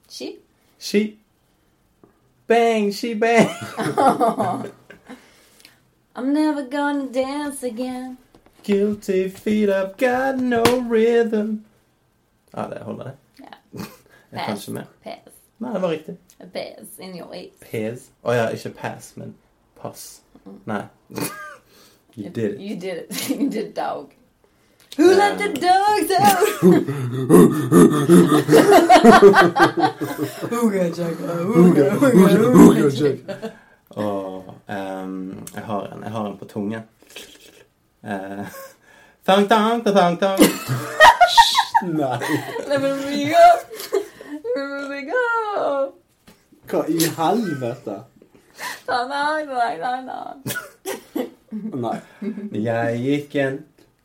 She? she Bang, she bang. Uh-huh. I'm never gonna dance again. Guilty feet, I've got no rhythm. Ja, det holder, det. Ja. Jeg kan ikke mer. Pass. Nei, det var riktig. A pass in your way. Pass. Å ja, ikke pass, men pass. Mm. Nei. You did it. Um, You did it. you did dog. Who let the dogs out? Og ehm, jeg har en. Jeg har en på tungen. Eh, Tang, tang, tang, tang, tang. Nei, Let me go. Let me go. hva i helvete? No, no, no, no, no. Nei. Jeg gikk en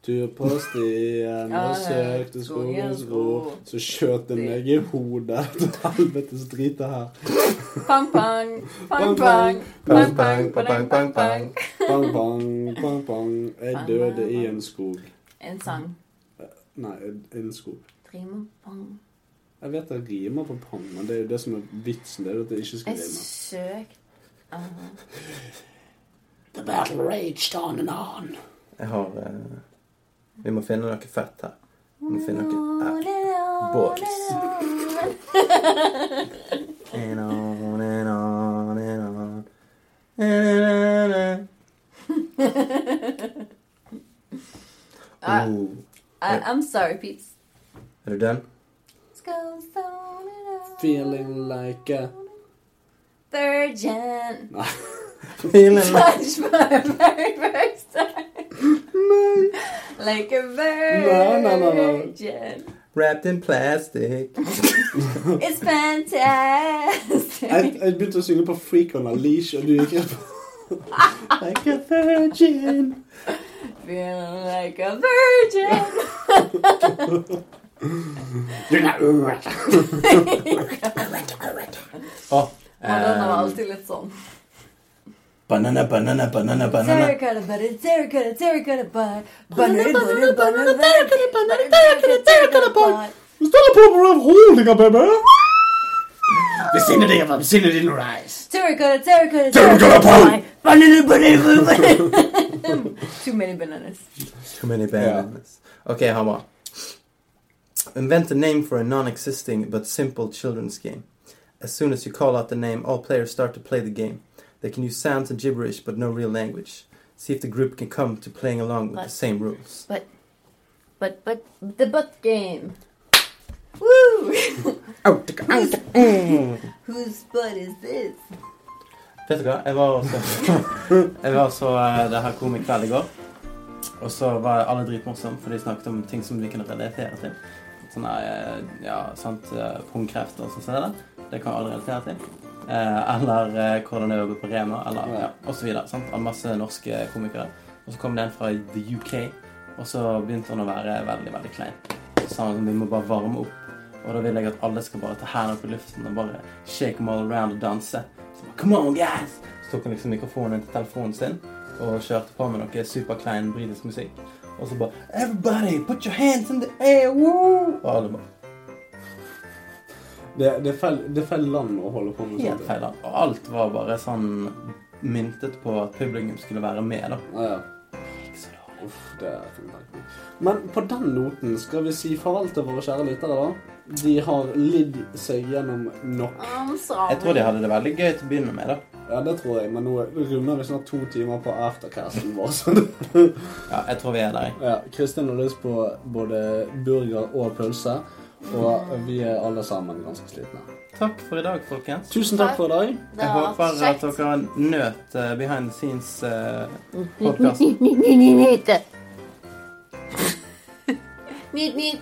Tur på stien og Ja, det er søkte skogens skogens ro. ro. Så skjøt det meg i hodet. Til helvetes drit det her. Pang, pang. Pang, Pang, pang. Pang, pang, pang, pang, pang, pang. Bang, bang, bang, bang. Jeg døde i en skog. En sang. Nei, en- en skog. Drimer pang. Jeg vet det rimer på pang, men det er jo det som er vitsen. Det er jo at det ikke skal Jeg rime. søkte. Ah. The battle raged on and on. Jeg har eh, Vi må finne noe fett her. Vi må finne On noe and on Ah, Boys. and on. And on and on and on. Na, na, na, na. Uh, Oh, Ooh. I, I'm sorry, peeps. Er du den? Let's go stone it up. Feeling like a Virgin. Nei. Touch my very first time. like a No, virgin. no, no, no. Wrapped in plastic. It's fantastic. jeg, jeg begynte å synge på Freak on a Leash, og du gikk rett på Like a virgin. Feeling like a virgin. Å, Madonna var Um, alltid litt sånn. Banana, banana, banana, banana. Terracotta butter, terracotta, terracotta butt. Banana, banana, banana, terracotta, banana, terracotta, terracotta butt. Stop proper of holding up, baby. Vicinity of obscenity in rise. Terracotta, terracotta, terracotta butt. Banana, banana, banana. Too many bananas. Too many bananas. Ok, Hamar. Invent a name for a non-existing but simple children's game. As soon as you call out the name, all players start to play the game. They can use sounds and gibberish, but no real language. See if the group can come to playing along with the What? same rules. But, but, the butt game. Woo! Whose- Whose butt is this? Vet du hva, jeg var også Jeg var også eh, det her komikveld i går. Og så var alle dritmorsomme, for de snakket om ting som de kunne relatere til. Sånn her, eh, ja, sant, eh, Pungkreft og sånn som det der. Det kan alle relatere til. Eh, eller eh, hvordan det er å gå på Rema, eller ja, og så videre. sant, Av masse norske komikere. Og så kom det en fra the UK, og så begynte han å være veldig, veldig klein. Så sa han sånn, vi må bare varme opp. Og da vil jeg at alle skal bare ta hendene opp i luften og bare shake them all around og danse. Så bare, Come on, guys! Så tok han liksom mikrofonen til telefonen sin og kjørte på med noe superklein britisk musikk. Og så bare Everybody, put your hands in the air! Woo! Og alle bare Det, det, er feil, det er feil land å holde på med sånn. helt sånt. feil. da. Og alt var bare sånn myntet på at publikum skulle være med, da. Ja, ja. Ikke så dårlig. Uff, det er for merkelig. Men på den noten skal vi si farvel til våre kjære lyttere, da. De har lidd seg gjennom nok. I'm sorry. Jeg tror de hadde det veldig gøy til å begynne med, da. Ja, det tror jeg, men nå runder vi snart to timer på aftercasten vår. Så det, Ja, jeg tror vi er der, jeg. ja, Kristin har lyst på både burger og pølse, og vi er alle sammen ganske slitne. Takk for i dag, folkens. Tusen takk for i dag. Det Jeg var håper kjekt. at dere nøt eh, behind the eh, Mhm. scenes-podkasten. Nyt, nyt.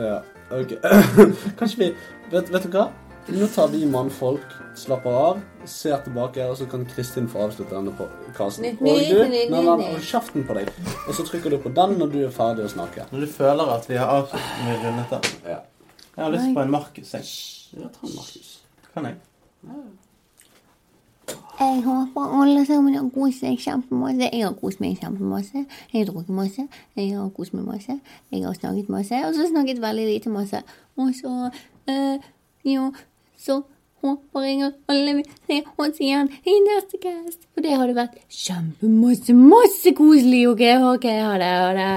Ja, ok. Kanskje vi vet, vet du hva? Nå tar vi mannfolk, slapper av, ser tilbake, og så kan Kristin få avslutte denne podkasten. Nei, Og du, nei, nei, nei, nei, nei. hold kjeften på deg. Og så trykker du på den når du er ferdig å snakke. Når du føler at vi har avsluttet når vi rundet av. Ja. Jeg har lyst på en Markus, jeg. Ja, ta den, Markus. Kan jeg? Jeg håper alle sammen har kost seg kjempemasse. Jeg har kost meg kjempemasse. Jeg har drukket masse. Jeg har kost meg masse. Jeg har snakket masse, og så snakket veldig lite masse. Og så eh, Jo, så håper jeg at alle vil se oss igjen i neste cast. For det hadde vært kjempemasse, masse koselig. OK, OK, ha det, ha det.